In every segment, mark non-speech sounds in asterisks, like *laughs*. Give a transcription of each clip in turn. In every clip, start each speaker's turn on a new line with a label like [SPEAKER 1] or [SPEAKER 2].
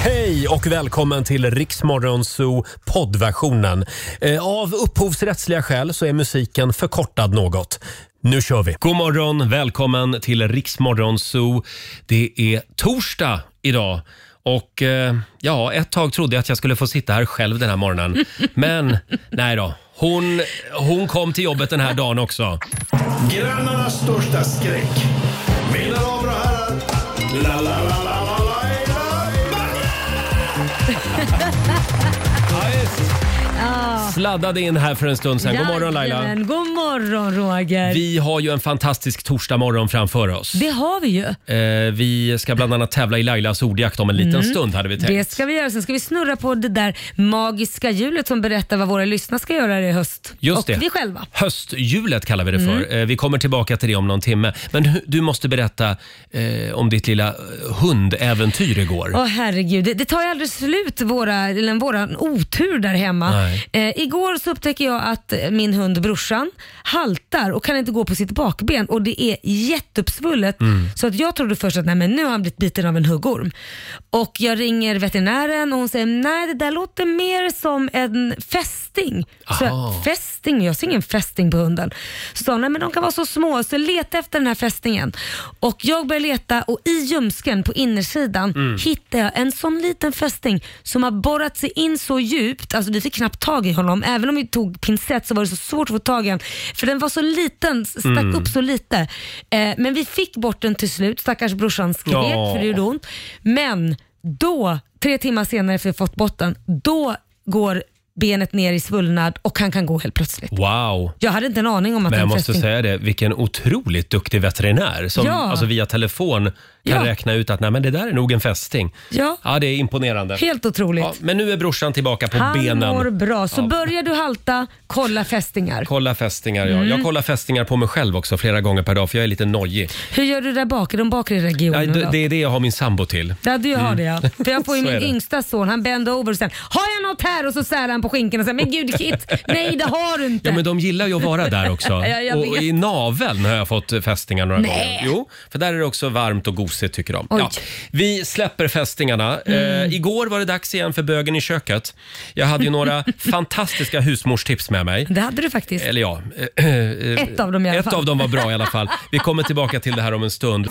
[SPEAKER 1] Hej och välkommen till Riksmorgonzoo poddversionen. Eh, Av upphovsrättsliga skäl så är musiken förkortad något. Nu kör vi! God morgon, välkommen till Riksmorgonzoo. Det är torsdag idag och eh, ja, ett tag trodde jag att jag skulle få sitta här själv den här morgonen. *laughs* Men nej då, hon, hon kom till jobbet den här dagen också.
[SPEAKER 2] Grannarnas största skräck. Mina damer och herrar. La, la, la, la, la, la, la,
[SPEAKER 1] Sladdade in här för en stund sedan. God morgon Laila!
[SPEAKER 3] Jajamän. God morgon Roger.
[SPEAKER 1] Vi har ju en fantastisk torsdagmorgon framför oss.
[SPEAKER 3] Det har vi ju.
[SPEAKER 1] Eh, vi ska bland annat tävla i Lailas ordjakt om en liten stund hade vi tänkt.
[SPEAKER 3] Mm. Det ska vi göra. Sen ska vi snurra på det där magiska hjulet som berättar vad våra lyssnare ska göra i höst.
[SPEAKER 1] Just
[SPEAKER 3] och
[SPEAKER 1] det.
[SPEAKER 3] vi själva. Mm.
[SPEAKER 1] Hösthjulet kallar vi det för. Eh, vi kommer tillbaka till det om någon timme. Men du, du måste berätta eh, om ditt lilla eh, hundäventyr igår.
[SPEAKER 3] Åh herregud, det, det tar ju aldrig slut våra, eller våran otur där hemma.
[SPEAKER 1] Nej.
[SPEAKER 3] Eh, igår så upptäcker jag att eh, min hund brorsan haltar och kan inte gå på sitt bakben och det är jätteuppsvullet.
[SPEAKER 1] Mm.
[SPEAKER 3] Så att jag trodde först att nej, men nu har han blivit biten av en huggorm. Och jag ringer veterinären och hon säger nej det där låter mer som en fästing. Så
[SPEAKER 1] Aha.
[SPEAKER 3] jag, fästing, jag ser ingen fästing på hunden. Så sa hon, nej men de kan vara så små, så leta efter den här fästingen. Och jag började leta och i ljumsken på innersidan hittade jag en sån liten fästing som har borrat sig in så djupt, alltså vi fick knappt tag i honom. Även om vi tog pincett så var det så svårt att få tag i honom. För den var så liten, stack upp så lite. Eh, men vi fick bort den till slut, stackars brorsan skrek
[SPEAKER 1] Ja.
[SPEAKER 3] för det gjorde ont. Men då, tre timmar senare efter vi fått bort den, då går benet ner i svullnad och han kan gå helt plötsligt.
[SPEAKER 1] Wow!
[SPEAKER 3] Jag hade inte en aning om att
[SPEAKER 1] Men jag
[SPEAKER 3] den
[SPEAKER 1] måste
[SPEAKER 3] fästing-
[SPEAKER 1] säga det, vilken otroligt duktig veterinär som
[SPEAKER 3] Ja.
[SPEAKER 1] alltså via telefon kan
[SPEAKER 3] Ja.
[SPEAKER 1] räkna ut att Nej, men det där är nog en fästing.
[SPEAKER 3] Ja.
[SPEAKER 1] Ja, det är imponerande.
[SPEAKER 3] Helt otroligt.
[SPEAKER 1] Ja, men nu är brorsan tillbaka på
[SPEAKER 3] han
[SPEAKER 1] benen.
[SPEAKER 3] mår bra. Så
[SPEAKER 1] Ja.
[SPEAKER 3] börjar du halta, kolla fästingar.
[SPEAKER 1] Kolla fästingar, ja.
[SPEAKER 3] Mm.
[SPEAKER 1] Jag kollar fästingar på mig själv också flera gånger per dag för jag är lite nojig.
[SPEAKER 3] Hur gör du där bak? Är de bakre
[SPEAKER 1] Nej,
[SPEAKER 3] regionen?
[SPEAKER 1] det,
[SPEAKER 3] då?
[SPEAKER 1] det är det jag har min sambo till.
[SPEAKER 3] Ja, du har det ja. För jag får ju
[SPEAKER 1] *laughs* Så är
[SPEAKER 3] min
[SPEAKER 1] det.
[SPEAKER 3] yngsta son, han bänder över och sen har jag något här och så sär han på skinkan och säger men gud Kit, nej det har du inte.
[SPEAKER 1] Ja, men de gillar ju att vara där också.
[SPEAKER 3] *laughs* Ja, jag
[SPEAKER 1] och
[SPEAKER 3] vet.
[SPEAKER 1] i naveln har jag fått fästingar några
[SPEAKER 3] Nej.
[SPEAKER 1] gånger. Jo, för där är det också varmt och gosigt tycker de.
[SPEAKER 3] Oj. Mm.
[SPEAKER 1] Ja, vi släpper fästingarna. Eh, igår var det dags igen för bögen i köket. Jag hade ju
[SPEAKER 3] *laughs*
[SPEAKER 1] några fantastiska husmorstips med mig.
[SPEAKER 3] Det hade du faktiskt.
[SPEAKER 1] Eller ja, *clears throat* eh, eh,
[SPEAKER 3] Ett av dem i alla
[SPEAKER 1] ett
[SPEAKER 3] fall.
[SPEAKER 1] av dem var bra i alla fall. Vi kommer tillbaka till det här om en stund.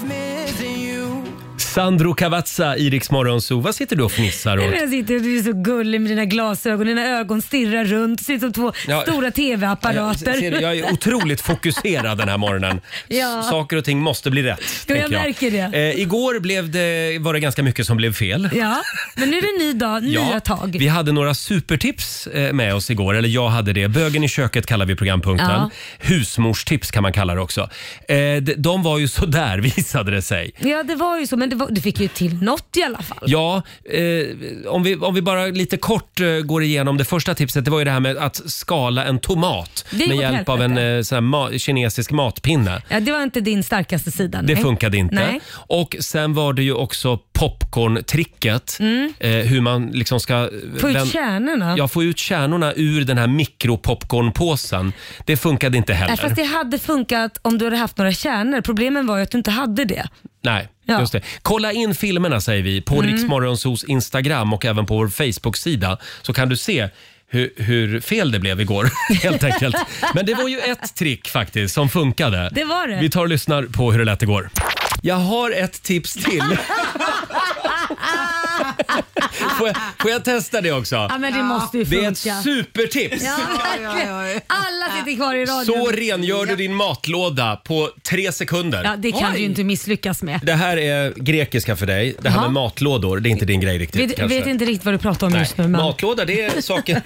[SPEAKER 1] Sandro Cavazza, Iriks morgonzoo. Vad sitter du och fnissar åt?
[SPEAKER 3] Men Jag sitter, du är så gullig med dina glasögon, dina ögon stirrar runt, ser ut som två
[SPEAKER 1] Ja.
[SPEAKER 3] stora
[SPEAKER 1] Ja, jag-
[SPEAKER 3] TV-apparater.
[SPEAKER 1] ser du, jag är otroligt fokuserad den här morgonen.
[SPEAKER 3] Ja.
[SPEAKER 1] S- Saker och ting måste bli rätt.
[SPEAKER 3] jag
[SPEAKER 1] tänker
[SPEAKER 3] märker det.
[SPEAKER 1] Eh, igår blev det, var det ganska mycket som blev fel.
[SPEAKER 3] Ja, men nu är det en ny dag, nya tag.
[SPEAKER 1] vi hade några supertips eh, med oss igår, eller jag hade det. Bögen i köket kallar vi programpunkten.
[SPEAKER 3] Ja.
[SPEAKER 1] Husmorstips kan man kalla det också. Eh, de- De var ju sådär *laughs* visade det sig.
[SPEAKER 3] Ja, det var ju så, men det var, du fick ju till något i alla fall.
[SPEAKER 1] Ja, eh, om, vi, om vi bara lite kort eh, går igenom det första tipset. Det var ju det här med att skala en tomat
[SPEAKER 3] Det gick
[SPEAKER 1] med
[SPEAKER 3] åt
[SPEAKER 1] hjälp av en
[SPEAKER 3] helvete.
[SPEAKER 1] eh, sån här ma- kinesisk matpinne.
[SPEAKER 3] Ja, det var inte din starkaste sida.
[SPEAKER 1] Det
[SPEAKER 3] nej.
[SPEAKER 1] funkade inte.
[SPEAKER 3] Nej.
[SPEAKER 1] Och sen var det ju också popcorn-tricket. Eh, hur man liksom ska...
[SPEAKER 3] Mm. Få ut
[SPEAKER 1] vän-
[SPEAKER 3] kärnorna.
[SPEAKER 1] Ja, få ut kärnorna ur den här mikropopcornpåsen. Det funkade inte
[SPEAKER 3] Nej,
[SPEAKER 1] heller.
[SPEAKER 3] fast det hade funkat om du hade haft några kärnor. Problemen var ju att du inte hade det.
[SPEAKER 1] Nej,
[SPEAKER 3] Ja.
[SPEAKER 1] just det. Kolla in filmerna säger vi på mm. Riksmorgonsos Instagram och även på vår Facebook-sida så kan du se hur, hur fel det blev igår *laughs* helt enkelt. Men det var ju ett trick faktiskt som funkade.
[SPEAKER 3] Det var det.
[SPEAKER 1] Vi tar och lyssnar på hur det lät igår. Jag har ett tips till.
[SPEAKER 3] *laughs*
[SPEAKER 1] får, jag, får jag testa det också?
[SPEAKER 3] Ja, men det måste ju
[SPEAKER 1] Det är
[SPEAKER 3] funka.
[SPEAKER 1] ett supertips!
[SPEAKER 3] Alla sitter kvar i radion.
[SPEAKER 1] Så rengör du din matlåda på tre sekunder.
[SPEAKER 3] Ja, det kan du ju inte misslyckas med.
[SPEAKER 1] Det här är grekiska för dig. Det här
[SPEAKER 3] Ja.
[SPEAKER 1] med matlådor, det är inte din grej riktigt.
[SPEAKER 3] Vet,
[SPEAKER 1] kanske.
[SPEAKER 3] vet inte riktigt vad du pratar om
[SPEAKER 1] Nej.
[SPEAKER 3] just nu. Men...
[SPEAKER 1] Matlåda, det är
[SPEAKER 3] *laughs*
[SPEAKER 1] saker...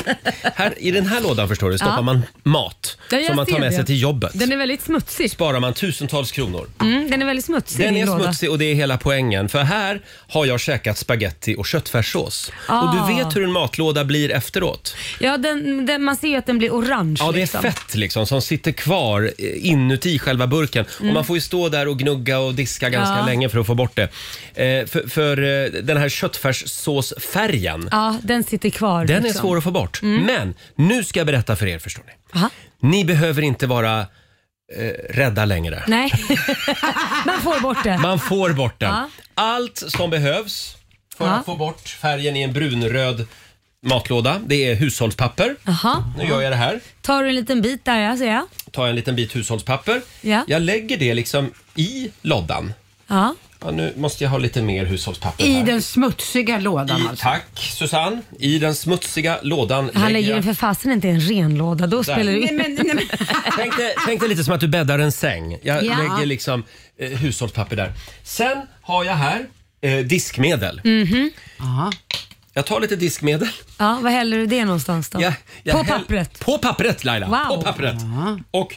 [SPEAKER 1] här, I den här lådan förstår du stoppar
[SPEAKER 3] Ja.
[SPEAKER 1] man mat
[SPEAKER 3] Ja, jag
[SPEAKER 1] som man tar
[SPEAKER 3] ser
[SPEAKER 1] med
[SPEAKER 3] det.
[SPEAKER 1] sig till jobbet.
[SPEAKER 3] Den är väldigt smutsig.
[SPEAKER 1] Sparar man tusentals kronor.
[SPEAKER 3] Mm, den är väldigt smutsig
[SPEAKER 1] Den
[SPEAKER 3] din
[SPEAKER 1] är
[SPEAKER 3] låda.
[SPEAKER 1] smutsig och det är hela poängen. För här har jag käkat spaghetti och köttfärssås. Och du
[SPEAKER 3] Ah.
[SPEAKER 1] vet hur en matlåda blir efteråt.
[SPEAKER 3] Ja, den, den, man ser ju att den blir orange.
[SPEAKER 1] Ja, det är
[SPEAKER 3] liksom.
[SPEAKER 1] fett liksom som sitter kvar eh, inuti själva burken. Och man får ju stå där och gnugga och diska ganska
[SPEAKER 3] Mm. Ja.
[SPEAKER 1] länge för att få bort det. Eh, för för eh, den här köttfärssåsfärgen,
[SPEAKER 3] Ja, den sitter kvar.
[SPEAKER 1] den är
[SPEAKER 3] liksom.
[SPEAKER 1] svår att få bort. Men nu ska jag berätta för er förstår ni.
[SPEAKER 3] Aha.
[SPEAKER 1] Ni behöver inte vara eh, rädda längre.
[SPEAKER 3] Nej, *laughs* man får bort det.
[SPEAKER 1] Man får bort den.
[SPEAKER 3] Ja.
[SPEAKER 1] Allt som behövs för
[SPEAKER 3] Ja.
[SPEAKER 1] att få bort färgen i en brunröd matlåda. Det är hushållspapper.
[SPEAKER 3] Jaha.
[SPEAKER 1] Nu gör jag det här.
[SPEAKER 3] Tar du en liten bit där ja, ser jag.
[SPEAKER 1] Tar jag en liten bit hushållspapper.
[SPEAKER 3] Ja.
[SPEAKER 1] Jag lägger det liksom i loddan.
[SPEAKER 3] Ja.
[SPEAKER 1] Ja, nu måste jag ha lite mer hushållspapper
[SPEAKER 4] I
[SPEAKER 1] här.
[SPEAKER 4] den smutsiga lådan
[SPEAKER 1] I,
[SPEAKER 4] alltså.
[SPEAKER 1] tack Susanne. I den smutsiga lådan
[SPEAKER 3] Han
[SPEAKER 1] lägger
[SPEAKER 3] lägger
[SPEAKER 1] jag...
[SPEAKER 3] den för fasen inte i en ren låda. Då spelar det
[SPEAKER 4] Nej,
[SPEAKER 3] ingen
[SPEAKER 4] men, nej, men.
[SPEAKER 1] Tänk dig, tänk dig lite som att du bäddar en säng. Jag
[SPEAKER 3] Ja.
[SPEAKER 1] lägger liksom eh, hushållspapper där. Sen har jag här eh, diskmedel.
[SPEAKER 3] Mm.
[SPEAKER 4] Aha.
[SPEAKER 1] Jag tar lite diskmedel.
[SPEAKER 3] *laughs* Ja, var häller du det någonstans då?
[SPEAKER 1] Jag, jag
[SPEAKER 3] På
[SPEAKER 1] häll-
[SPEAKER 3] pappret?
[SPEAKER 1] På pappret Laila.
[SPEAKER 3] Wow.
[SPEAKER 1] På pappret. Och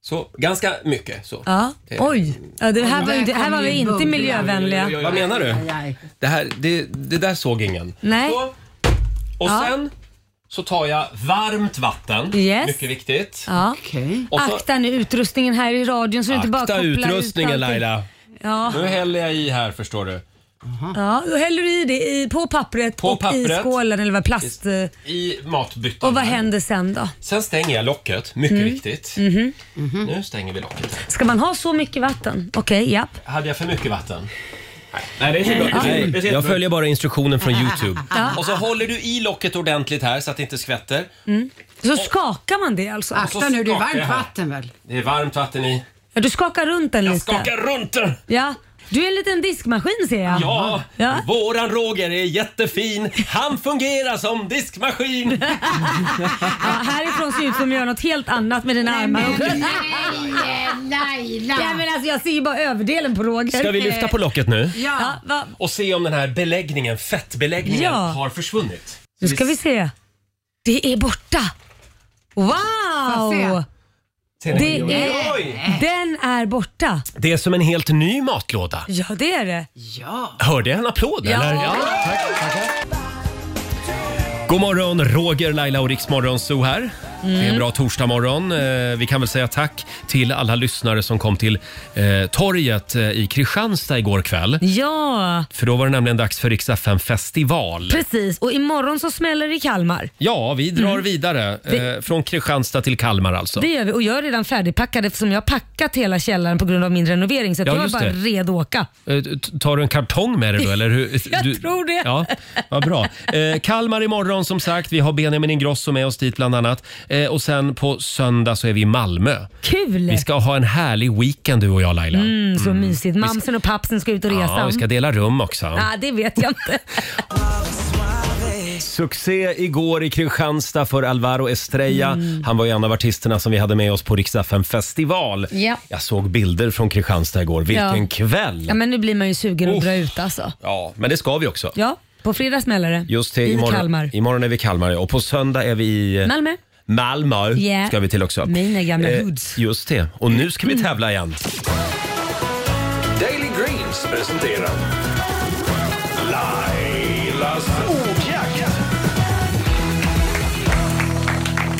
[SPEAKER 1] så ganska mycket. Så.
[SPEAKER 3] Ja.
[SPEAKER 1] Eh,
[SPEAKER 3] Oj, ja, det här var, ju inte, här var vi
[SPEAKER 4] Välkommen i
[SPEAKER 3] inte
[SPEAKER 4] bubblan.
[SPEAKER 3] miljövänliga.
[SPEAKER 1] Vad menar du?
[SPEAKER 4] Aj, aj.
[SPEAKER 1] Det, här, det, det där såg ingen.
[SPEAKER 3] Nej.
[SPEAKER 1] Så. Och
[SPEAKER 3] Ja.
[SPEAKER 1] sen så tar jag varmt vatten.
[SPEAKER 3] Yes.
[SPEAKER 1] Mycket viktigt.
[SPEAKER 3] Ja.
[SPEAKER 4] Okej.
[SPEAKER 1] Och så,
[SPEAKER 3] Akta nu utrustningen här i radion så du inte bara
[SPEAKER 1] akta
[SPEAKER 3] kopplar ut
[SPEAKER 1] utrustningen
[SPEAKER 3] allting.
[SPEAKER 1] Laila.
[SPEAKER 3] Ja,
[SPEAKER 1] Nu häller jag i här förstår du.
[SPEAKER 3] ja, då häller du i det i, på pappret
[SPEAKER 1] På
[SPEAKER 3] och i
[SPEAKER 1] pappret.
[SPEAKER 3] skålen eller vad plast... eh,
[SPEAKER 1] I matbyttan.
[SPEAKER 3] Och vad
[SPEAKER 1] här.
[SPEAKER 3] händer Mm. sen då?
[SPEAKER 1] Sen stänger jag locket, mycket viktigt.
[SPEAKER 3] Mhm.
[SPEAKER 1] Mm-hmm. Nu stänger vi locket.
[SPEAKER 3] Ska man ha så mycket vatten? Okej, japp.
[SPEAKER 1] Hade jag för mycket vatten?
[SPEAKER 5] Nej, det ser bra ut. Det ser
[SPEAKER 1] Jag
[SPEAKER 5] jättebra ut.
[SPEAKER 1] följer bara instruktionen från Youtube. Och så håller du i locket ordentligt här så att det inte skvätter.
[SPEAKER 3] Så skakar man det alltså?
[SPEAKER 4] Akta nu, det är
[SPEAKER 1] skakar jag
[SPEAKER 4] varmt
[SPEAKER 1] här.
[SPEAKER 4] vatten väl?
[SPEAKER 1] Det är varmt vatten i.
[SPEAKER 3] Ja, du skakar runt den
[SPEAKER 1] Jag
[SPEAKER 3] lite?
[SPEAKER 1] skakar runt den!
[SPEAKER 3] Ja. Du är en liten diskmaskin ser jag.
[SPEAKER 1] Ja,
[SPEAKER 3] Ja.
[SPEAKER 1] våran Roger är jättefin. Han fungerar som
[SPEAKER 3] *laughs*
[SPEAKER 1] diskmaskin.
[SPEAKER 3] ja härifrån ser det ut som jag gör något helt annat med dina armar.
[SPEAKER 4] Nej,
[SPEAKER 3] Ja, men alltså, jag ser ju bara överdelen på Roger.
[SPEAKER 1] Ska vi lyfta på locket nu?
[SPEAKER 4] Ja.
[SPEAKER 3] Ja, va?
[SPEAKER 1] Och se om den här beläggningen, fettbeläggningen,
[SPEAKER 3] Ja.
[SPEAKER 1] har försvunnit.
[SPEAKER 3] Nu ska vi se. Det är borta.
[SPEAKER 4] Får jag
[SPEAKER 3] Wow!
[SPEAKER 1] Ser ni?
[SPEAKER 3] Det är,
[SPEAKER 1] Oj!
[SPEAKER 3] den är borta.
[SPEAKER 1] Det är som en helt ny matlåda.
[SPEAKER 3] Ja, det är det.
[SPEAKER 4] Ja.
[SPEAKER 1] Hörde jag en applåd
[SPEAKER 3] Ja.
[SPEAKER 1] eller? tack, tackar. God morgon, Roger, Laila och Riksmorgon Zoo
[SPEAKER 3] Mm.
[SPEAKER 1] här. Det är en bra torsdagmorgon. Eh, Vi kan väl säga tack till alla lyssnare som kom till eh, torget eh, i Kristianstad igår kväll.
[SPEAKER 3] Ja,
[SPEAKER 1] För då var det nämligen dags för Rix FM festival.
[SPEAKER 3] precis. Och imorgon så smäller det i Kalmar.
[SPEAKER 1] Ja, vi drar vidare. Eh, från Kristianstad till Kalmar alltså.
[SPEAKER 3] Det gör Mm. vi. Och jag är redan färdigpackad eftersom jag har packat hela källaren på grund av min renovering. Så att
[SPEAKER 1] Ja,
[SPEAKER 3] jag är
[SPEAKER 1] just
[SPEAKER 3] bara
[SPEAKER 1] det.
[SPEAKER 3] redo att åka.
[SPEAKER 1] Eh, t- Tar du en kartong med dig
[SPEAKER 3] *laughs*
[SPEAKER 1] då? Eller hur?
[SPEAKER 3] Jag
[SPEAKER 1] du,
[SPEAKER 3] tror det.
[SPEAKER 1] Ja, vad bra. Eh, Kalmar imorgon som sagt. Vi har Benjamin Ingrosso med oss dit bland annat. Eh, och sen på söndag så är vi i Malmö.
[SPEAKER 3] Kul!
[SPEAKER 1] Vi ska ha en härlig weekend du och jag Laila.
[SPEAKER 3] Mm, så mysigt. Mamsen och pappsen ska ut och resa.
[SPEAKER 1] Ja, vi ska dela rum också.
[SPEAKER 3] Ja, det vet
[SPEAKER 1] *laughs*
[SPEAKER 3] jag inte.
[SPEAKER 1] Succé igår i Kristianstad för Alvaro Estrella.
[SPEAKER 3] Mm.
[SPEAKER 1] Han var ju en av artisterna som vi hade med oss på Riksdagen festival.
[SPEAKER 3] Ja.
[SPEAKER 1] Jag såg bilder från Kristianstad igår. Vilken
[SPEAKER 3] Ja.
[SPEAKER 1] kväll!
[SPEAKER 3] Ja, men nu blir man ju sugen att
[SPEAKER 1] Uff.
[SPEAKER 3] dra ut alltså.
[SPEAKER 1] Ja, men det ska vi också.
[SPEAKER 3] Ja, på fredag smäller det.
[SPEAKER 1] Just det,
[SPEAKER 3] I
[SPEAKER 1] imorgon,
[SPEAKER 3] Kalmar.
[SPEAKER 1] imorgon är vi i Kalmar och på söndag är vi i eh,
[SPEAKER 3] Malmö.
[SPEAKER 1] Malmö
[SPEAKER 3] Yeah.
[SPEAKER 1] ska vi till också. Eh,
[SPEAKER 3] Mina gamla hoods. Mm.
[SPEAKER 1] Just det, och nu ska vi tävla igen.
[SPEAKER 2] Daily Greens presenterar Lailas ordjakt.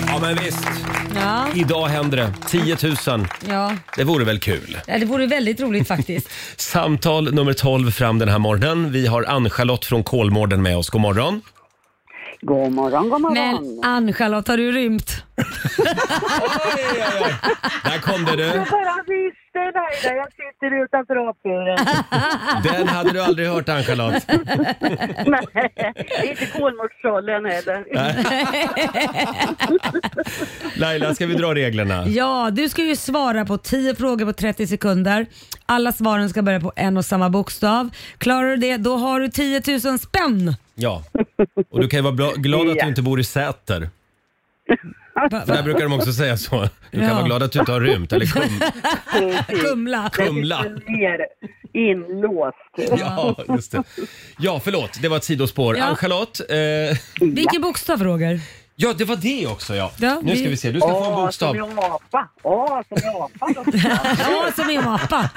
[SPEAKER 1] Ja men visst,
[SPEAKER 3] Ja,
[SPEAKER 1] idag händer det. 10 000.
[SPEAKER 3] ja.
[SPEAKER 1] Det vore väl kul?
[SPEAKER 3] ja, det vore
[SPEAKER 1] *laughs*
[SPEAKER 3] väldigt roligt faktiskt.
[SPEAKER 1] Samtal nummer 12 fram den här morgonen. Vi har Ann-Charlotte från Kolmården med oss. God morgon.
[SPEAKER 6] God morgon, god morgon.
[SPEAKER 3] Men Ann-Charlotte, har du rymt?
[SPEAKER 1] Där kom det du.
[SPEAKER 6] Bara visste Laila, jag sitter utanför apburen.
[SPEAKER 1] *laughs* Den hade du aldrig hört Ann-Charlotte.
[SPEAKER 6] Nej, inte Kolmårdstrollen heller.
[SPEAKER 1] Laila, ska vi dra reglerna?
[SPEAKER 3] Ja, du ska ju svara på 10 frågor på 30 sekunder. Alla svaren ska börja på en och samma bokstav. Klarar du det, då har du 10 000 spänn.
[SPEAKER 1] Ja. Och du kan ju vara bla- glad att du
[SPEAKER 6] Ja.
[SPEAKER 1] inte bor i Säter.
[SPEAKER 3] Va-
[SPEAKER 1] För där
[SPEAKER 3] va-
[SPEAKER 1] brukar de också säga så. Du kan
[SPEAKER 3] Ja.
[SPEAKER 1] vara glad att du inte har rymt. Eller
[SPEAKER 3] *laughs*
[SPEAKER 1] kum,
[SPEAKER 3] Kumla.
[SPEAKER 1] kumla.
[SPEAKER 6] Ner, inlåst.
[SPEAKER 1] Ja, just det. Ja, förlåt. Det var ett sidospår.
[SPEAKER 3] Ja.
[SPEAKER 1] Ann-Charlotte. Eh,
[SPEAKER 3] Vilken bokstav Roger?
[SPEAKER 1] ja, det var det också ja.
[SPEAKER 3] Ja,
[SPEAKER 1] nu
[SPEAKER 3] vi-
[SPEAKER 1] ska vi se. Du ska få en
[SPEAKER 6] Åh, som
[SPEAKER 1] bokstav.
[SPEAKER 6] en apa. Åh, som en apa.
[SPEAKER 1] *laughs*
[SPEAKER 3] Ja, som är en apa.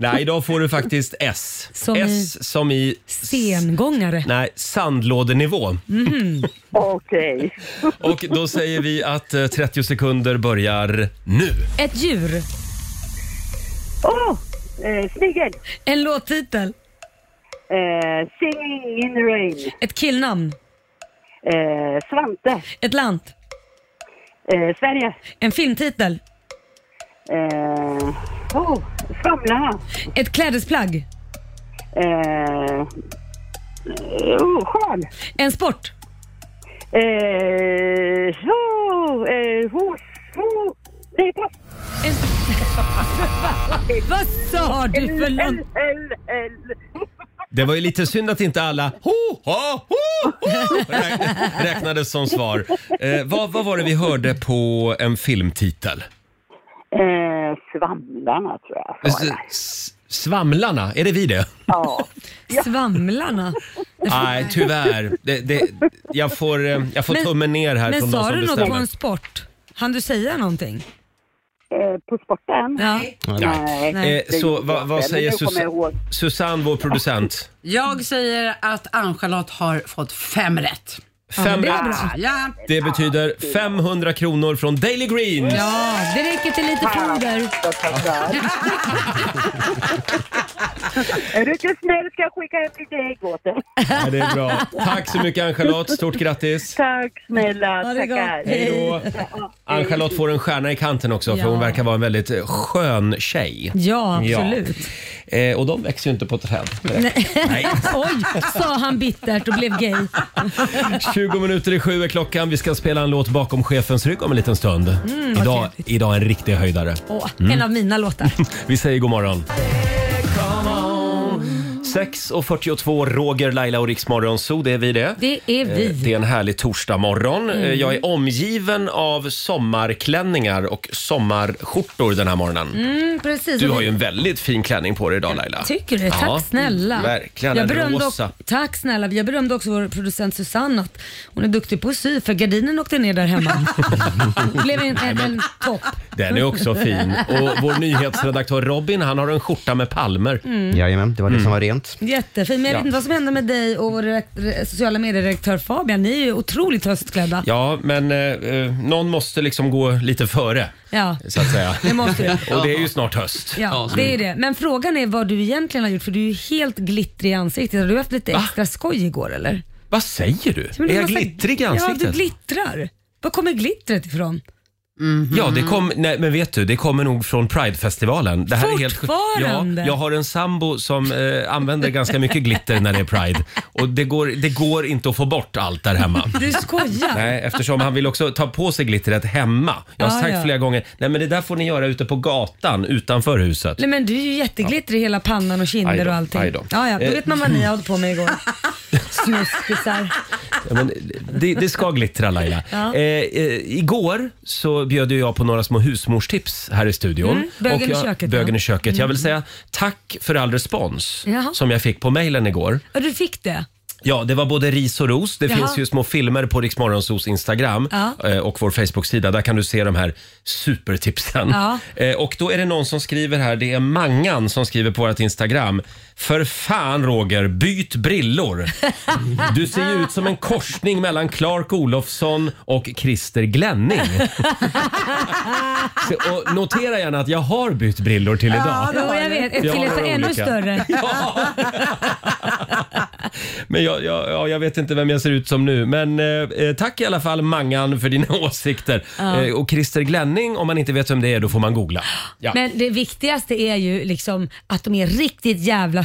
[SPEAKER 1] Nej, idag får du faktiskt S.
[SPEAKER 3] Som i-
[SPEAKER 1] S som i...
[SPEAKER 3] Sengångare.
[SPEAKER 1] Nej, sandlådenivå.
[SPEAKER 3] Mm.
[SPEAKER 6] Okej.
[SPEAKER 1] Och då säger vi att eh, 30 sekunder börjar nu.
[SPEAKER 3] Ett djur.
[SPEAKER 6] Åh, eh, snigel.
[SPEAKER 3] En låttitel.
[SPEAKER 6] Eh, singing in the rain.
[SPEAKER 3] Ett killnamn.
[SPEAKER 6] Eh, Svante.
[SPEAKER 3] Ett land.
[SPEAKER 6] Eh, Sverige.
[SPEAKER 3] En filmtitel.
[SPEAKER 6] Eh, oh, Svamlarna.
[SPEAKER 3] Ett klädesplagg.
[SPEAKER 6] Eh, Oh, skön.
[SPEAKER 3] En sport?
[SPEAKER 6] Eh, oh, eh, hos, ho, nej, pass.
[SPEAKER 3] Vad sa du för
[SPEAKER 6] L,
[SPEAKER 3] lång...
[SPEAKER 6] L, L, L.
[SPEAKER 1] Det var ju lite synd att inte alla ho, ha, ho, ho, räk- räknades som svar. Eh, vad, vad var det vi hörde på en filmtitel?
[SPEAKER 6] Eh, svamlarna tror jag.
[SPEAKER 1] Eh, S- s- Svamlarna, är det vi det?
[SPEAKER 6] Ja.
[SPEAKER 3] Svamlarna?
[SPEAKER 1] Nej, tyvärr. Det, det, jag får, eh, jag får
[SPEAKER 3] Men-
[SPEAKER 1] tummen ner här
[SPEAKER 3] Men
[SPEAKER 1] från de
[SPEAKER 3] sa
[SPEAKER 1] som
[SPEAKER 3] du något på
[SPEAKER 1] bestämmer.
[SPEAKER 3] en sport? Han du säga någonting?
[SPEAKER 6] Eh, på sporten?
[SPEAKER 3] Ja.
[SPEAKER 1] Nej.
[SPEAKER 3] Nej.
[SPEAKER 1] Eh, så
[SPEAKER 6] gjorde
[SPEAKER 1] vad, vad
[SPEAKER 6] jag inte, men
[SPEAKER 1] säger
[SPEAKER 6] nu kommer jag
[SPEAKER 1] Sus-
[SPEAKER 6] ihåg.
[SPEAKER 1] Susanne, vår producent?
[SPEAKER 4] Jag säger att Ann-Charlotte har fått fem rätt.
[SPEAKER 1] Fem
[SPEAKER 3] det var
[SPEAKER 1] rätt.
[SPEAKER 3] bra.
[SPEAKER 4] Ah, ja.
[SPEAKER 1] Det betyder 500 kronor från Daily Green.
[SPEAKER 3] Ja, det räcker till lite foder. *laughs*
[SPEAKER 6] Är du inte snäll ska jag skicka hem lite ägg åt dig.
[SPEAKER 1] Ja, det är bra. Tack så mycket Ann-Charlotte. Stort grattis.
[SPEAKER 6] Tack snälla.
[SPEAKER 3] Ha det gott.
[SPEAKER 6] Tackar.
[SPEAKER 3] Hej. *laughs*
[SPEAKER 1] Då- Ann-Charlotte får en stjärna i kanten också för
[SPEAKER 3] Ja.
[SPEAKER 1] hon verkar vara en väldigt eh, skön tjej.
[SPEAKER 3] Ja,
[SPEAKER 1] Ja.
[SPEAKER 3] absolut.
[SPEAKER 1] Eh, och de växer ju inte på träd. *laughs*
[SPEAKER 3] Nej. *laughs* Oj, sa han bittert och blev gay.
[SPEAKER 1] 20 minuter i sju är klockan. Vi ska spela en låt bakom chefens rygg om en liten stund.
[SPEAKER 3] Mm,
[SPEAKER 1] idag, idag en riktig höjdare.
[SPEAKER 3] Åh, En av mina låtar.
[SPEAKER 1] Vi säger god morgon. 6.42, Roger, Laila och Riksmorgon Zoo, det är vi det.
[SPEAKER 3] Det är vi. Mm.
[SPEAKER 1] Eh, Det är en härlig torsdagmorgon. Eh, Jag är omgiven av sommarklänningar och sommarskjortor den här morgonen.
[SPEAKER 3] Mm, precis.
[SPEAKER 1] Du
[SPEAKER 3] Och
[SPEAKER 1] har
[SPEAKER 3] vi-
[SPEAKER 1] ju en väldigt fin klänning på dig idag Laila.
[SPEAKER 3] Tycker du? Tack
[SPEAKER 1] Ja,
[SPEAKER 3] snälla.
[SPEAKER 1] verkligen.
[SPEAKER 3] Jag
[SPEAKER 1] En
[SPEAKER 3] berömde
[SPEAKER 1] rosa.
[SPEAKER 3] Och, tack snälla. Jag berömde också vår producent Susanne att hon är duktig på att sy för gardinen åkte ner
[SPEAKER 1] *laughs*
[SPEAKER 3] där hemma. Det blev en, en, en topp.
[SPEAKER 1] Den är också fin. Och vår nyhetsredaktör Robin, han har en skjorta med palmer.
[SPEAKER 3] Mm.
[SPEAKER 7] Jajamän, det var det som var rent.
[SPEAKER 3] Jättefin. Men jag vet inte vad som hände med dig och vår direkt- re- sociala medieredaktör Fabian. Ni är ju otroligt höstklädda.
[SPEAKER 1] Ja, men eh, eh, någon måste liksom gå lite före,
[SPEAKER 3] Ja.
[SPEAKER 1] så att säga.
[SPEAKER 3] Det måste du.
[SPEAKER 1] Och det är ju snart höst.
[SPEAKER 3] Ja, det är det. Men frågan är vad du egentligen har gjort för du är ju helt glittrig i ansiktet. Har du haft lite extra skoj igår eller?
[SPEAKER 1] Vad säger du?
[SPEAKER 3] Men du
[SPEAKER 1] är jag
[SPEAKER 3] har sagt-
[SPEAKER 1] glittrig i
[SPEAKER 3] Ja, du
[SPEAKER 1] ansiktet?
[SPEAKER 3] Mm.
[SPEAKER 1] eh, *laughs* Eh. *laughs* Eh, eh, Eh,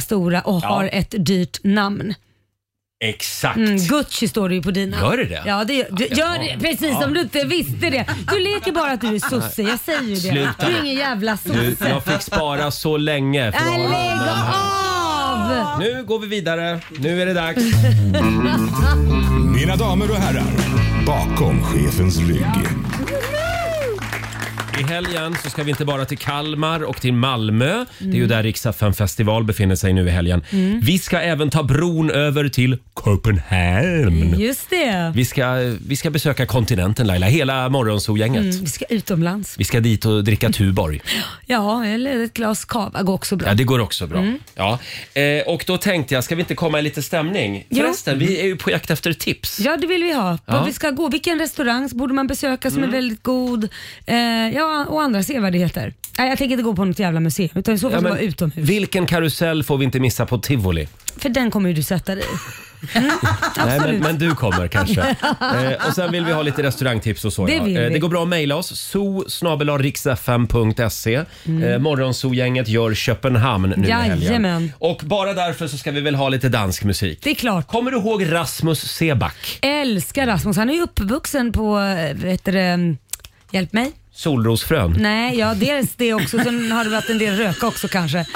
[SPEAKER 1] eh, *laughs* Eh, Eh,
[SPEAKER 3] liksom Mm, Mm. Mm. Eh,
[SPEAKER 1] Nej, men, men du kommer kanske.
[SPEAKER 3] *laughs*
[SPEAKER 1] Eh, och sen vill vi ha lite restaurangtips och så.
[SPEAKER 3] Det
[SPEAKER 1] ja.
[SPEAKER 3] vill
[SPEAKER 1] Eh,
[SPEAKER 3] vi.
[SPEAKER 1] det går bra att mejla oss. so eh, Morgonzoo-gänget gör Köpenhamn nu i helgen.
[SPEAKER 3] Mm. Jajamän.
[SPEAKER 1] Och bara därför så ska vi väl ha lite dansk musik.
[SPEAKER 3] Det är klart.
[SPEAKER 1] Kommer du ihåg Rasmus Seback?
[SPEAKER 3] Älskar Rasmus. Han är ju uppvuxen på, eh, vet du, det, hjälp mig.
[SPEAKER 1] Solrosfrön?
[SPEAKER 3] Nej, ja dels det också. Sen har det varit en del röka
[SPEAKER 1] *laughs*
[SPEAKER 3] också kanske.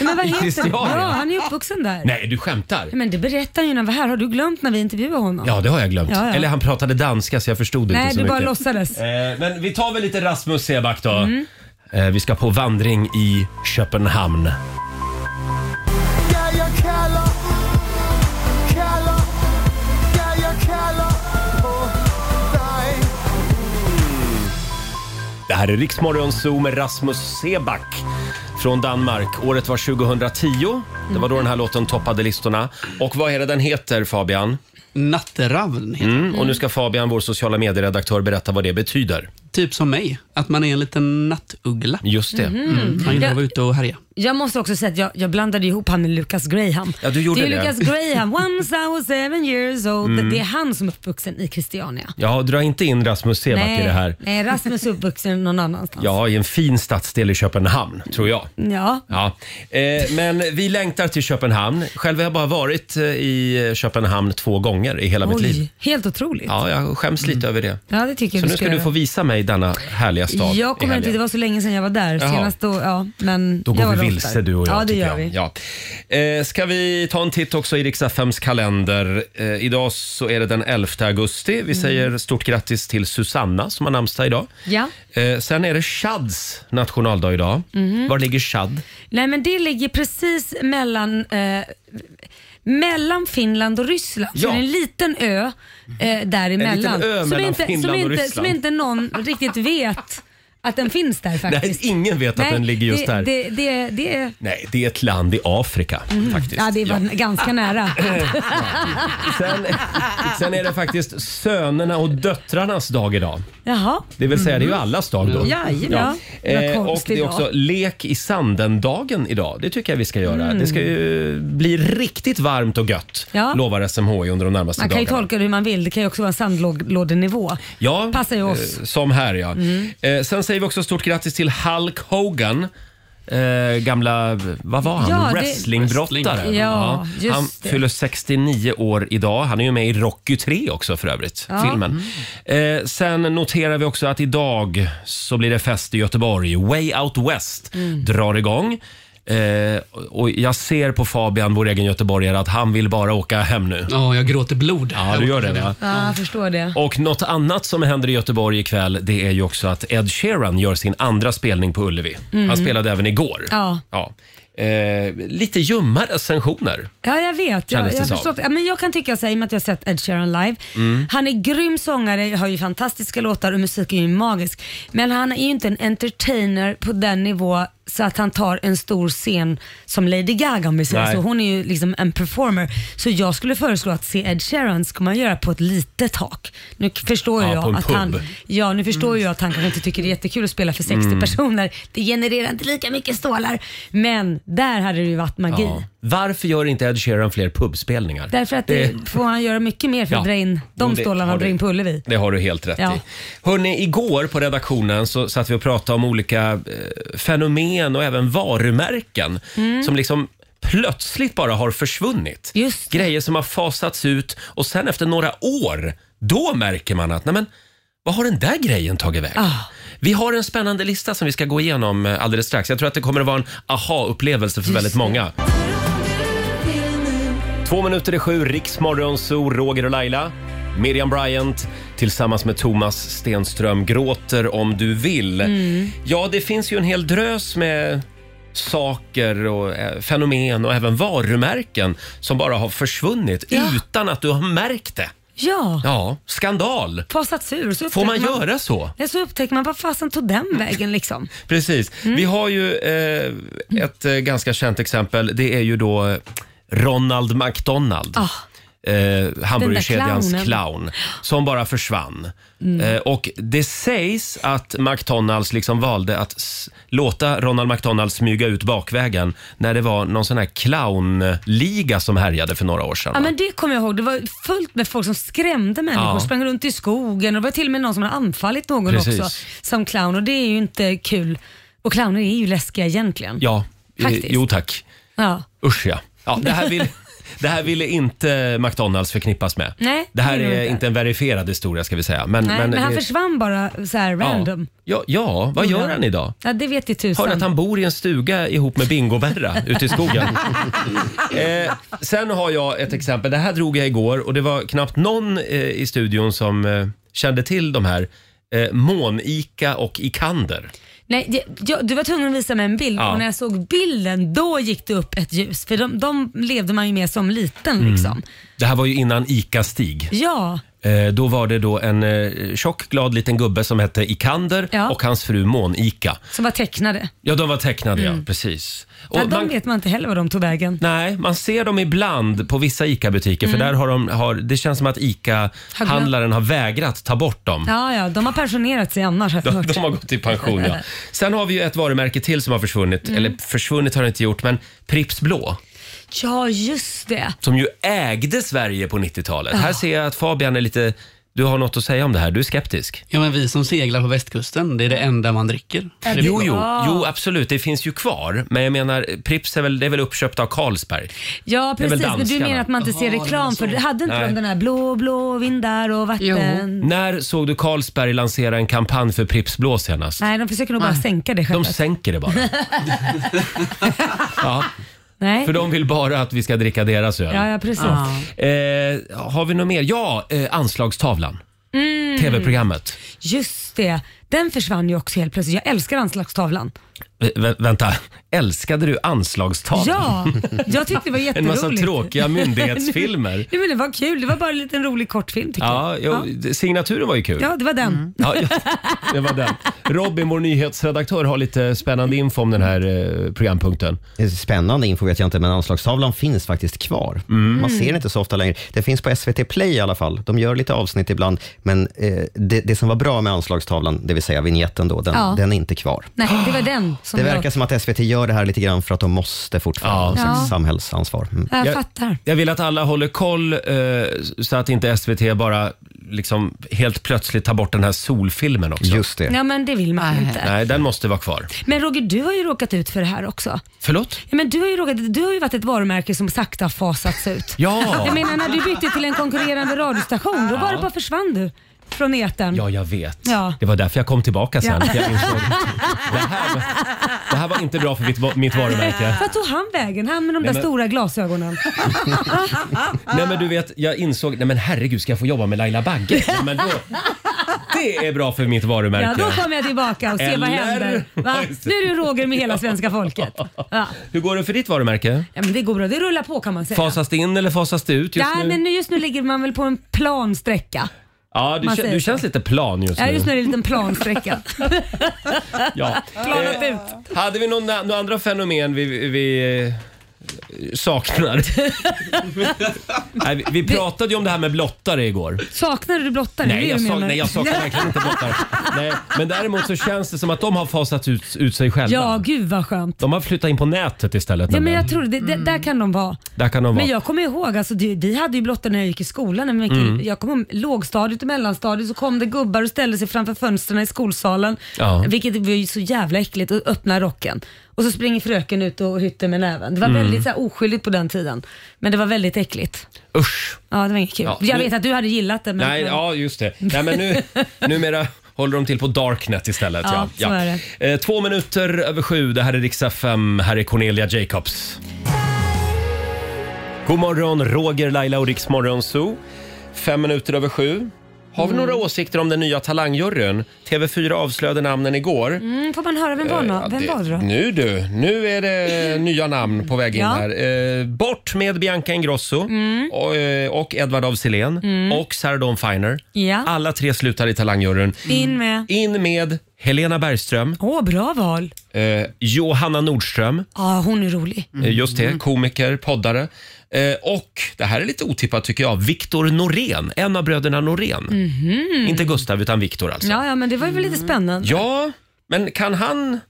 [SPEAKER 3] Men vad heter
[SPEAKER 1] Christiania?
[SPEAKER 3] Ja, han är ju uppvuxen där.
[SPEAKER 1] Nej, du skämtar?
[SPEAKER 3] Men det berättade han ju när han var här. Har du glömt när vi intervjuade honom?
[SPEAKER 1] Ja, det har jag glömt.
[SPEAKER 3] Ja, ja.
[SPEAKER 1] Eller han pratade danska så jag förstod
[SPEAKER 3] Nej,
[SPEAKER 1] inte så
[SPEAKER 3] du
[SPEAKER 1] mycket.
[SPEAKER 3] bara låtsades. Mm.
[SPEAKER 1] Eh, men vi tar väl lite Rasmus Seback då. Eh, vi ska på vandring i Köpenhamn. Det här är Riksmorgon Zoo med Rasmus Seback från Danmark. Året var 2010. Det var då
[SPEAKER 3] Mm.
[SPEAKER 1] den här låten toppade listorna. Och vad är det den heter Fabian?
[SPEAKER 8] Nattravn heter
[SPEAKER 1] Mm. Och nu ska Fabian, vår sociala medieredaktör, berätta vad det betyder.
[SPEAKER 8] Typ som mig, att man är en liten nattuggla. Mm.
[SPEAKER 1] Just det.
[SPEAKER 3] Mm-hmm.
[SPEAKER 8] Man gillar att vara ute och härja.
[SPEAKER 3] Jag måste också säga att jag, jag blandade ihop han med Lucas Graham.
[SPEAKER 1] Ja, du gjorde
[SPEAKER 3] det är ju
[SPEAKER 1] det. Mm.
[SPEAKER 3] Lucas Graham, once I was seven years old. Det är han som är uppvuxen i Christiania.
[SPEAKER 1] Ja, dra inte in Rasmus Seback i det här.
[SPEAKER 3] nej, Rasmus är uppvuxen någon annanstans.
[SPEAKER 1] Ja, i en fin stadsdel i Köpenhamn, tror jag.
[SPEAKER 3] Ja.
[SPEAKER 1] Ja. Eh, men vi längtar till Köpenhamn. Själv har jag bara varit eh, i Köpenhamn två gånger i hela mitt liv.
[SPEAKER 3] Oj, helt otroligt. Ja,
[SPEAKER 1] Ja, jag skäms lite över det.
[SPEAKER 3] det tycker jag
[SPEAKER 1] Så
[SPEAKER 3] vi
[SPEAKER 1] nu ska du
[SPEAKER 3] göra.
[SPEAKER 1] få visa mig denna härliga stad
[SPEAKER 3] Jag
[SPEAKER 1] i
[SPEAKER 3] kommer inte,
[SPEAKER 1] helgen.
[SPEAKER 3] det var så länge sedan jag var där
[SPEAKER 1] Jaha.
[SPEAKER 3] senast. Då, ja, men
[SPEAKER 1] Då
[SPEAKER 3] jag
[SPEAKER 1] går
[SPEAKER 3] var
[SPEAKER 1] vi
[SPEAKER 3] där
[SPEAKER 1] vilse
[SPEAKER 3] oftare.
[SPEAKER 1] du och jag.
[SPEAKER 3] Ja, det
[SPEAKER 1] tycker
[SPEAKER 3] gör
[SPEAKER 1] jag.
[SPEAKER 3] vi.
[SPEAKER 1] Ja. Eh, ska vi ta en titt också i Riks-FMs kalender? Eh, idag så är det den 11 augusti. Vi
[SPEAKER 3] Mm.
[SPEAKER 1] säger stort grattis till Susanna som har namnsdag idag.
[SPEAKER 3] Ja.
[SPEAKER 1] Eh, sen är det Chads nationaldag idag.
[SPEAKER 3] Mhm.
[SPEAKER 1] Var ligger Chad?
[SPEAKER 3] Nej, men det ligger precis mellan eh, mellan Finland och Ryssland.
[SPEAKER 1] Ja.
[SPEAKER 3] Så det är en liten ö eh, däremellan.
[SPEAKER 1] En liten ö
[SPEAKER 3] som
[SPEAKER 1] mellan
[SPEAKER 3] inte,
[SPEAKER 1] Finland
[SPEAKER 3] som
[SPEAKER 1] och
[SPEAKER 3] inte,
[SPEAKER 1] Ryssland.
[SPEAKER 3] Som inte någon riktigt vet att den finns
[SPEAKER 1] *laughs*
[SPEAKER 3] där
[SPEAKER 1] Nej,
[SPEAKER 3] faktiskt.
[SPEAKER 1] ingen vet att den ligger just
[SPEAKER 3] det,
[SPEAKER 1] där.
[SPEAKER 3] Det, det, det är,
[SPEAKER 1] Nej, det är ett land i Afrika faktiskt.
[SPEAKER 3] Mhm. ja, det var
[SPEAKER 1] *laughs*
[SPEAKER 3] ganska nära.
[SPEAKER 1] Sen, *laughs* sen är det faktiskt sönerna och döttrarnas dag idag.
[SPEAKER 3] Jaha.
[SPEAKER 1] Det vill säga, det är ju allas dag då.
[SPEAKER 3] Jajamän. Det var
[SPEAKER 1] Eh, och
[SPEAKER 3] Mhm. konstigt
[SPEAKER 1] det är
[SPEAKER 3] idag.
[SPEAKER 1] också lek i sanden-dagen idag. Det tycker jag vi ska göra. Det ska ju bli riktigt varmt och gött,
[SPEAKER 3] Mm. Ja.
[SPEAKER 1] lovar SMHI under de närmaste
[SPEAKER 3] Man kan ju
[SPEAKER 1] dagarna.
[SPEAKER 3] tolka det hur man vill. Det kan ju också vara en sandlådenivå.
[SPEAKER 1] Ja,
[SPEAKER 3] Passar ju oss. Mm.
[SPEAKER 1] eh, som här ja. Eh, sen säger vi också stort grattis till Hulk Hogan. Eh, gamla, vad var han?
[SPEAKER 3] Ja, det-
[SPEAKER 1] Wrestlingbrottare.
[SPEAKER 3] Wrestling. Ja, just
[SPEAKER 1] han
[SPEAKER 3] det.
[SPEAKER 1] fyller 69 år idag. Han är ju med i Rocky 3 också för övrigt, filmen.
[SPEAKER 3] Mm.
[SPEAKER 1] Eh, sen noterar vi också att idag så blir det fest i Göteborg. Way Out West
[SPEAKER 3] Mm.
[SPEAKER 1] drar igång. Eh, och jag ser på Fabian, vår egen göteborgare, att han vill bara åka hem nu.
[SPEAKER 8] Ja, jag gråter blod.
[SPEAKER 1] Ja, du gör det va?
[SPEAKER 3] Ja, jag förstår det.
[SPEAKER 1] Och något annat som händer i Göteborg ikväll det är ju också att Ed Sheeran gör sin andra spelning på Ullevi. Han spelade även igår.
[SPEAKER 3] Mm. Ja.
[SPEAKER 1] Eh, lite ljumma recensioner.
[SPEAKER 3] Ja, jag vet. Jag,
[SPEAKER 1] Kändes det
[SPEAKER 3] jag,
[SPEAKER 1] som. Mm.
[SPEAKER 3] förstår, ja, men jag kan tycka så här, i och med att jag har sett Ed Sheeran live. Han är grym sångare, har ju fantastiska låtar och musiken är ju magisk. Men han är ju inte en entertainer på den nivå så att han tar en stor scen som Lady Gaga om vi säger
[SPEAKER 1] Nej.
[SPEAKER 3] så. Hon är ju liksom en performer. Så jag skulle föreslå att se Ed Sheeran ska man göra på ett litet tak. Nu k- förstår
[SPEAKER 1] Ja, på en
[SPEAKER 3] jag att
[SPEAKER 1] pub. Mm.
[SPEAKER 3] han Ja, nu förstår ju jag att han kanske inte tycker det är jättekul att spela för 60 personer. Det genererar inte lika mycket stålar. Men där hade det ju varit magi.
[SPEAKER 1] Ja. Varför gör inte Ed Sheeran fler pubspelningar?
[SPEAKER 3] Därför att det får han göra mycket mer för
[SPEAKER 1] Eh. Ja.
[SPEAKER 3] att dra in
[SPEAKER 1] Jo,
[SPEAKER 3] de
[SPEAKER 1] det
[SPEAKER 3] stålarna
[SPEAKER 1] har
[SPEAKER 3] och dra
[SPEAKER 1] du-
[SPEAKER 3] in på Ullevi.
[SPEAKER 1] Det har du helt rätt
[SPEAKER 3] Ja.
[SPEAKER 1] i. Hörrni, igår på redaktionen så satt vi och pratade om olika eh, fenomen och även varumärken
[SPEAKER 3] Mm.
[SPEAKER 1] som liksom plötsligt bara har försvunnit.
[SPEAKER 3] Just det.
[SPEAKER 1] Grejer som har fasats ut och sen efter några år, då märker man att nej men, vad har den där grejen tagit vägen?
[SPEAKER 3] Ah.
[SPEAKER 1] Vi har en spännande lista som vi ska gå igenom eh, alldeles strax. Jag tror att det kommer att vara en aha-upplevelse för väldigt många. Två minuter i sju, Riksmorgon, Zoo, Roger och Laila. Miriam Bryant tillsammans med Thomas Stenström gråter om du vill. Ja, det finns ju en hel drös med saker och eh, fenomen och även varumärken som bara har försvunnit utan att du har märkt det.
[SPEAKER 3] Ja,
[SPEAKER 1] Ja, skandal!
[SPEAKER 3] fasats ur. Så
[SPEAKER 1] Får
[SPEAKER 3] upptäcker
[SPEAKER 1] man göra så?
[SPEAKER 3] Ja, så upptäcker man vad fasen tog den vägen liksom.
[SPEAKER 1] Precis. Vi har ju eh, ett eh, ganska känt exempel. Det är ju då eh, Ronald McDonald.
[SPEAKER 3] Ah.
[SPEAKER 1] eh, hamburgerkedjans
[SPEAKER 9] clownen.
[SPEAKER 1] clown som bara försvann.
[SPEAKER 3] Mm.
[SPEAKER 1] Eh, och det sägs att McDonalds liksom valde att s- låta Ronald McDonald smyga ut bakvägen när det var någon sån här clownliga som härjade för några år sedan.
[SPEAKER 3] Ja,
[SPEAKER 1] va?
[SPEAKER 3] men det kommer jag ihåg. Det var fullt med folk som skrämde människor.
[SPEAKER 1] Ja.
[SPEAKER 3] Sprang runt i skogen och det var till och med någon som hade anfallit någon
[SPEAKER 1] Precis.
[SPEAKER 3] också som clown och det är ju inte kul. Och clowner är ju läskiga egentligen.
[SPEAKER 1] Ja,
[SPEAKER 3] Faktiskt.
[SPEAKER 1] eh, jo tack.
[SPEAKER 3] Ja.
[SPEAKER 1] Usch ja. ja det, här
[SPEAKER 3] *laughs*
[SPEAKER 1] vill, det här ville inte McDonalds förknippas med.
[SPEAKER 3] Nej,
[SPEAKER 1] det här
[SPEAKER 3] det vill
[SPEAKER 1] är
[SPEAKER 3] jag inte.
[SPEAKER 1] inte en verifierad historia ska vi säga. Men,
[SPEAKER 3] Nej, men, han Mm.
[SPEAKER 1] det-
[SPEAKER 3] försvann bara så här random.
[SPEAKER 1] Ja, ja, vad gör han idag?
[SPEAKER 3] Ja, det vet i
[SPEAKER 1] Hörde att
[SPEAKER 3] tusan.
[SPEAKER 1] han bor i en stuga ihop med Bingo-Berra ute i skogen.
[SPEAKER 3] *laughs*
[SPEAKER 1] eh, sen har jag ett exempel. Det här drog jag igår och det var knappt någon eh, i studion som eh, kände till de här. Eh, Månika och Ikander.
[SPEAKER 3] Nej, det- jag, du var tvungen att visa mig en bild
[SPEAKER 1] Ja.
[SPEAKER 3] och när jag såg bilden då gick det upp ett ljus. För de, de levde man ju med som liten
[SPEAKER 1] Mm.
[SPEAKER 3] liksom.
[SPEAKER 1] Det här var ju innan Ica-Stig.
[SPEAKER 3] Ja,
[SPEAKER 1] Eh, då var det då en eh, tjock, glad liten gubbe som hette Ikander
[SPEAKER 3] Ja.
[SPEAKER 1] och hans fru Monika.
[SPEAKER 3] som var tecknade.
[SPEAKER 1] Ja, de var tecknade, ja. Precis. Och
[SPEAKER 3] Ja, Mm. de
[SPEAKER 1] man,
[SPEAKER 3] vet man inte heller var de tog vägen.
[SPEAKER 1] Nej, man ser dem ibland på vissa ICA-butiker
[SPEAKER 3] Mm.
[SPEAKER 1] för där har de, har, det känns som att ICA-handlaren har vägrat ta bort dem.
[SPEAKER 3] Ja, ja, de har pensionerat sig annars har jag
[SPEAKER 1] De,
[SPEAKER 3] hört.
[SPEAKER 1] de har gått i pension,
[SPEAKER 3] *laughs*
[SPEAKER 1] ja. Sen har vi ju ett varumärke till som har försvunnit.
[SPEAKER 3] Mm.
[SPEAKER 1] Eller försvunnit har det inte gjort, men Pripps Blå.
[SPEAKER 3] Ja, just det.
[SPEAKER 1] som ju ägde Sverige på 90-talet. Här ser jag att Fabian är lite... Du har något att säga om det här. Du är skeptisk.
[SPEAKER 8] Ja, men vi som seglar på västkusten, det är det enda man dricker. Det är
[SPEAKER 1] Jo, jo,
[SPEAKER 3] Ja.
[SPEAKER 1] jo, absolut. Det finns ju kvar. Men jag menar, Pripps är väl, det är väl uppköpt av Carlsberg?
[SPEAKER 3] Ja,
[SPEAKER 1] Det är väl
[SPEAKER 3] precis. Men du
[SPEAKER 1] danskarna.
[SPEAKER 3] menar att man inte ser
[SPEAKER 8] Jaha, det
[SPEAKER 3] reklam
[SPEAKER 8] var
[SPEAKER 3] för
[SPEAKER 8] så.
[SPEAKER 3] det. Hade inte
[SPEAKER 1] Nej.
[SPEAKER 3] de den här blå, blå vindar och vatten?
[SPEAKER 1] När såg du Carlsberg lansera en kampanj för Pripps Blå senast?
[SPEAKER 3] Nej, de försöker nog bara sänka det
[SPEAKER 1] De
[SPEAKER 3] skeppet.
[SPEAKER 1] sänker det bara. ja,
[SPEAKER 3] Nej.
[SPEAKER 1] för de vill bara att vi ska dricka deras öl.
[SPEAKER 3] Ja, ja, precis.
[SPEAKER 1] Eh, har vi något mer? Ja, eh, Anslagstavlan.
[SPEAKER 3] Mm.
[SPEAKER 1] TV-programmet.
[SPEAKER 3] Just det. Den försvann ju också helt plötsligt. Jag älskar anslagstavlan.
[SPEAKER 1] Vä- vä- vänta, älskade du Anslagstavlan?
[SPEAKER 3] Ja, *laughs* jag tyckte det var
[SPEAKER 1] En
[SPEAKER 3] jätteroligt.
[SPEAKER 1] massa tråkiga myndighetsfilmer.
[SPEAKER 3] *laughs* Nej, men det var kul. Det var bara en liten rolig kortfilm tycker
[SPEAKER 1] Ja,
[SPEAKER 3] jag.
[SPEAKER 1] jo,
[SPEAKER 3] Ja.
[SPEAKER 1] signaturen var ju kul.
[SPEAKER 3] Ja, det var den.
[SPEAKER 1] Ja,
[SPEAKER 3] *laughs*
[SPEAKER 1] ja, det var den. Robin, vår nyhetsredaktör, har lite spännande info om den här eh, programpunkten.
[SPEAKER 7] Spännande info vet jag inte, men anslagstavlan finns faktiskt kvar.
[SPEAKER 1] Mm.
[SPEAKER 7] Man ser den inte så ofta längre. Den finns på SVT Play i alla fall. De gör lite avsnitt ibland, men eh, det, det som var bra med anslagstavlan, det vill säga vignetten då, den,
[SPEAKER 3] Ja.
[SPEAKER 7] den är inte kvar.
[SPEAKER 3] Nej, det var den som
[SPEAKER 7] Det verkar
[SPEAKER 3] jag...
[SPEAKER 7] som att SVT gör det här lite grann för att de måste fortfarande.
[SPEAKER 3] Ja.
[SPEAKER 7] Ja.
[SPEAKER 3] Ja.
[SPEAKER 7] Samhällsansvar. Mm.
[SPEAKER 3] Jag,
[SPEAKER 1] Jag-
[SPEAKER 3] fattar.
[SPEAKER 1] Jag vill att alla håller koll eh, så att inte SVT bara liksom helt plötsligt tar bort den här solfilmen också.
[SPEAKER 7] Just det.
[SPEAKER 3] Ja, men det vill man
[SPEAKER 4] Nej.
[SPEAKER 3] inte.
[SPEAKER 1] Nej, den måste vara kvar.
[SPEAKER 3] Men Roger, du har ju råkat ut för det här också.
[SPEAKER 1] Förlåt?
[SPEAKER 3] Ja, men du, har ju råkat, du har ju varit ett varumärke som sakta har fasats ut.
[SPEAKER 1] Ja.
[SPEAKER 3] Jag menar när du bytte till en konkurrerande radiostation, då bara, bara försvann du från etern.
[SPEAKER 1] Ja, jag vet.
[SPEAKER 3] Ja.
[SPEAKER 1] Det var därför jag kom tillbaka sen.
[SPEAKER 3] Ja.
[SPEAKER 1] för Jag insåg, det, här, var- det här var inte bra för mitt, va- mitt varumärke.
[SPEAKER 3] Vart tog han vägen? Han med de
[SPEAKER 1] Nej,
[SPEAKER 3] där
[SPEAKER 1] men-
[SPEAKER 3] stora glasögonen.
[SPEAKER 1] Nej men du vet, jag insåg, nej men herregud ska jag få jobba med Laila Bagge? Nej, men då, det är bra för mitt
[SPEAKER 3] Ja,
[SPEAKER 1] varumärke.
[SPEAKER 3] då kommer jag tillbaka och ser vad
[SPEAKER 1] Eller?
[SPEAKER 3] händer. Va? Nu är du Roger med hela
[SPEAKER 1] *laughs*
[SPEAKER 3] svenska folket. Ja.
[SPEAKER 1] Hur går det för ditt varumärke?
[SPEAKER 3] Ja, men det går bra, det rullar på kan man säga.
[SPEAKER 1] Fasas det in eller fasas det ut just
[SPEAKER 3] ja,
[SPEAKER 1] nu?
[SPEAKER 3] men nu- just nu ligger man väl på en plan sträcka.
[SPEAKER 1] ja, du,
[SPEAKER 3] man
[SPEAKER 1] kän,
[SPEAKER 3] säger
[SPEAKER 1] du
[SPEAKER 3] så.
[SPEAKER 1] känns lite plan just
[SPEAKER 3] Ja,
[SPEAKER 1] nu.
[SPEAKER 3] just nu är det en
[SPEAKER 1] *laughs*
[SPEAKER 3] liten plansträcka.
[SPEAKER 1] Ja.
[SPEAKER 3] Planat
[SPEAKER 1] Eh,
[SPEAKER 3] ut.
[SPEAKER 1] Hade vi någon- några andra fenomen vi, vi eh,
[SPEAKER 3] *laughs*
[SPEAKER 1] saknar? nej, vi, vi pratade ju om det här med blottare igår.
[SPEAKER 3] Saknar du blottare? Det är
[SPEAKER 1] Nej
[SPEAKER 3] det
[SPEAKER 1] jag,
[SPEAKER 3] du
[SPEAKER 1] sak,
[SPEAKER 3] menar.
[SPEAKER 1] nej, jag saknar verkligen inte
[SPEAKER 3] *laughs*
[SPEAKER 1] blottare. Nej, men däremot så känns det som att de har fasat ut, ut sig själva.
[SPEAKER 3] Ja, gud vad skönt.
[SPEAKER 1] De har flyttat in på nätet istället.
[SPEAKER 3] Ja, men
[SPEAKER 1] nämligen.
[SPEAKER 3] jag tror det, det, där kan de vara.
[SPEAKER 1] Där kan de vara.
[SPEAKER 3] Men jag kommer ihåg, alltså, det- vi hade ju blottor när jag gick i skolan. När jag,
[SPEAKER 1] Mm.
[SPEAKER 3] gick, i- jag kom ihåg lågstadiet och mellanstadiet så kom det gubbar och ställde sig framför fönstren i skolsalen.
[SPEAKER 1] Ja.
[SPEAKER 3] Vilket var ju så jävla äckligt och öppna rocken. Och så springer fröken ut och hytter med näven. Det var
[SPEAKER 1] Mm.
[SPEAKER 3] väldigt så här, oskyldigt på den tiden. Men det var väldigt äckligt.
[SPEAKER 1] Usch!
[SPEAKER 3] Ja, det var inget kul.
[SPEAKER 1] Ja,
[SPEAKER 3] jag
[SPEAKER 1] nu-
[SPEAKER 3] vet att du hade gillat det men...
[SPEAKER 1] Nej,
[SPEAKER 3] men-
[SPEAKER 1] ja just det. Nej, men
[SPEAKER 3] *laughs*
[SPEAKER 1] nu, numera håller de till på Darknet istället. Ja,
[SPEAKER 3] Ja,
[SPEAKER 1] ja.
[SPEAKER 3] så är
[SPEAKER 1] Eh, Två minuter över sju. Det här är riksdag 5. Här är Cornelia Jacobs. God morgon, Roger, Laila och Riksmorgon Zoo. Fem minuter över sju. Har
[SPEAKER 3] Mm.
[SPEAKER 1] vi några åsikter om den nya talangjuryn? TV4 avslöjade namnen igår.
[SPEAKER 3] Mm, får man höra vem var,
[SPEAKER 1] Eh, Ja,
[SPEAKER 3] nå- vem
[SPEAKER 1] det- Mm.
[SPEAKER 3] var det då?
[SPEAKER 1] Nu du, nu är
[SPEAKER 3] *laughs*
[SPEAKER 1] det nya namn på väg in
[SPEAKER 3] Ja. Mm.
[SPEAKER 1] här. Eh, bort med Bianca Ingrosso och, eh, och Edvard af Sillén och Sarah Dawn Finer.
[SPEAKER 3] Ja.
[SPEAKER 1] Alla tre slutar i Talangjuryn.
[SPEAKER 3] In med...
[SPEAKER 1] In med Helena Bergström,
[SPEAKER 3] Åh, bra val.
[SPEAKER 1] eh, Johanna Nordström,
[SPEAKER 3] Ja, hon är rolig.
[SPEAKER 1] eh, just det, komiker, poddare. Eh, och det här är lite otippat tycker jag. Viktor Norén, en av bröderna Norén. Inte Gustav utan Viktor alltså.
[SPEAKER 3] Mhm. Ja, ja, men det var ju väl lite spännande.
[SPEAKER 1] Ja, men kan han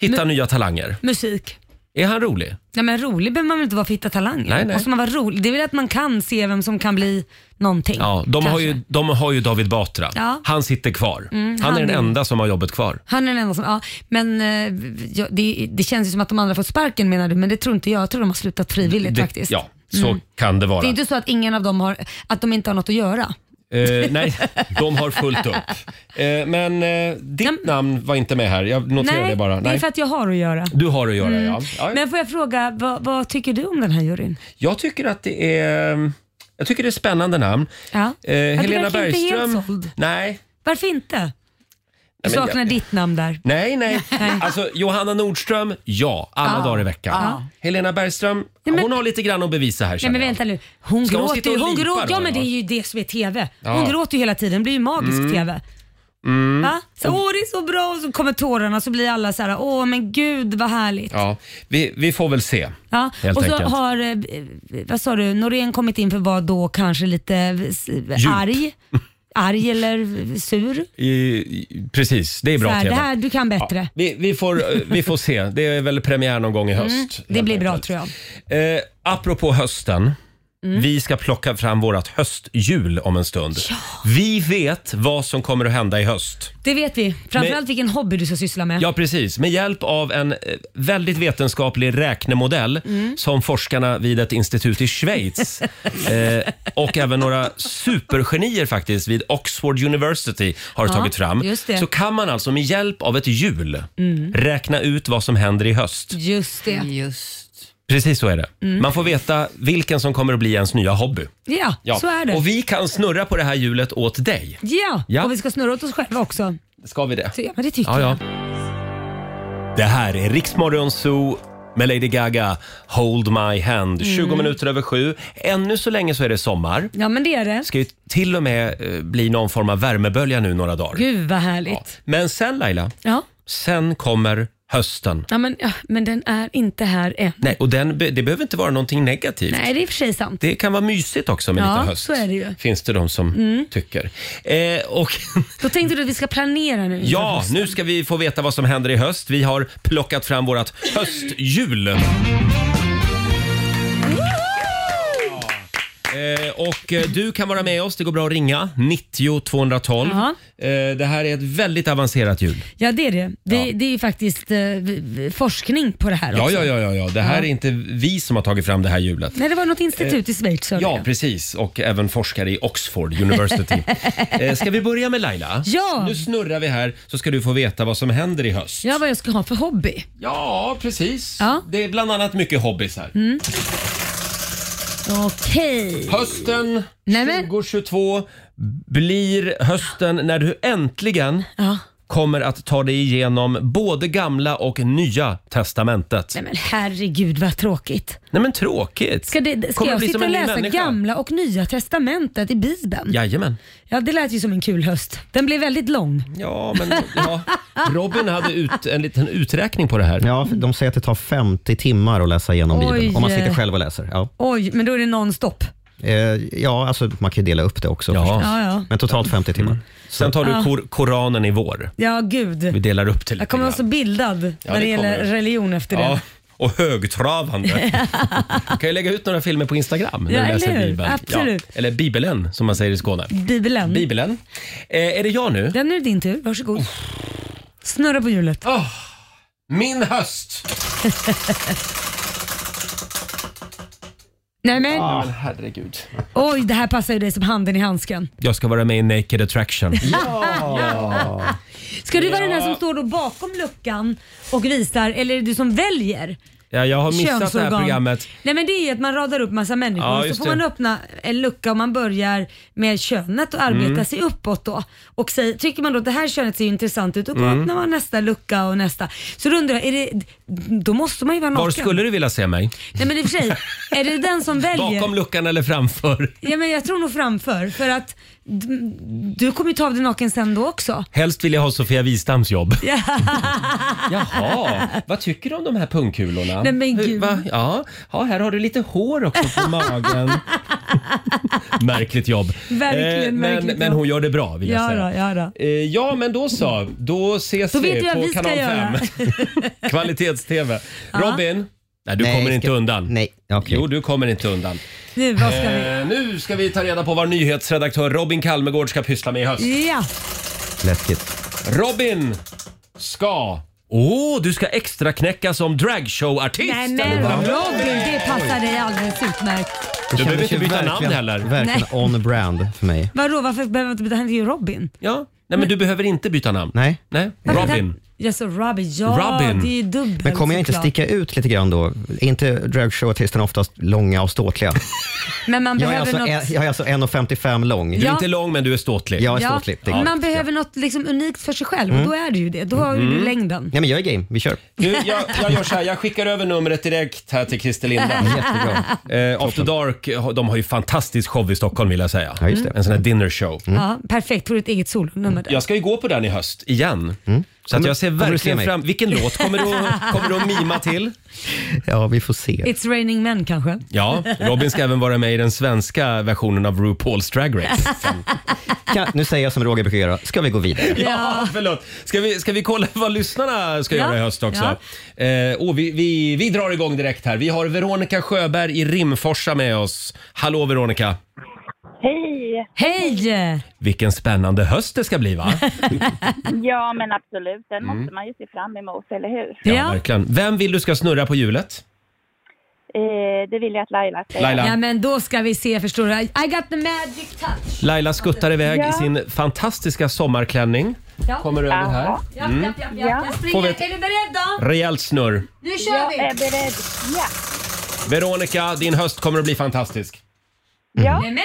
[SPEAKER 1] hitta nya talanger?
[SPEAKER 3] Musik.
[SPEAKER 1] Är han rolig?
[SPEAKER 3] Ja, men rolig behöver man väl inte vara för att hitta talanger?
[SPEAKER 1] Nej, nej.
[SPEAKER 3] Måste man vara rolig? Det är väl att man kan se vem som kan bli någonting.
[SPEAKER 1] Ja, de,
[SPEAKER 3] kanske.
[SPEAKER 1] har ju, de har ju David Batra.
[SPEAKER 3] Ja. Mm,
[SPEAKER 1] Han sitter kvar. han är
[SPEAKER 3] han
[SPEAKER 1] den
[SPEAKER 3] är-
[SPEAKER 1] enda som har jobbet kvar.
[SPEAKER 3] Han är den enda som, ja, men eh, ja, det, det känns ju som att de andra fått sparken menar du, men det tror inte jag. Jag tror de har slutat frivilligt faktiskt.
[SPEAKER 1] ja, så kan det vara.
[SPEAKER 3] Mm. Det är inte så att ingen av dem har, att de inte har något att göra.
[SPEAKER 1] Eh, nej, de har fullt upp.
[SPEAKER 3] *laughs*
[SPEAKER 1] Eh, men eh, ditt namn var inte med här. Jag noterar det bara.
[SPEAKER 3] det är för att jag har att göra.
[SPEAKER 1] Du har att göra, ja. ja.
[SPEAKER 3] Men får jag fråga, vad, vad tycker du om den här juryn?
[SPEAKER 1] Jag tycker att det är... eh, Jag tycker det är spännande namn.
[SPEAKER 3] Ja.
[SPEAKER 1] Eh,
[SPEAKER 3] du
[SPEAKER 1] Helena
[SPEAKER 3] verkar inte helt
[SPEAKER 1] Bergström...
[SPEAKER 3] såld.
[SPEAKER 1] nej,
[SPEAKER 3] Varför inte? Du
[SPEAKER 1] men jag-
[SPEAKER 3] saknar ditt namn där.
[SPEAKER 1] nej,
[SPEAKER 3] *laughs*
[SPEAKER 1] nej. Alltså, Johanna Nordström, ja. Alla dagar i veckan. Helena Bergström,
[SPEAKER 3] men-
[SPEAKER 1] hon har lite grann att bevisa här
[SPEAKER 3] Nej
[SPEAKER 1] känner
[SPEAKER 3] men
[SPEAKER 1] jag.
[SPEAKER 3] vänta nu, hon
[SPEAKER 1] Ska hon
[SPEAKER 3] gråter
[SPEAKER 1] sitta
[SPEAKER 3] ju.
[SPEAKER 1] och
[SPEAKER 3] Hon
[SPEAKER 1] lipa
[SPEAKER 3] gråter,
[SPEAKER 1] då,
[SPEAKER 3] ja men det
[SPEAKER 1] eller?
[SPEAKER 3] är ju det som är TV. Hon
[SPEAKER 1] Ja. Mm.
[SPEAKER 3] gråter ju hela tiden, det blir ju magisk TV. Va? Så, åh det är så bra och så kommer tårarna så blir alla så här, åh men gud vad härligt. Ja.
[SPEAKER 1] Ja, vi, vi får väl se. Helt
[SPEAKER 3] och så
[SPEAKER 1] enkelt.
[SPEAKER 3] har, eh, vad sa du, Norén kommit in för vad då kanske lite eh, s- arg? Arg eller sur?
[SPEAKER 1] I, precis, det är bra
[SPEAKER 3] så här, det
[SPEAKER 1] TV.
[SPEAKER 3] här, du kan
[SPEAKER 1] Ja,
[SPEAKER 3] bättre. Mm,
[SPEAKER 1] vi, vi, får, eh, vi får se. Det är väl premiär någon gång i höst.
[SPEAKER 3] Det
[SPEAKER 1] helt
[SPEAKER 3] blir bra
[SPEAKER 1] enkelt.
[SPEAKER 3] tror jag. Mm.
[SPEAKER 1] Eh, apropå hösten. Vi ska plocka fram vårt höstjul om en stund. Vi vet vad som kommer att hända i höst.
[SPEAKER 3] Det vet vi. Framförallt
[SPEAKER 1] Men-
[SPEAKER 3] vilken hobby du ska syssla med.
[SPEAKER 1] Ja, precis. Med hjälp av en eh, väldigt vetenskaplig räknemodell
[SPEAKER 3] Mm.
[SPEAKER 1] som forskarna vid ett institut i
[SPEAKER 3] *laughs*
[SPEAKER 1] Schweiz eh, och även några supergenier faktiskt vid Oxford University har tagit fram.
[SPEAKER 3] just det. Mm.
[SPEAKER 1] Så kan man alltså med hjälp av ett hjul räkna ut vad som händer i höst.
[SPEAKER 3] Just det.
[SPEAKER 4] Just.
[SPEAKER 1] Precis så är det.
[SPEAKER 3] Mm.
[SPEAKER 1] Man får veta vilken som kommer att bli ens nya hobby.
[SPEAKER 3] Ja,
[SPEAKER 1] Ja.
[SPEAKER 3] så är det.
[SPEAKER 1] Och vi kan snurra på det här hjulet åt dig.
[SPEAKER 3] Ja.
[SPEAKER 1] Ja.
[SPEAKER 3] och vi ska snurra åt oss själva också.
[SPEAKER 1] Ska vi det?
[SPEAKER 3] Så, ja, men det tycker
[SPEAKER 1] Ja, ja.
[SPEAKER 3] jag.
[SPEAKER 1] Det här är Riksmorgon Zoo med Lady Gaga, Hold My Hand.
[SPEAKER 3] Mm.
[SPEAKER 1] 20 minuter över sju. Ännu så länge så är det sommar.
[SPEAKER 3] Ja, men det är det.
[SPEAKER 1] Det ska ju till och med eh, bli någon form av värmebölja nu några dagar.
[SPEAKER 3] Gud vad
[SPEAKER 1] Ja.
[SPEAKER 3] härligt.
[SPEAKER 1] Men sen Laila,
[SPEAKER 3] Ja. Ja.
[SPEAKER 1] sen kommer hösten.
[SPEAKER 3] men, ja, men den är inte här än.
[SPEAKER 1] Nej, och den, be- det behöver inte vara någonting negativt.
[SPEAKER 3] Nej, det är i och för sig sant.
[SPEAKER 1] Det kan vara mysigt också med
[SPEAKER 3] Ja,
[SPEAKER 1] lite höst.
[SPEAKER 3] så är det ju. Mm.
[SPEAKER 1] Finns det de som tycker. Eh, och *laughs*
[SPEAKER 3] Då tänkte du att vi ska planera nu.
[SPEAKER 1] ja, nu ska vi få veta vad som händer i höst. Vi har plockat fram vårt hösthjul. Eh, och eh, du kan vara med oss. Det går bra att ringa. 90 212.
[SPEAKER 3] Jaha.
[SPEAKER 1] Eh, det här är ett väldigt avancerat hjul.
[SPEAKER 3] Ja, det är det. Det,
[SPEAKER 1] Ja.
[SPEAKER 3] det är ju faktiskt eh, v- v- forskning på det här
[SPEAKER 1] Ja,
[SPEAKER 3] också.
[SPEAKER 1] ja, ja, ja, ja. Det här är inte vi som har tagit fram det här hjulet.
[SPEAKER 3] Nej, det var något institut i Schweiz hörde
[SPEAKER 1] Eh, Ja,
[SPEAKER 3] jag.
[SPEAKER 1] precis. Och även forskare i Oxford
[SPEAKER 3] *laughs*
[SPEAKER 1] University. eh, ska vi börja med Laila?
[SPEAKER 3] Ja.
[SPEAKER 1] Nu snurrar vi här så ska du få veta vad som händer i höst.
[SPEAKER 3] ja, vad jag ska ha för hobby.
[SPEAKER 1] Ja, precis.
[SPEAKER 3] Ja. Mm.
[SPEAKER 1] Det är bland annat mycket hobbys här.
[SPEAKER 3] Okej.
[SPEAKER 1] Hösten
[SPEAKER 3] Nej, men-
[SPEAKER 1] 2022 blir hösten när du äntligen
[SPEAKER 3] Ja.
[SPEAKER 1] kommer att ta dig igenom både gamla och nya testamentet.
[SPEAKER 3] Nej men herregud vad tråkigt.
[SPEAKER 1] Nej men tråkigt.
[SPEAKER 3] Ska, det, ska
[SPEAKER 1] Kommer
[SPEAKER 3] jag
[SPEAKER 1] bli
[SPEAKER 3] sitta
[SPEAKER 1] som
[SPEAKER 3] och
[SPEAKER 1] en ny
[SPEAKER 3] läsa
[SPEAKER 1] människa.
[SPEAKER 3] gamla och nya testamentet i Bibeln? Ja.
[SPEAKER 1] Jajamän.
[SPEAKER 3] det lät ju som en kul höst. Den blev väldigt lång.
[SPEAKER 1] Ja, men ja. Robin hade ut, en liten uträkning på det här.
[SPEAKER 7] Ja, för de säger att det tar 50 timmar att läsa igenom
[SPEAKER 3] Oj.
[SPEAKER 7] Bibeln, om man sitter själv och läser. Ja,
[SPEAKER 3] Oj, men då är det nonstop.
[SPEAKER 7] eh, ja alltså, man kan ju dela upp det också.
[SPEAKER 1] Ja.
[SPEAKER 7] förstås.
[SPEAKER 3] Ja, ja.
[SPEAKER 7] Men totalt 50 timmar.
[SPEAKER 1] Mm. Sen tar du kor Koranen i vår.
[SPEAKER 3] Ja, gud.
[SPEAKER 1] Vi delar upp till
[SPEAKER 3] Jag kommer vara så bildad när
[SPEAKER 1] det
[SPEAKER 3] det gäller
[SPEAKER 1] kommer.
[SPEAKER 3] religion efter
[SPEAKER 1] Ja,
[SPEAKER 3] det.
[SPEAKER 1] och
[SPEAKER 3] *laughs*
[SPEAKER 1] högtravande. Du kan ju lägga ut några filmer på Instagram när
[SPEAKER 3] Ja,
[SPEAKER 1] du läser
[SPEAKER 3] eller hur?
[SPEAKER 1] Bibeln.
[SPEAKER 3] Absolut. Mm.
[SPEAKER 1] Ja, eller Bibelen som man säger i Skåne.
[SPEAKER 3] Bibeln.
[SPEAKER 1] Bibeln. Eh, är det jag nu?
[SPEAKER 3] Ja, nu är det din tur. Varsågod. Snurra på hjulet.
[SPEAKER 1] Min höst!
[SPEAKER 3] Nej men,
[SPEAKER 1] Men herregud.
[SPEAKER 3] oj det här passar ju dig som handen i handsken.
[SPEAKER 1] Jag ska vara med i Naked Attraction.
[SPEAKER 3] Ska du vara den här som står då bakom luckan och visar, eller är det du som väljer?
[SPEAKER 1] Ja, jag har missat det här
[SPEAKER 3] Könsorgan.
[SPEAKER 1] programmet.
[SPEAKER 3] Nej men det är ju att man radar upp massa människor
[SPEAKER 1] Ja,
[SPEAKER 3] och så
[SPEAKER 1] just
[SPEAKER 3] får
[SPEAKER 1] det.
[SPEAKER 3] man öppna en lucka och man börjar med könet och arbeta
[SPEAKER 1] Mm.
[SPEAKER 3] sig uppåt då. Och säger, tycker man då att det här könet ser ju intressant ut, då
[SPEAKER 1] Mm.
[SPEAKER 3] öppnar man nästa lucka och nästa. Så då undrar jag, är det, då måste man ju vara naken.
[SPEAKER 1] Var skulle du vilja se mig?
[SPEAKER 3] Nej men i och för sig, Är det
[SPEAKER 1] *laughs*
[SPEAKER 3] den som väljer?
[SPEAKER 1] Bakom luckan eller framför?
[SPEAKER 3] Ja, men jag tror nog framför. För att d- du kommer ju ta av dig naken sen då också.
[SPEAKER 1] Helst vill jag ha Sofia Wistams jobb.
[SPEAKER 3] *laughs* Ja.
[SPEAKER 1] Jaha, vad tycker du om de här pungkulorna?
[SPEAKER 3] Nej, men
[SPEAKER 1] Hur-
[SPEAKER 3] gud.
[SPEAKER 1] va? Ja. ja, här har du lite hår också på
[SPEAKER 3] *laughs*
[SPEAKER 1] magen. märkligt jobb. Eh,
[SPEAKER 3] Verkligen
[SPEAKER 1] men,
[SPEAKER 3] märkligt
[SPEAKER 1] men
[SPEAKER 3] jobb.
[SPEAKER 1] hon gör det bra vill jag
[SPEAKER 3] Ja
[SPEAKER 1] säga.
[SPEAKER 3] då, ja då.
[SPEAKER 1] Eh, ja, men då så. Då ses
[SPEAKER 3] Då vet
[SPEAKER 1] vi
[SPEAKER 3] vi vad
[SPEAKER 1] på
[SPEAKER 3] vi ska
[SPEAKER 1] kanal 5.
[SPEAKER 3] göra. *laughs*
[SPEAKER 1] Kvalitets-TV. Robin, nej, du
[SPEAKER 7] Nej,
[SPEAKER 1] kommer
[SPEAKER 7] ska-
[SPEAKER 1] inte undan.
[SPEAKER 7] Nej, okej.
[SPEAKER 1] Jo, du kommer inte undan.
[SPEAKER 3] Nu, vad ska vi?
[SPEAKER 1] Eh, nu ska vi ta reda på vad nyhetsredaktör Robin Kalmegård ska pyssla med i höst.
[SPEAKER 3] Ja,
[SPEAKER 7] Läskigt.
[SPEAKER 1] Robin ska... Åh, du ska extra knäcka som dragshowartist!
[SPEAKER 3] nej
[SPEAKER 1] eller
[SPEAKER 3] men
[SPEAKER 1] vad?
[SPEAKER 3] Robin, det passar dig alldeles utmärkt.
[SPEAKER 7] Det
[SPEAKER 1] Du behöver
[SPEAKER 7] kändes
[SPEAKER 1] inte
[SPEAKER 7] ju
[SPEAKER 1] byta namn
[SPEAKER 7] verkligen-
[SPEAKER 1] heller.
[SPEAKER 7] Verkligen
[SPEAKER 3] Nej.
[SPEAKER 7] on brand för mig.
[SPEAKER 3] Vadå, varför behöver jag inte byta? Han heter ju Robin.
[SPEAKER 1] Ja. Nej,
[SPEAKER 3] Mm.
[SPEAKER 1] men du behöver inte byta namn.
[SPEAKER 7] Nej.
[SPEAKER 1] Nej.
[SPEAKER 3] Varför heter
[SPEAKER 1] Robin.
[SPEAKER 3] han- Ja, så Robin. Ja,
[SPEAKER 1] Robin.
[SPEAKER 3] det är ju dubbelt
[SPEAKER 7] Men kommer jag inte
[SPEAKER 3] såklart.
[SPEAKER 7] sticka ut lite grann då? Är inte dragshowartisterna oftast långa
[SPEAKER 3] *laughs*
[SPEAKER 7] och ståtliga?
[SPEAKER 3] Men man
[SPEAKER 7] Jag är
[SPEAKER 3] behöver
[SPEAKER 7] alltså,
[SPEAKER 3] något...
[SPEAKER 7] en, jag är alltså 1,55 lång.
[SPEAKER 1] Du är
[SPEAKER 3] Ja.
[SPEAKER 1] inte lång, men du är ståtlig.
[SPEAKER 7] Jag är Mm. ståtlig. Det-
[SPEAKER 3] Man behöver något liksom unikt för sig själv och då är det ju det. Då har ju
[SPEAKER 7] Mm.
[SPEAKER 3] du längden.
[SPEAKER 7] Nej, men jag är game.
[SPEAKER 3] *laughs*
[SPEAKER 7] Vi kör.
[SPEAKER 1] Nu, jag, jag gör så här, jag skickar över numret direkt här till Christer Lindblom.
[SPEAKER 7] Jättebra.
[SPEAKER 1] Eh, After Dark, de har ju fantastisk show i Stockholm vill jag säga.
[SPEAKER 7] Ja, just det. Mm.
[SPEAKER 1] En sån här dinner show.
[SPEAKER 3] Ja, perfekt, på ditt eget solonummer där.
[SPEAKER 1] Jag ska ju gå på den i höst igen. Så att jag ser
[SPEAKER 7] Mm. Kommer du se
[SPEAKER 1] verkligen
[SPEAKER 7] mig?
[SPEAKER 1] fram Vilken låt kommer du, att- kommer du att mima
[SPEAKER 7] *laughs*
[SPEAKER 1] till?
[SPEAKER 7] Ja, vi får se.
[SPEAKER 3] It's raining men kanske.
[SPEAKER 1] Ja, Robin ska även vara med i den svenska versionen av RuPaul's Drag Race.
[SPEAKER 7] Kan, nu säger jag som Roger brukar göra. Ska vi gå vidare?
[SPEAKER 1] Ja, *laughs* förlåt. Ska vi, ska vi kolla vad lyssnarna ska
[SPEAKER 3] Ja,
[SPEAKER 1] göra i höst också? Eh, och vi, vi, vi drar igång direkt här. Vi har Veronica Sjöberg i Rimforsa med oss. Hallå Veronica!
[SPEAKER 6] Hej!
[SPEAKER 3] Hej!
[SPEAKER 1] Vilken spännande höst det ska bli *laughs* va?
[SPEAKER 6] Ja, men absolut.
[SPEAKER 1] Mm.
[SPEAKER 6] Den måste man ju se fram emot, eller hur?
[SPEAKER 1] Ja,
[SPEAKER 3] Ja.
[SPEAKER 1] verkligen. Vem vill du ska snurra på hjulet?
[SPEAKER 6] Eh, det vill jag att Laila säger.
[SPEAKER 1] Laila,
[SPEAKER 3] Ja men då ska vi se förstår du. I got the magic touch.
[SPEAKER 1] Laila skuttar iväg
[SPEAKER 6] Ja.
[SPEAKER 1] i sin fantastiska sommarklänning.
[SPEAKER 3] Ja.
[SPEAKER 1] Kommer över här.
[SPEAKER 6] Ja,
[SPEAKER 3] Ja, ja, ja, ja. Jag
[SPEAKER 1] Mm. Får
[SPEAKER 3] springer.
[SPEAKER 1] vi ett-
[SPEAKER 3] Är du beredd då?
[SPEAKER 1] Rejält snurr.
[SPEAKER 3] Nu kör
[SPEAKER 6] jag
[SPEAKER 3] vi!
[SPEAKER 6] är beredd. Ja.
[SPEAKER 1] Veronica, din höst kommer att bli fantastisk.
[SPEAKER 6] ja.
[SPEAKER 3] Nej men!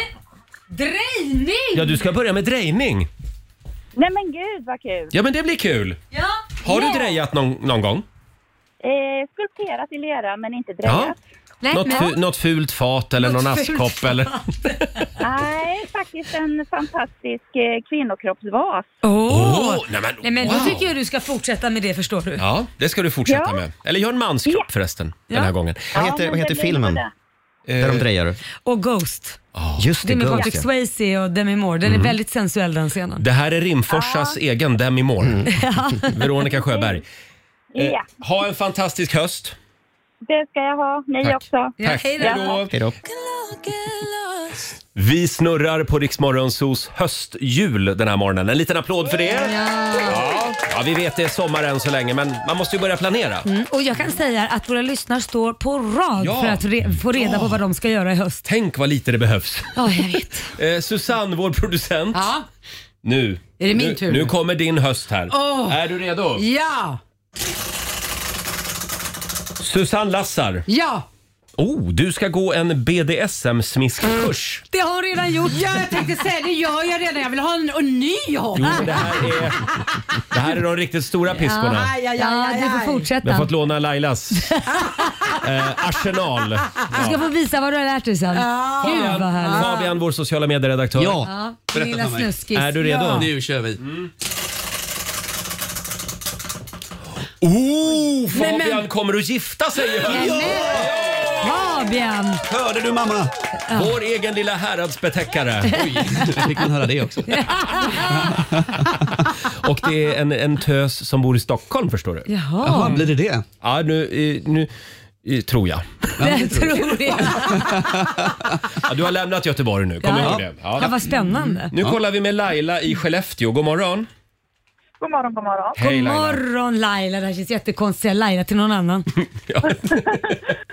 [SPEAKER 3] Drejning!
[SPEAKER 1] Ja, du ska börja med drejning.
[SPEAKER 6] Nej men gud vad kul.
[SPEAKER 1] Ja, men det blir kul.
[SPEAKER 3] Ja.
[SPEAKER 1] Har du drejat någon, någon gång?
[SPEAKER 6] Eh, skulpterat i lera men inte
[SPEAKER 1] Ja.
[SPEAKER 6] drejat.
[SPEAKER 3] Nej,
[SPEAKER 1] Något, fu-
[SPEAKER 3] men,
[SPEAKER 1] något fult fat eller
[SPEAKER 3] Något
[SPEAKER 1] någon
[SPEAKER 3] fult
[SPEAKER 1] askkopp
[SPEAKER 3] fat.
[SPEAKER 1] eller...
[SPEAKER 6] Nej, faktiskt en fantastisk eh, kvinnokroppsvas.
[SPEAKER 3] Åh!
[SPEAKER 1] Åh, nej men,
[SPEAKER 3] Nej men
[SPEAKER 1] wow.
[SPEAKER 3] då tycker jag du ska fortsätta med det förstår du.
[SPEAKER 1] Ja, det ska du fortsätta
[SPEAKER 6] Ja.
[SPEAKER 1] med. Eller gör en manskropp
[SPEAKER 6] Ja.
[SPEAKER 1] förresten,
[SPEAKER 3] Ja.
[SPEAKER 1] den här gången. Eh,
[SPEAKER 7] Vad
[SPEAKER 6] Ja,
[SPEAKER 7] heter,
[SPEAKER 6] men
[SPEAKER 7] vad heter
[SPEAKER 6] det blir
[SPEAKER 7] filmen
[SPEAKER 6] det.
[SPEAKER 7] där de drejar?
[SPEAKER 3] Och Ghost.
[SPEAKER 7] Just
[SPEAKER 3] Det
[SPEAKER 7] det,
[SPEAKER 3] är med
[SPEAKER 7] Ghost,
[SPEAKER 3] Patrick
[SPEAKER 7] ja.
[SPEAKER 3] Swayze och Demi Moore. Den är väldigt sensuell den scenen.
[SPEAKER 1] Det här är Rimforsas egen Demi Moore.
[SPEAKER 7] Mm.
[SPEAKER 3] *laughs*
[SPEAKER 1] Veronica Sjöberg. Eh,
[SPEAKER 6] Ja,
[SPEAKER 1] Ha en fantastisk höst.
[SPEAKER 6] det ska jag ha. Ni
[SPEAKER 1] Tack.
[SPEAKER 6] också.
[SPEAKER 3] Ja,
[SPEAKER 1] Tack.
[SPEAKER 3] hej då.
[SPEAKER 7] Hej då.
[SPEAKER 1] Vi snurrar på Riksmorgonsos höstjul den här morgonen. En liten applåd för det. Ja. ja, vi vet det är sommar än så länge, men man måste ju börja planera.
[SPEAKER 3] Mm, Och jag kan säga att våra lyssnare står på rad
[SPEAKER 1] Ja.
[SPEAKER 3] för att re- få reda på vad de ska göra i höst.
[SPEAKER 1] Tänk vad lite det behövs.
[SPEAKER 3] Ja, jag vet.
[SPEAKER 1] Eh, Susanne, vår producent.
[SPEAKER 4] Ja.
[SPEAKER 1] Nu.
[SPEAKER 4] Är det min
[SPEAKER 1] nu,
[SPEAKER 4] tur?
[SPEAKER 1] Nu kommer din höst här.
[SPEAKER 4] Åh.
[SPEAKER 1] Är du redo?
[SPEAKER 4] Ja.
[SPEAKER 1] Susanne Lassar.
[SPEAKER 4] Ja.
[SPEAKER 1] Oh, du ska gå en BDSM-smiskkurs.
[SPEAKER 3] Det har hon redan gjort.
[SPEAKER 4] Ja, jag tänkte säga det gör jag redan. Jag vill ha en, en ny hopp.
[SPEAKER 1] Jo, men det här är, det här är de riktigt stora piskorna.
[SPEAKER 4] Aj, aj, aj,
[SPEAKER 3] Ja,
[SPEAKER 4] aj,
[SPEAKER 3] du
[SPEAKER 4] aj.
[SPEAKER 3] får
[SPEAKER 1] Vi har
[SPEAKER 3] fortsätta.
[SPEAKER 1] fått låna Lailas
[SPEAKER 3] *laughs*
[SPEAKER 1] eh, arsenal.
[SPEAKER 3] Du ska få visa vad du har lärt dig sen. Gud vad
[SPEAKER 1] Fabian,
[SPEAKER 3] härligt. Ah.
[SPEAKER 1] Fabian, vår sociala medieredaktör.
[SPEAKER 8] Ja,
[SPEAKER 3] Din Lilla
[SPEAKER 8] för mig.
[SPEAKER 3] snuskis.
[SPEAKER 1] Är du redo?
[SPEAKER 8] nu kör vi.
[SPEAKER 1] Oh, Fabian
[SPEAKER 3] Nej, men-
[SPEAKER 1] kommer att gifta sig i höst.
[SPEAKER 3] Fabian!
[SPEAKER 8] Hörde du mamma?
[SPEAKER 1] Vår egen lilla häradsbetäckare.
[SPEAKER 8] Oj, fick man höra det också.
[SPEAKER 1] Och det är en, en tös som bor i Stockholm förstår du.
[SPEAKER 8] Jaha,
[SPEAKER 3] Jaha.
[SPEAKER 8] blir det det?
[SPEAKER 1] Ja, nu, eh, nu eh, tror jag.
[SPEAKER 3] Det tror jag.
[SPEAKER 1] Ja, du har lämnat Göteborg nu, kom
[SPEAKER 3] Ja.
[SPEAKER 1] ihåg det.
[SPEAKER 3] Ja,
[SPEAKER 1] Ja.
[SPEAKER 3] vad spännande.
[SPEAKER 1] Nu kollar vi med Laila i Skellefteå. God morgon.
[SPEAKER 6] God morgon, god morgon.
[SPEAKER 1] Hej
[SPEAKER 3] God
[SPEAKER 1] Laila.
[SPEAKER 3] morgon Laila. Det här känns jättekonstigt att säga Laila till någon annan.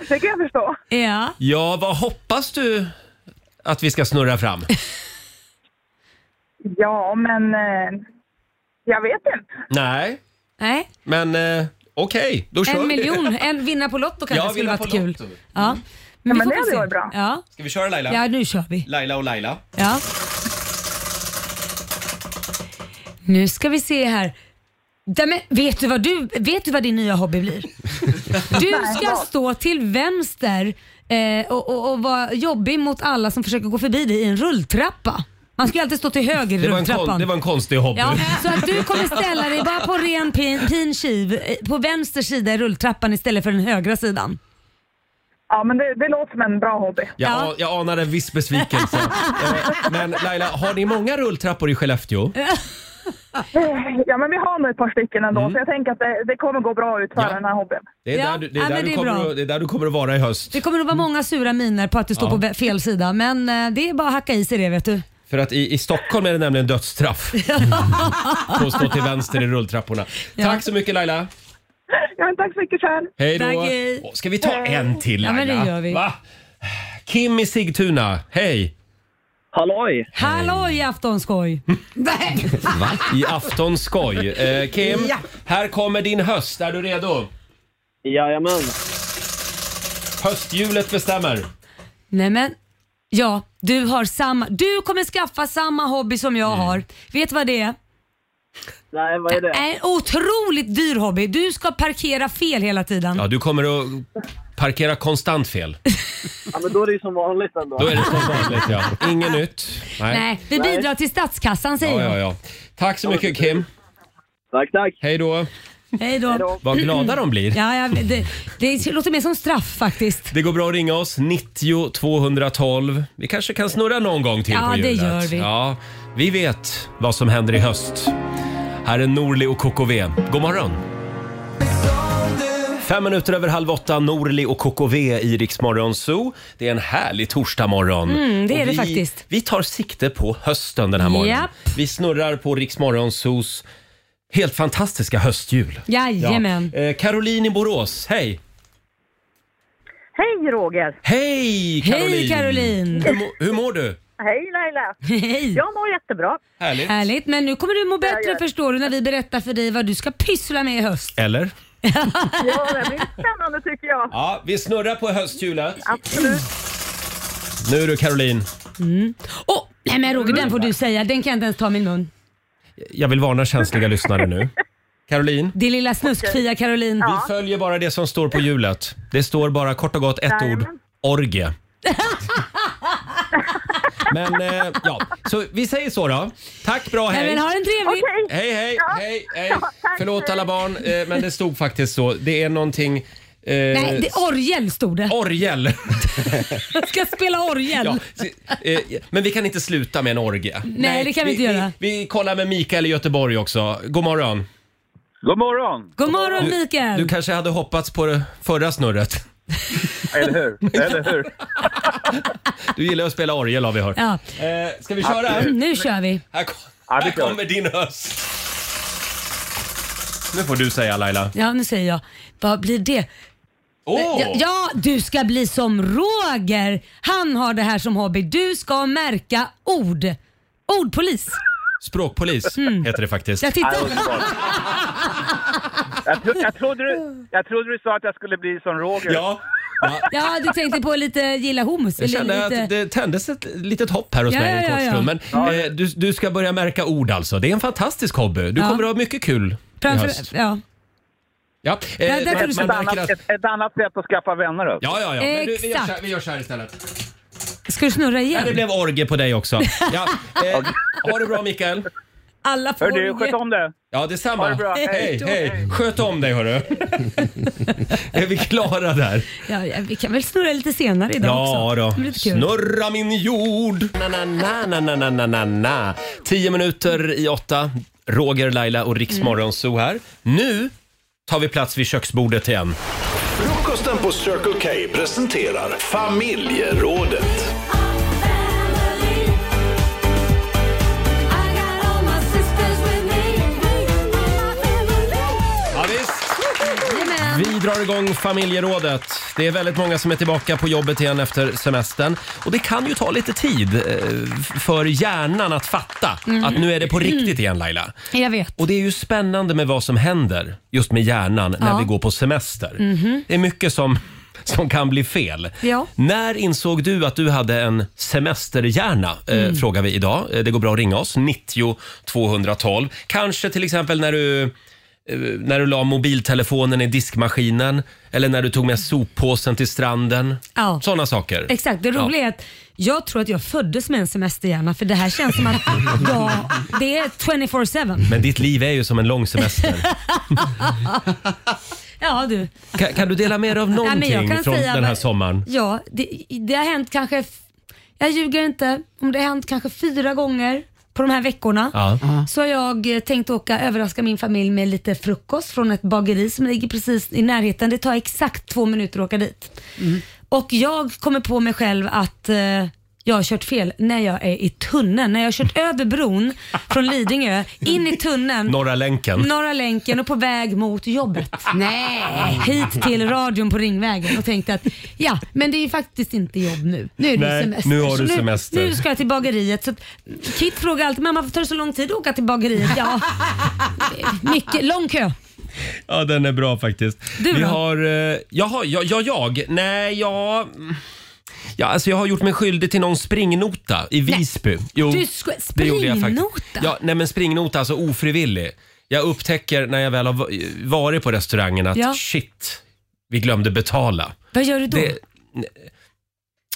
[SPEAKER 6] Det kan jag förstå.
[SPEAKER 3] Ja.
[SPEAKER 1] Ja, vad hoppas du att vi ska snurra fram?
[SPEAKER 6] Ja, men eh, jag vet inte.
[SPEAKER 1] Nej,
[SPEAKER 3] Nej.
[SPEAKER 1] men eh, okej, då kör
[SPEAKER 3] En
[SPEAKER 1] vi.
[SPEAKER 3] miljon. En vinna på Lotto kanske
[SPEAKER 1] Ja,
[SPEAKER 3] skulle
[SPEAKER 1] vinna
[SPEAKER 3] varit
[SPEAKER 1] på
[SPEAKER 3] kul.
[SPEAKER 1] Lotto.
[SPEAKER 3] Ja. Men,
[SPEAKER 6] men
[SPEAKER 3] vi
[SPEAKER 6] det
[SPEAKER 3] får väl
[SPEAKER 6] hade
[SPEAKER 3] se.
[SPEAKER 6] varit bra.
[SPEAKER 3] Ja.
[SPEAKER 1] Ska vi köra Laila?
[SPEAKER 3] ja, nu kör vi.
[SPEAKER 1] Laila och Laila.
[SPEAKER 3] Ja. Nu ska vi se här. Nej, men vet, du vad du, vet du vad din nya hobby
[SPEAKER 6] *laughs*
[SPEAKER 3] blir? Du ska stå till vänster eh, och, och, och vara jobbig mot alla som försöker gå förbi dig i en rulltrappa. Man ska ju alltid stå till höger i
[SPEAKER 1] Det var en,
[SPEAKER 3] rulltrappan.
[SPEAKER 1] kon, det var en konstig hobby.
[SPEAKER 3] Ja, *laughs* så att du kommer ställa dig bara på ren pin, pin kiv, eh, på vänster sida i rulltrappan istället för den högra sidan.
[SPEAKER 6] Ja, men det, det låter som en bra hobby.
[SPEAKER 1] Jag,
[SPEAKER 3] Ja.
[SPEAKER 1] a- jag anar en viss
[SPEAKER 3] *laughs*
[SPEAKER 1] besvikelse. Eh, Men Laila, har ni många rulltrappor i Skellefteå?
[SPEAKER 3] Eh,
[SPEAKER 6] Ja, men vi har nog ett par stycken ändå,
[SPEAKER 9] Mm.
[SPEAKER 6] så jag tänker att det, det kommer gå bra ut för
[SPEAKER 1] Ja.
[SPEAKER 6] den här hobbyn.
[SPEAKER 1] Det är,
[SPEAKER 3] Ja,
[SPEAKER 1] där, du, det,
[SPEAKER 3] ja,
[SPEAKER 1] är där
[SPEAKER 3] men
[SPEAKER 1] du
[SPEAKER 3] det är
[SPEAKER 1] kommer
[SPEAKER 3] bra.
[SPEAKER 1] att, det är där du kommer att vara i höst.
[SPEAKER 3] Det kommer att vara många sura miner på att du står
[SPEAKER 1] Ja.
[SPEAKER 3] på vä- fel sida men eh, det är bara att hacka i sig det vet du.
[SPEAKER 1] För att i, i Stockholm är det nämligen
[SPEAKER 3] *laughs*
[SPEAKER 1] dödsstraff. På att stå till vänster i rulltrapporna.
[SPEAKER 3] Ja.
[SPEAKER 1] Tack så mycket Laila.
[SPEAKER 6] Ja, men tack så mycket själv.
[SPEAKER 1] Hej då.
[SPEAKER 3] Tack, hej.
[SPEAKER 1] Åh, Ska vi ta en till
[SPEAKER 3] Ja,
[SPEAKER 1] Laila?
[SPEAKER 3] men det gör vi.
[SPEAKER 1] Va? Kim i Sigtuna, hej!
[SPEAKER 9] Halloj!
[SPEAKER 3] Halloj aftonskoj!
[SPEAKER 4] Nej.
[SPEAKER 1] I afton skoj. Eh, Kim,
[SPEAKER 4] Ja.
[SPEAKER 1] här kommer din höst. Är du redo?
[SPEAKER 9] Jajamän.
[SPEAKER 1] Hösthjulet bestämmer.
[SPEAKER 3] Nej men, ja du har samma, du kommer skaffa samma hobby som jag har. Vet du vad det är?
[SPEAKER 9] Nej, vad är det?
[SPEAKER 3] En otroligt dyr hobby. Du ska parkera fel hela tiden.
[SPEAKER 1] Ja, du kommer att parkera konstant fel.
[SPEAKER 9] Ja, men då är det ju som vanligt ändå.
[SPEAKER 1] Då är det som vanligt ja. Inget nytt. Nej.
[SPEAKER 3] Nej, vi bidrar till statskassan
[SPEAKER 1] Ja,
[SPEAKER 3] säger
[SPEAKER 1] ja, ja. Tack så mycket Kim.
[SPEAKER 9] Tack, tack.
[SPEAKER 1] Hej då.
[SPEAKER 3] jag. Hej då.
[SPEAKER 1] Vad glada de blir.
[SPEAKER 3] Ja, ja, det, det låter mer som straff faktiskt.
[SPEAKER 1] Det går bra att ringa oss, 90 212. Vi kanske kan snurra någon gång till
[SPEAKER 3] Ja,
[SPEAKER 1] på
[SPEAKER 3] det
[SPEAKER 1] hjulet.
[SPEAKER 3] gör vi.
[SPEAKER 1] Ja, vi vet vad som händer i höst. Här är Norli och KKV. God morgon! Fem minuter över halv åtta, Norli och KKV i Riksmorgon Zoo. Det är en härlig torsdagmorgon.
[SPEAKER 3] Mm, det är
[SPEAKER 1] Och
[SPEAKER 3] det
[SPEAKER 1] vi,
[SPEAKER 3] faktiskt.
[SPEAKER 1] Vi tar sikte på hösten den här morgonen.
[SPEAKER 3] Japp.
[SPEAKER 1] Vi snurrar på Riksmorgon Zoos helt fantastiska höstjul.
[SPEAKER 3] Jajamän. *laughs*
[SPEAKER 1] Eh, Caroline i Borås, hej!
[SPEAKER 6] Hej Roger!
[SPEAKER 1] Hej Caroline!
[SPEAKER 3] Hej Caroline!
[SPEAKER 1] Hur, må- hur mår du?
[SPEAKER 6] Hej Laila!
[SPEAKER 3] Hej!
[SPEAKER 6] Jag mår jättebra.
[SPEAKER 1] Härligt.
[SPEAKER 3] Härligt, men nu kommer du må bättre förstår du när vi berättar för dig vad du ska pyssla med i höst.
[SPEAKER 1] Eller?
[SPEAKER 6] Ja, det blir spännande tycker jag.
[SPEAKER 1] Ja, vi snurrar på hösthjulet.
[SPEAKER 6] Absolut.
[SPEAKER 1] Nu du Caroline.
[SPEAKER 3] Åh, nej men Roger den får du säga, den kan jag inte ens ta i min mun.
[SPEAKER 1] Jag vill varna känsliga lyssnare nu. Caroline,
[SPEAKER 3] Din lilla snuskfia Caroline.
[SPEAKER 1] vi följer bara det som står på hjulet. Det står bara kort och gott ett ord.
[SPEAKER 3] *laughs*
[SPEAKER 1] Orgie. Men eh, ja, så vi säger så då. Tack, bra,
[SPEAKER 3] Nej
[SPEAKER 1] hej.
[SPEAKER 3] men ha en trevlig...
[SPEAKER 1] Hej, hej, hej, hej.
[SPEAKER 6] tack.
[SPEAKER 1] Förlåt alla barn, eh, men det stod faktiskt så. Det är någonting... Eh,
[SPEAKER 3] Nej, det, orgel stod det.
[SPEAKER 1] Orgel. *laughs*
[SPEAKER 3] Jag ska spela orgel.
[SPEAKER 1] Ja, se- eh, men vi kan inte sluta med en orgie. Nej,
[SPEAKER 3] det kan vi inte göra.
[SPEAKER 1] Vi, vi kollar med Mikael i Göteborg också. God morgon.
[SPEAKER 9] God morgon!
[SPEAKER 3] God morgon Mikael!
[SPEAKER 1] Du kanske hade hoppats på det förra snurret.
[SPEAKER 9] Eller
[SPEAKER 3] *laughs*
[SPEAKER 9] hur? Eller hur?
[SPEAKER 1] Du gillar att spela orgel har vi hört.
[SPEAKER 3] Ja, *clears throat*
[SPEAKER 1] Eh, ska vi köra?
[SPEAKER 3] nu kör vi.
[SPEAKER 1] Här, kom,
[SPEAKER 9] Ja, det
[SPEAKER 1] här
[SPEAKER 9] kör vi.
[SPEAKER 1] kommer din höst. Nu får du säga Laila.
[SPEAKER 3] Ja, nu säger jag. Vad blir det?
[SPEAKER 1] Åh!
[SPEAKER 3] Ja, ja, du ska bli som Roger. Han har det här som hobby. Du ska märka ord. Ordpolis.
[SPEAKER 1] Språkpolis heter det faktiskt.
[SPEAKER 3] Mm. Jag tittar.
[SPEAKER 9] Jag, tro, jag, trodde du, jag trodde du sa att jag skulle bli som Roger.
[SPEAKER 1] Ja,
[SPEAKER 3] Ja, du tänkte på lite gilla hummus.
[SPEAKER 1] jag
[SPEAKER 3] eller
[SPEAKER 1] kände
[SPEAKER 3] lite...
[SPEAKER 1] att det tändes ett litet hopp här hos
[SPEAKER 3] Ja,
[SPEAKER 1] mig en
[SPEAKER 3] ja,
[SPEAKER 1] kort
[SPEAKER 3] ja, ja.
[SPEAKER 1] stund. Men eh, du, du ska börja märka ord alltså. Det är en fantastisk hobby. Du
[SPEAKER 3] Ja.
[SPEAKER 1] kommer att ha mycket kul i höst.
[SPEAKER 3] Framför... Ja.
[SPEAKER 1] Ja, eh,
[SPEAKER 3] Ja, där kan
[SPEAKER 1] man
[SPEAKER 3] du köpa.
[SPEAKER 1] märker att...
[SPEAKER 9] Ett, ett annat sätt att skaffa vänner upp.
[SPEAKER 1] Ja, ja, ja. Men du, vi, gör så här,
[SPEAKER 3] Exakt.
[SPEAKER 1] vi gör så här istället.
[SPEAKER 3] Ska du snurra
[SPEAKER 1] Ja, det
[SPEAKER 3] igen?
[SPEAKER 1] blev orgie på dig också. Ja, *laughs* eh, ha det bra Mikael.
[SPEAKER 3] Alla får
[SPEAKER 9] Hör du, sköt om det.
[SPEAKER 1] Ja, detsamma.
[SPEAKER 9] Ha det bra.
[SPEAKER 1] Hej,
[SPEAKER 9] Hej.
[SPEAKER 1] hej. Sköt om dig *laughs* hörru. är vi klara där?
[SPEAKER 3] ja, ja, Vi kan väl snurra lite senare idag
[SPEAKER 1] Ja
[SPEAKER 3] också?
[SPEAKER 1] då.
[SPEAKER 3] Det blir lite kul.
[SPEAKER 1] Snurra min jord. Na, na, na, na, na, na, na, na, na. Tio minuter i åtta. Roger, Laila och Riksmorgonzoo här. Nu tar vi plats vid köksbordet igen.
[SPEAKER 2] Frukosten på Circle K presenterar Familjerådet.
[SPEAKER 1] Ja, visst. Vi drar igång familjerådet. Det är väldigt många som är tillbaka på jobbet igen efter semestern. Och det kan ju ta lite tid eh, f- för hjärnan att fatta att nu är det på riktigt igen Laila.
[SPEAKER 3] Jag vet.
[SPEAKER 1] Och det är ju spännande med vad som händer just med hjärnan när
[SPEAKER 3] Ja. Mhm.
[SPEAKER 1] vi går på semester. Det är mycket som, som kan bli fel.
[SPEAKER 3] Ja.
[SPEAKER 1] När insåg du att du hade en semesterhjärna?
[SPEAKER 3] Mm.
[SPEAKER 1] Eh, frågar vi idag. Eh, Det går bra att ringa oss, 90 212. Kanske till exempel när du eh, när du la mobiltelefonen i diskmaskinen eller när du tog med soppåsen till stranden.
[SPEAKER 3] Ja.
[SPEAKER 1] Sådana saker.
[SPEAKER 3] Exakt, det roliga är att jag tror att jag föddes med en semesterhjärna för det här känns
[SPEAKER 1] *laughs*
[SPEAKER 3] som att jag, det är 24-7.
[SPEAKER 1] Men ditt liv är ju som en lång
[SPEAKER 3] *laughs*
[SPEAKER 1] semester.
[SPEAKER 3] Ja du.
[SPEAKER 1] Kan, kan du dela med dig av
[SPEAKER 3] Nej, men jag
[SPEAKER 1] någonting
[SPEAKER 3] kan
[SPEAKER 1] från
[SPEAKER 3] säga
[SPEAKER 1] den här
[SPEAKER 3] vad-
[SPEAKER 1] sommaren?
[SPEAKER 3] Ja, det, det har hänt kanske, f- jag ljuger inte, om det har hänt kanske fyra gånger på de här veckorna.
[SPEAKER 1] Ja.
[SPEAKER 3] Så har jag eh, tänkt åka överraska min familj med lite frukost från ett bageri som ligger precis i närheten. Det tar exakt två minuter att åka dit. Och jag kommer på mig själv att eh, jag har kört fel när jag är i tunneln. När jag har kört över bron från Lidingö in
[SPEAKER 1] *laughs*
[SPEAKER 3] i tunneln
[SPEAKER 1] Norra länken.
[SPEAKER 3] Norra länken och på väg
[SPEAKER 1] *laughs*
[SPEAKER 3] mot jobbet. Nej! Hit till radion på Ringvägen och tänkte att ja, men det är ju faktiskt inte jobb nu. Nu är det
[SPEAKER 1] Nej,
[SPEAKER 3] semester.
[SPEAKER 1] nu har
[SPEAKER 3] Så
[SPEAKER 1] du
[SPEAKER 3] nu,
[SPEAKER 1] semester.
[SPEAKER 3] Nu ska jag till bageriet. Så att, Kit frågar alltid mamma varför tar det så lång tid att åka till bageriet? Ja, mycket, lång kö.
[SPEAKER 1] Ja, den är bra faktiskt.
[SPEAKER 3] Du
[SPEAKER 1] Vi
[SPEAKER 3] då?
[SPEAKER 1] har... eh, Jaha, ja, ja, jag? Nej, jag... Ja, alltså jag har gjort mig skyldig till någon springnota i Visby. Jo,
[SPEAKER 3] Du sko-
[SPEAKER 1] det gjorde jag faktiskt.
[SPEAKER 3] springnota?
[SPEAKER 1] Ja, nej men springnota, alltså ofrivillig. Jag upptäcker när jag väl har va- varit på restaurangen att
[SPEAKER 3] Ja.
[SPEAKER 1] shit, vi glömde betala.
[SPEAKER 3] Vad gör du då?
[SPEAKER 1] Det,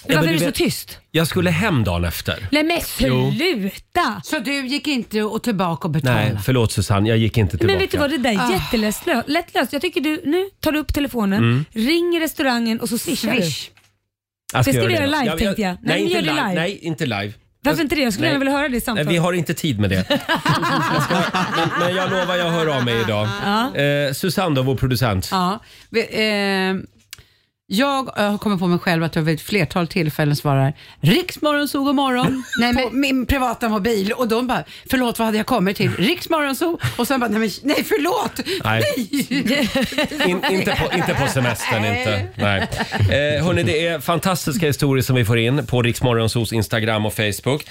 [SPEAKER 3] men varför
[SPEAKER 1] men
[SPEAKER 3] är
[SPEAKER 1] du
[SPEAKER 3] du så
[SPEAKER 1] vet-
[SPEAKER 3] tyst?
[SPEAKER 1] jag skulle hem dagen efter.
[SPEAKER 3] Nej men
[SPEAKER 1] Jo.
[SPEAKER 3] sluta!
[SPEAKER 4] Så du gick inte och tillbaka och betalade?
[SPEAKER 1] Nej, förlåt Susanne, jag gick inte tillbaka.
[SPEAKER 3] Men vet du vad, det där är jättelättlöst. Lättlöst. Jag tycker du, nu tar du upp telefonen,
[SPEAKER 1] Mm.
[SPEAKER 3] ringer restaurangen och så swishar du.
[SPEAKER 4] Swish.
[SPEAKER 1] Jag Ah, ska
[SPEAKER 3] Det ska
[SPEAKER 1] göra
[SPEAKER 3] vi
[SPEAKER 1] det
[SPEAKER 3] göra
[SPEAKER 1] då.
[SPEAKER 3] live, tänkte jag. Nej, vi
[SPEAKER 1] inte
[SPEAKER 3] gör det live.
[SPEAKER 1] Nej, inte live.
[SPEAKER 3] Varför inte det? Jag skulle
[SPEAKER 1] Nej.
[SPEAKER 3] gärna vilja höra det i
[SPEAKER 1] Nej,
[SPEAKER 3] samtalet.
[SPEAKER 1] vi har inte tid med det. Jag ska, men, men jag lovar, jag hör av mig idag. Eh, Susanne då, vår producent.
[SPEAKER 4] Ja. Vi, eh, jag eh, har kommit på mig själv att jag vid ett flertal tillfällen svarar Riksmorgon, så
[SPEAKER 3] *laughs*
[SPEAKER 4] god morgon nej, men... på min privata mobil och de bara förlåt vad hade jag kommit till? Riksmorgon, så och sen bara nej, men,
[SPEAKER 3] *laughs*
[SPEAKER 4] nej förlåt!
[SPEAKER 1] Nej.
[SPEAKER 4] nej.
[SPEAKER 1] In, inte, på, inte på semestern inte. Nej. Eh, hörni, det är fantastiska historier som vi får in på Riksmorgonsos Instagram och Facebook.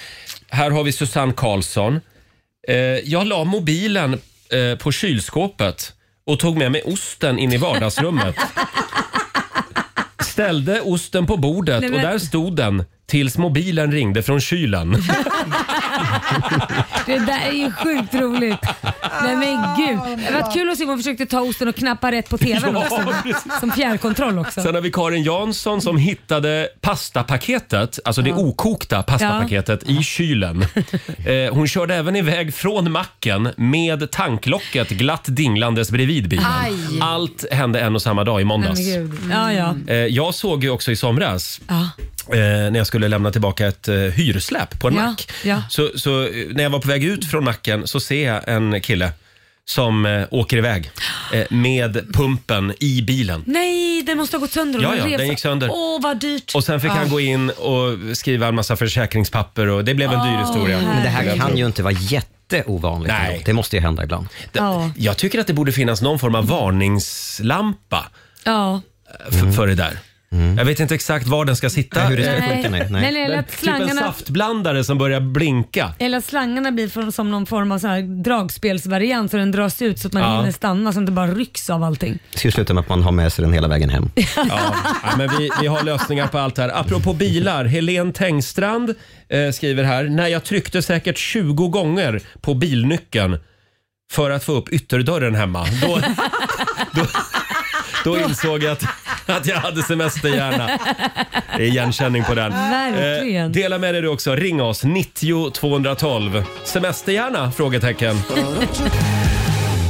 [SPEAKER 1] Här har vi Susanne Karlsson. Eh, jag la mobilen eh, på kylskåpet och tog med mig osten in i vardagsrummet. Ställde osten på bordet
[SPEAKER 3] Nej,
[SPEAKER 1] och
[SPEAKER 3] men-
[SPEAKER 1] där stod den tills mobilen ringde från kylen.
[SPEAKER 3] Det där är ju sjukt roligt. Nej men gud. Det var kul att se om hon försökte ta osten och knappa rätt på tvn också. Som fjärrkontroll också.
[SPEAKER 1] Sen har vi Karin Jansson som hittade pastapaketet, alltså det okokta pastapaketet, i
[SPEAKER 3] *laughs*
[SPEAKER 1] kylen. Eh, hon körde även iväg från macken med tanklocket glatt dinglandes bredvid bilen.
[SPEAKER 4] Aj.
[SPEAKER 1] Allt hände en och samma dag i
[SPEAKER 3] Nej,
[SPEAKER 1] måndags.
[SPEAKER 3] men gud. Ja, ja.
[SPEAKER 1] Eh, jag såg ju också i somras
[SPEAKER 3] Ja.
[SPEAKER 1] Eh, när jag skulle lämna tillbaka ett eh, hyresläp på en
[SPEAKER 3] Ja,
[SPEAKER 1] mack.
[SPEAKER 3] ja.
[SPEAKER 1] Så, så eh, när jag var på väg ut från macken så ser jag en kille som eh, åker iväg eh, med pumpen i bilen.
[SPEAKER 3] Nej, den måste ha gått sönder. och
[SPEAKER 1] Ja, ja,
[SPEAKER 3] revs.
[SPEAKER 1] den gick sönder.
[SPEAKER 3] Åh, vad dyrt.
[SPEAKER 1] Och sen fick
[SPEAKER 3] Ah.
[SPEAKER 1] han gå in och skriva en massa försäkringspapper och det blev en
[SPEAKER 3] Ah,
[SPEAKER 1] dyr historia.
[SPEAKER 7] Men det här kan ju inte vara jätteovanligt.
[SPEAKER 1] Nej.
[SPEAKER 7] ändå. Det måste ju hända ibland.
[SPEAKER 1] Det-
[SPEAKER 3] Ja.
[SPEAKER 1] Jag tycker att det borde finnas någon form av varningslampa
[SPEAKER 3] Ja.
[SPEAKER 1] f- för det där. Jag vet inte exakt var den ska sitta.
[SPEAKER 7] Hur det ska
[SPEAKER 3] Nej.
[SPEAKER 7] funka, Mm. nej. nej.
[SPEAKER 3] Men eller att
[SPEAKER 1] Typ en
[SPEAKER 3] slangarna...
[SPEAKER 1] saftblandare som börjar blinka.
[SPEAKER 3] Eller att slangarna blir från, som någon form av sån här dragspelsvariant så den dras ut så att man
[SPEAKER 1] Ja. Eh,
[SPEAKER 3] hinner stanna så att det bara rycks av allting.
[SPEAKER 7] Det ska ju sluta med att man har med sig den hela vägen hem.
[SPEAKER 1] Ja, ja, men vi, vi har lösningar på allt här. Apropå bilar, Helen Tengstrand eh, skriver här. När jag tryckte säkert 20 gånger på bilnyckeln för att få upp ytterdörren hemma. Då, då, då insåg jag att, att jag hade semesterhjärna. Det är igenkänning på den.
[SPEAKER 3] Verkligen.
[SPEAKER 1] Eh, dela med dig du också. Ring oss, 90 212. Semesterhjärna? Frågetecken.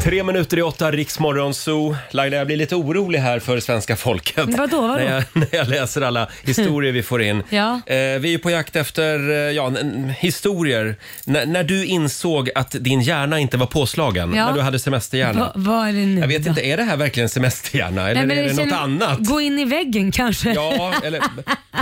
[SPEAKER 1] Tre minuter i åtta, Riksmorgon Zoo. Laila, jag blir lite orolig här för svenska folket.
[SPEAKER 3] Vadå, vadå?
[SPEAKER 1] När jag, *laughs* när jag läser alla historier vi får in.
[SPEAKER 3] Ja.
[SPEAKER 1] Eh, vi är på jakt efter eh, ja, n- n- historier. N- när du insåg att din hjärna inte var påslagen,
[SPEAKER 3] Ja.
[SPEAKER 1] när du hade semesterhjärna.
[SPEAKER 3] Va, vad är det nu
[SPEAKER 1] Jag vet
[SPEAKER 3] då?
[SPEAKER 1] inte, är det här verkligen semesterhjärna eller
[SPEAKER 3] Nej, men
[SPEAKER 1] är det
[SPEAKER 3] jag
[SPEAKER 1] något
[SPEAKER 3] känner-
[SPEAKER 1] annat?
[SPEAKER 3] Gå in i väggen kanske.
[SPEAKER 1] Ja, eller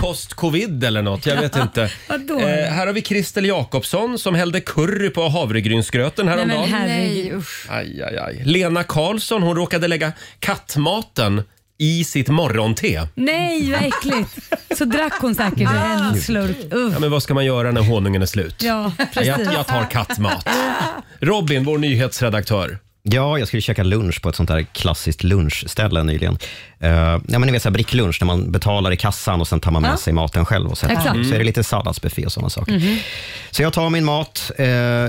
[SPEAKER 1] post-covid eller något. Jag vet inte.
[SPEAKER 3] *laughs*
[SPEAKER 1] Eh,
[SPEAKER 3] vadå?
[SPEAKER 1] här har vi Christer Jakobsson som hällde curry på havregrynsgröten
[SPEAKER 3] Nej,
[SPEAKER 1] häromdagen.
[SPEAKER 3] men herregud.
[SPEAKER 4] nej usch.
[SPEAKER 1] Aj, aj, aj. Lena Karlsson hon råkade lägga kattmaten i sitt morgonte.
[SPEAKER 3] Nej, vad äckligt. Så drack hon säkert
[SPEAKER 1] Ah.
[SPEAKER 3] en slurk. Uff.
[SPEAKER 1] Ja, men vad ska man göra när honungen är slut?
[SPEAKER 3] Ja,
[SPEAKER 1] jag,
[SPEAKER 3] precis. *laughs*
[SPEAKER 1] jag tar kattmat. Robin, vår nyhetsredaktör.
[SPEAKER 7] Ja, jag skulle käka lunch på ett sånt där klassiskt lunchställe nyligen. Uh, ja, men ni vet så här bricklunch, när man betalar i kassan och sen tar man med
[SPEAKER 3] Ja.
[SPEAKER 7] sig maten själv. Och sätter.
[SPEAKER 3] Exakt.
[SPEAKER 7] sig. Så är det lite salladsbuffé och sådana saker.
[SPEAKER 3] Mhm.
[SPEAKER 7] Så jag tar min mat, eh,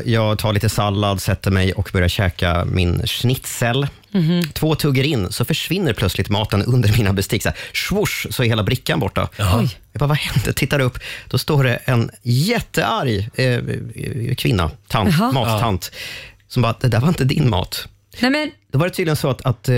[SPEAKER 7] jag tar lite sallad, sätter mig och börjar käka min schnitzel.
[SPEAKER 3] Mhm.
[SPEAKER 7] Två tuggar in så försvinner plötsligt maten under mina bestick. Så, här, swoosh, så är hela brickan borta. Jag bara, vad hände? Tittar upp, då står det en jättearg eh, eh, kvinna, tant,
[SPEAKER 3] Jaha.
[SPEAKER 7] mattant, som bara, det där var inte din mat.
[SPEAKER 3] Nej, men,
[SPEAKER 7] Då var det tydligen så att, att eh,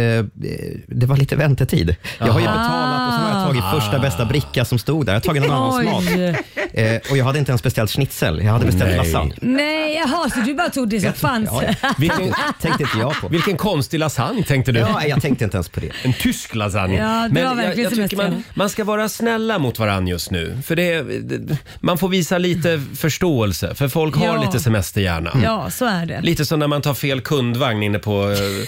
[SPEAKER 7] det var lite väntetid. Jag har ju betalat och så har jag tagit första bästa bricka som stod där. Jag har tagit någon annans
[SPEAKER 3] Oj.
[SPEAKER 7] mat. Eh, och jag hade inte ens beställt schnitzel, jag hade beställt
[SPEAKER 1] Nej.
[SPEAKER 7] lasagne.
[SPEAKER 3] nej, jaha, så du bara tog det som fanns?
[SPEAKER 7] Ja,
[SPEAKER 1] Vilken,
[SPEAKER 7] tänkte inte jag på.
[SPEAKER 1] vilken konstig lasagne tänkte du?
[SPEAKER 7] Ja, jag tänkte inte ens på det.
[SPEAKER 1] En tysk lasagne.
[SPEAKER 3] Ja, bra
[SPEAKER 1] Men jag,
[SPEAKER 3] verkligen
[SPEAKER 1] jag tycker man,
[SPEAKER 3] semester.
[SPEAKER 1] man ska vara snälla mot varandra just nu. För det, det- man får visa lite förståelse, för folk har
[SPEAKER 3] Ja.
[SPEAKER 1] lite semesterhjärna.
[SPEAKER 3] Ja, så är det.
[SPEAKER 1] Lite som när man tar fel kundvagn inne på eh,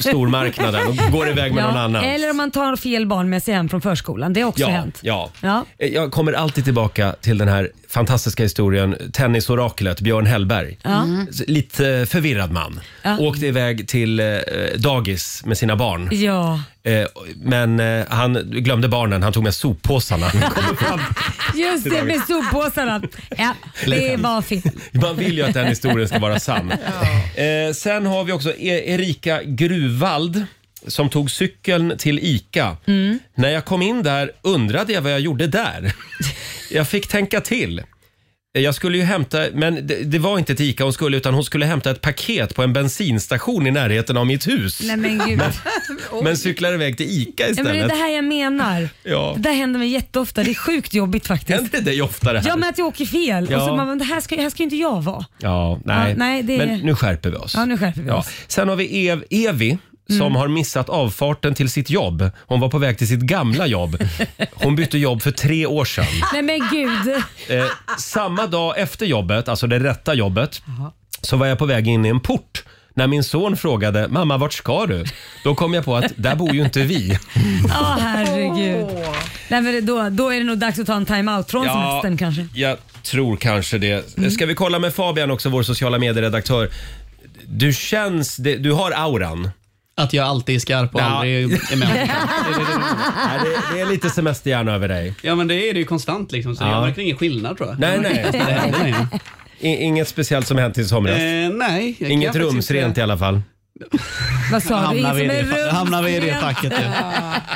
[SPEAKER 1] stormarknaden och går iväg med någon annan.
[SPEAKER 3] Eller om man tar fel barn med sig hem från förskolan. Det har också
[SPEAKER 1] Ja,
[SPEAKER 3] hänt.
[SPEAKER 1] ja.
[SPEAKER 3] Ja.
[SPEAKER 1] Eh, Jag kommer alltid tillbaka till den här fantastiska historien, tennisoraklet Björn Hellberg. S- Lite förvirrad man.
[SPEAKER 3] Ja.
[SPEAKER 1] Åkte iväg till eh, dagis med sina barn.
[SPEAKER 3] Ja.
[SPEAKER 1] Eh, Men eh, han glömde barnen, han tog med
[SPEAKER 3] *laughs*
[SPEAKER 1] soppåsarna. Kommer fram.
[SPEAKER 3] Just det, med soppåsarna.
[SPEAKER 1] *laughs*
[SPEAKER 3] Ja, det var fel.
[SPEAKER 1] Man vill ju att den historien ska vara sann. Eh, Sen har vi också E- Erika Gruvald som tog cykeln till ICA.
[SPEAKER 3] Mm.
[SPEAKER 1] När jag kom in där undrade jag vad jag gjorde
[SPEAKER 3] *laughs*
[SPEAKER 1] där. Jag fick tänka till. Eh, Jag skulle ju hämta, men det, det var inte till ICA hon skulle utan hon skulle hämta ett paket på en bensinstation i närheten av mitt hus.
[SPEAKER 4] Nej men gud.
[SPEAKER 1] Men cyklade iväg till ICA
[SPEAKER 3] Ja, men det är
[SPEAKER 1] istället.
[SPEAKER 3] det här jag menar.
[SPEAKER 1] Ja.
[SPEAKER 3] Det där händer mig jätteofta. Det är sjukt jobbigt faktiskt.
[SPEAKER 1] Händer det dig oftare? här?
[SPEAKER 3] Ja, men att jag åker fel. Och
[SPEAKER 1] Ja.
[SPEAKER 3] så man, men det här ska, här ska ju inte jag vara.
[SPEAKER 1] Ja, nej.
[SPEAKER 3] Ja, nej, det-
[SPEAKER 1] Men nu skärper vi oss.
[SPEAKER 3] Ja, nu skärper vi oss. Mm.
[SPEAKER 1] Sen har vi Ev Evi som har missat avfarten till sitt jobb. Hon var på väg till sitt gamla jobb. Hon bytte jobb för tre år sedan.
[SPEAKER 3] Nej men gud.
[SPEAKER 1] Eh, samma dag efter jobbet, alltså det rätta jobbet, så var jag på väg in i en port. När min son frågade “Mamma, vart ska du?” Då kom jag på att där bor ju inte
[SPEAKER 3] *laughs*
[SPEAKER 1] vi.
[SPEAKER 3] Ja, herregud. Nej, men det- då, då är det nog dags att ta en time-out från semestern kanske. Mm.
[SPEAKER 1] jag tror kanske det. Ska vi kolla med Fabian också, vår sociala medieredaktör. Du känns, det- du har auran.
[SPEAKER 8] Att jag alltid är skarp och
[SPEAKER 1] Ja.
[SPEAKER 8] aldrig är är med.
[SPEAKER 1] Nej, det, det är lite semesterhjärna över dig.
[SPEAKER 8] *laughs* Ja men det är det ju konstant liksom, så
[SPEAKER 1] Ja.
[SPEAKER 8] jag märker ingen skillnad tror jag.
[SPEAKER 1] Nej, nej.
[SPEAKER 8] Nej, nej. *laughs*
[SPEAKER 1] I, inget speciellt som hänt i somras.
[SPEAKER 8] Eh, nej jag
[SPEAKER 1] Inget
[SPEAKER 8] kan faktiskt
[SPEAKER 1] rumsrent
[SPEAKER 8] inte-
[SPEAKER 1] i alla fall.
[SPEAKER 3] Vad sa du?
[SPEAKER 8] Hamnar vi, i
[SPEAKER 3] Ingen
[SPEAKER 8] det,
[SPEAKER 3] som är
[SPEAKER 8] fa- hamnar vi i det
[SPEAKER 3] rumsren?
[SPEAKER 8] facket. Ja. *laughs*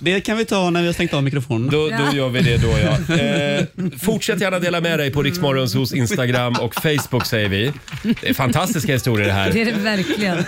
[SPEAKER 8] Det kan vi ta när vi har stängt av mikrofonen.
[SPEAKER 1] Då, då gör vi det då *laughs* ja. Eh, fortsätt gärna dela med dig på Riksmorgons hos Instagram och Facebook säger vi. Det är fantastiska historier det
[SPEAKER 3] Det
[SPEAKER 1] här.
[SPEAKER 3] är det verkligen.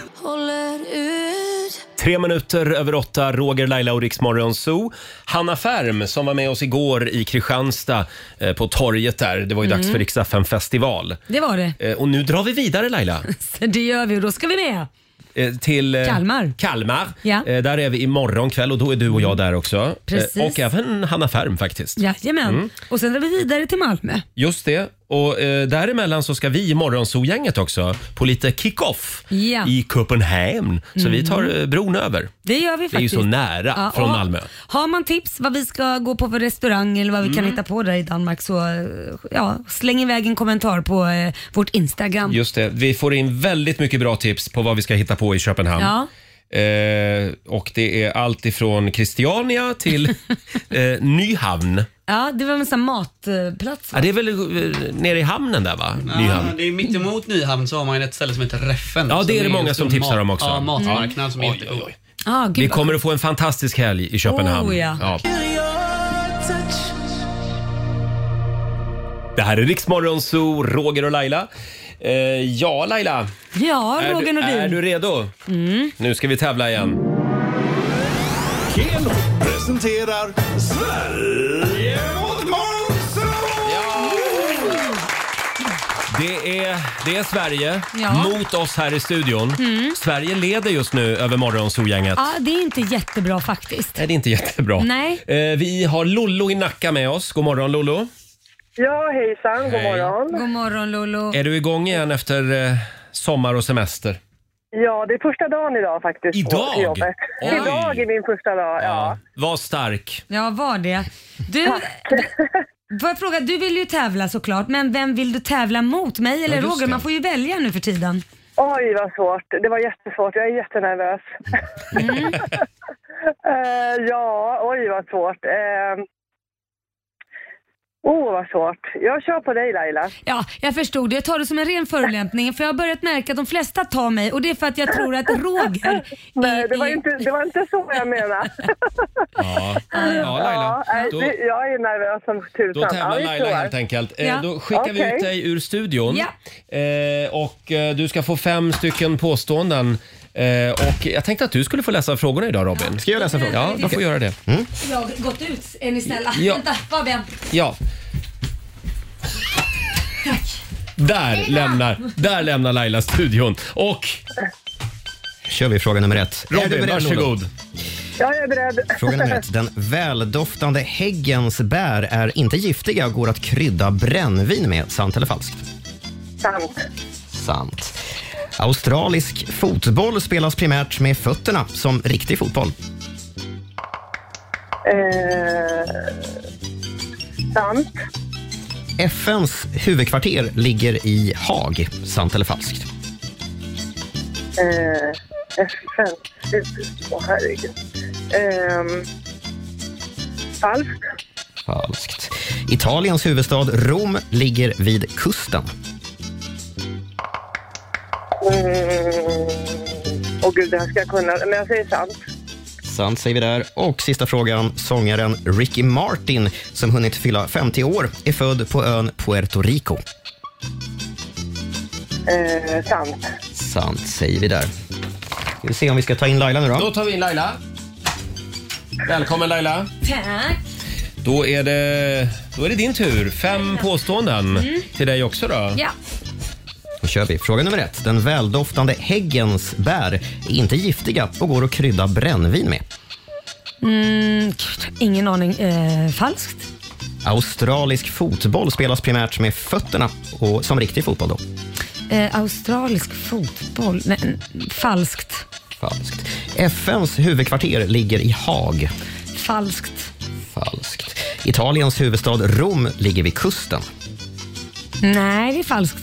[SPEAKER 1] Tre minuter över åtta, Roger, Laila och Riksmorgon Zoo. Hanna Färm som var med oss igår i Kristianstad eh, på torget där. Det var ju dags för Riksdagen festival.
[SPEAKER 3] Det var det.
[SPEAKER 1] Eh, och nu drar vi vidare Laila.
[SPEAKER 3] Så det gör vi och då ska vi med.
[SPEAKER 1] Eh, till eh,
[SPEAKER 3] Kalmar.
[SPEAKER 1] Kalmar.
[SPEAKER 3] Ja.
[SPEAKER 1] Eh, där är vi imorgon kväll och då är du och jag där också. Eh,
[SPEAKER 3] Precis.
[SPEAKER 1] och även Hanna Färm faktiskt.
[SPEAKER 3] Jajamän. Och sen drar vi vidare till Malmö.
[SPEAKER 1] Just det. Och eh, däremellan så ska vi i Morgonzoo-gänget också på lite kick-off
[SPEAKER 3] Ja. Mm.
[SPEAKER 1] i Köpenhamn. Så vi tar eh, bron över.
[SPEAKER 3] Det
[SPEAKER 1] Det
[SPEAKER 3] gör vi
[SPEAKER 1] är ju
[SPEAKER 3] faktiskt.
[SPEAKER 1] så nära
[SPEAKER 3] Ja,
[SPEAKER 1] från
[SPEAKER 3] och
[SPEAKER 1] Malmö.
[SPEAKER 3] Har man tips vad vi ska gå på för restaurang eller vad vi kan hitta på där i Danmark så eh, ja, släng iväg en kommentar på eh, vårt Instagram.
[SPEAKER 1] Just det. Vi får in väldigt mycket bra tips på vad vi ska hitta på i Köpenhamn.
[SPEAKER 3] Ja.
[SPEAKER 1] Eh, och det är allt ifrån Christiania
[SPEAKER 3] *laughs*
[SPEAKER 1] till eh, Nyhamn.
[SPEAKER 3] Ja, det var en sån här matplats.
[SPEAKER 1] Ja, det är väl eh, nere i hamnen där va? Nyhamn.
[SPEAKER 8] Ja, det är mittemot Nyhamn så har man ju ett ställe som heter Reffen.
[SPEAKER 1] Ja, det
[SPEAKER 8] som
[SPEAKER 1] är det
[SPEAKER 8] en
[SPEAKER 1] många som
[SPEAKER 8] stor
[SPEAKER 1] tipsar
[SPEAKER 8] mat-
[SPEAKER 1] om också.
[SPEAKER 8] Ja, matmarknad som är
[SPEAKER 1] Oj,
[SPEAKER 8] jättegod.
[SPEAKER 1] oj, oj.
[SPEAKER 3] Ah, gud,
[SPEAKER 1] Vi
[SPEAKER 3] vad-
[SPEAKER 1] kommer att få en fantastisk helg i Köpenhamn.
[SPEAKER 3] Oh, ja.
[SPEAKER 1] Det här är Riksmorgon Zoo, Roger och Laila. Eh, ja, Laila.
[SPEAKER 3] Ja,
[SPEAKER 1] Är
[SPEAKER 3] Roger Mm.
[SPEAKER 1] du, är
[SPEAKER 3] Nordin.
[SPEAKER 1] du redo? Nu ska vi tävla igen.
[SPEAKER 2] Keno presenterar Sverige mot Månsson!
[SPEAKER 1] Det är, det är Sverige
[SPEAKER 3] Ja. Mm.
[SPEAKER 1] mot oss här i studion. Sverige leder just nu över Morgonzoo-gänget.
[SPEAKER 3] Ja, det är inte jättebra faktiskt.
[SPEAKER 1] Nej, det är inte jättebra.
[SPEAKER 3] Nej.
[SPEAKER 1] Eh, vi har Lollo i Nacka med oss. God morgon Lollo.
[SPEAKER 6] Ja, hejsan, god
[SPEAKER 1] Hej.
[SPEAKER 6] morgon.
[SPEAKER 3] God morgon Lolo.
[SPEAKER 1] Är du igång igen efter eh, sommar och semester?
[SPEAKER 6] Ja, det är första dagen idag faktiskt.
[SPEAKER 1] Idag?
[SPEAKER 6] På jobbet.
[SPEAKER 1] Oj.
[SPEAKER 6] Idag är min första dag, ja.
[SPEAKER 1] Var stark.
[SPEAKER 3] Ja, var det. Du, du- får jag fråga, du vill ju tävla såklart, men vem vill du tävla mot? Mig eller
[SPEAKER 1] just
[SPEAKER 3] Roger?
[SPEAKER 1] det.
[SPEAKER 3] Man får ju välja nu för tiden.
[SPEAKER 6] Oj, vad svårt. Det var jättesvårt. Jag är jättenervös.
[SPEAKER 1] Mm.
[SPEAKER 6] *laughs* Eh, ja, oj vad svårt. Eh, Åh, oh, vad svårt. Jag kör på dig Laila.
[SPEAKER 3] Ja, jag förstod det. Jag tar det som en ren förolämpning för jag har börjat märka att de flesta tar mig och det är för att jag tror att *laughs* Roger...
[SPEAKER 6] Nej, Eh, det var, inte, det var inte så jag menade.
[SPEAKER 1] Ja, *laughs* ja Laila.
[SPEAKER 6] nej,
[SPEAKER 1] Då,
[SPEAKER 6] det- jag är nervös som tusan.
[SPEAKER 1] då tävlar
[SPEAKER 6] Ja, vi
[SPEAKER 1] Laila
[SPEAKER 6] kör.
[SPEAKER 1] helt enkelt. Eh,
[SPEAKER 3] Ja.
[SPEAKER 1] Då skickar vi
[SPEAKER 6] Okej.
[SPEAKER 1] ut dig ur studion.
[SPEAKER 3] Ja.
[SPEAKER 1] Eh, och eh, du ska få fem stycken påståenden. Eh, och jag tänkte att du skulle få läsa frågorna idag Robin.
[SPEAKER 7] Ska jag läsa Mm. frågan?
[SPEAKER 1] Ja, du får göra det.
[SPEAKER 3] Jag har gått ut, är ni snälla?
[SPEAKER 1] Ja.
[SPEAKER 3] Vänta, Fabian.
[SPEAKER 1] Ja. Där lämnar, där lämnar Laila studion. Och
[SPEAKER 7] kör vi fråga nummer ett. Är du
[SPEAKER 1] Robin,
[SPEAKER 7] beredd, Olof?
[SPEAKER 1] varsågod.
[SPEAKER 6] Ja, jag är beredd.
[SPEAKER 7] Fråga nummer ett. Den väldoftande häggens bär är inte giftiga och går att krydda brännvin med. Sant eller falskt?
[SPEAKER 6] Sant.
[SPEAKER 7] Sant. Australisk fotboll spelas primärt med fötterna, som riktig fotboll.
[SPEAKER 6] Eh, sant.
[SPEAKER 7] FNs huvudkvarter ligger i Haag. Sant eller falskt?
[SPEAKER 6] Eh, FN. Åh, herregud. Eh, falskt.
[SPEAKER 7] Falskt. Italiens huvudstad Rom ligger vid kusten.
[SPEAKER 6] Mm. Åh gud, det här ska jag kunna. Men jag säger sant.
[SPEAKER 7] Sant säger vi där. Och sista frågan. Sångaren Ricky Martin, som hunnit fylla 50 år, är född på ön Puerto Rico.
[SPEAKER 6] Eh, sant.
[SPEAKER 7] Sant säger vi där. Ska vi se om vi ska ta in Laila nu då.
[SPEAKER 1] Då tar vi in Laila. Välkommen Laila.
[SPEAKER 3] Tack.
[SPEAKER 1] Då är det, då är det din tur. Fem påståenden till dig också då.
[SPEAKER 3] Mm. Ja.
[SPEAKER 7] Då kör vi. Fråga nummer ett. Den väldoftande häggens bär är inte giftiga och går att krydda brännvin med.
[SPEAKER 3] Mm, gud, ingen aning. Eh, falskt?
[SPEAKER 7] Australisk fotboll spelas primärt med fötterna, och, som riktig fotboll då.
[SPEAKER 3] Eh, australisk fotboll? Nej, n- falskt.
[SPEAKER 7] Falskt. FNs huvudkvarter ligger i Haag.
[SPEAKER 3] Falskt.
[SPEAKER 7] Falskt. Italiens huvudstad Rom ligger vid kusten.
[SPEAKER 3] Nej, det är falskt.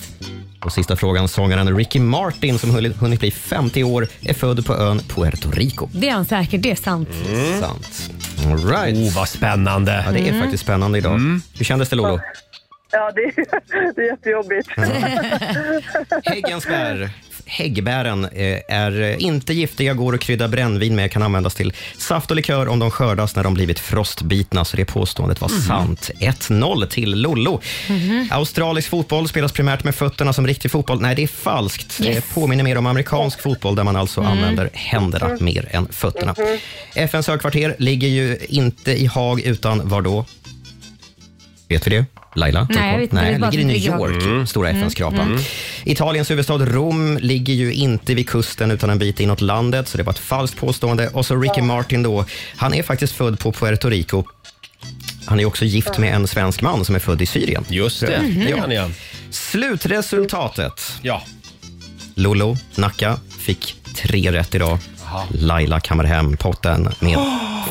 [SPEAKER 7] Och sista frågan. Sångaren Ricky Martin, som hunnit hunnit bli 50 år, är född på ön Puerto Rico.
[SPEAKER 3] Det är han säkert, det är sant.
[SPEAKER 1] Mm.
[SPEAKER 7] Sant. All right.
[SPEAKER 1] Oh, vad Mm. spännande.
[SPEAKER 7] Ja, det är faktiskt spännande idag. Hur kändes det, Lolo?
[SPEAKER 6] Ja, det, det är *laughs* jättejobbigt.
[SPEAKER 7] Häggens bär. Häggbären eh, är eh, inte giftiga, går att krydda brännvin med, kan användas till saft och likör om de skördas när de blivit frostbitna. Så det påståendet var sant. 1-0 till Lollo. Australisk fotboll spelas primärt med fötterna som riktig fotboll. Nej, det är falskt. Det påminner mer om amerikansk fotboll där man alltså använder händerna mer än fötterna. FNs högkvarter ligger ju inte i Haag, utan var då? Vet vi det? Laila?
[SPEAKER 3] Nej, jag vet inte. Det är
[SPEAKER 7] Nej,
[SPEAKER 3] bara
[SPEAKER 7] ligger i
[SPEAKER 3] att det
[SPEAKER 7] New
[SPEAKER 3] ligger i Mm. Haag.
[SPEAKER 7] York. Stora FNs krapa. Italiens huvudstad Rom ligger ju inte vid kusten utan en bit inåt landet, så det var ett falskt påstående. Och så Ricky Martin då. Han är faktiskt född på Puerto Rico. Han är också gift med en svensk man som är född i Syrien.
[SPEAKER 1] Just det,
[SPEAKER 3] Mm-hmm.
[SPEAKER 1] det kan jag.
[SPEAKER 7] Slutresultatet.
[SPEAKER 1] Ja.
[SPEAKER 7] Lolo Nacka fick tre rätt idag. Laila kammar hem potten med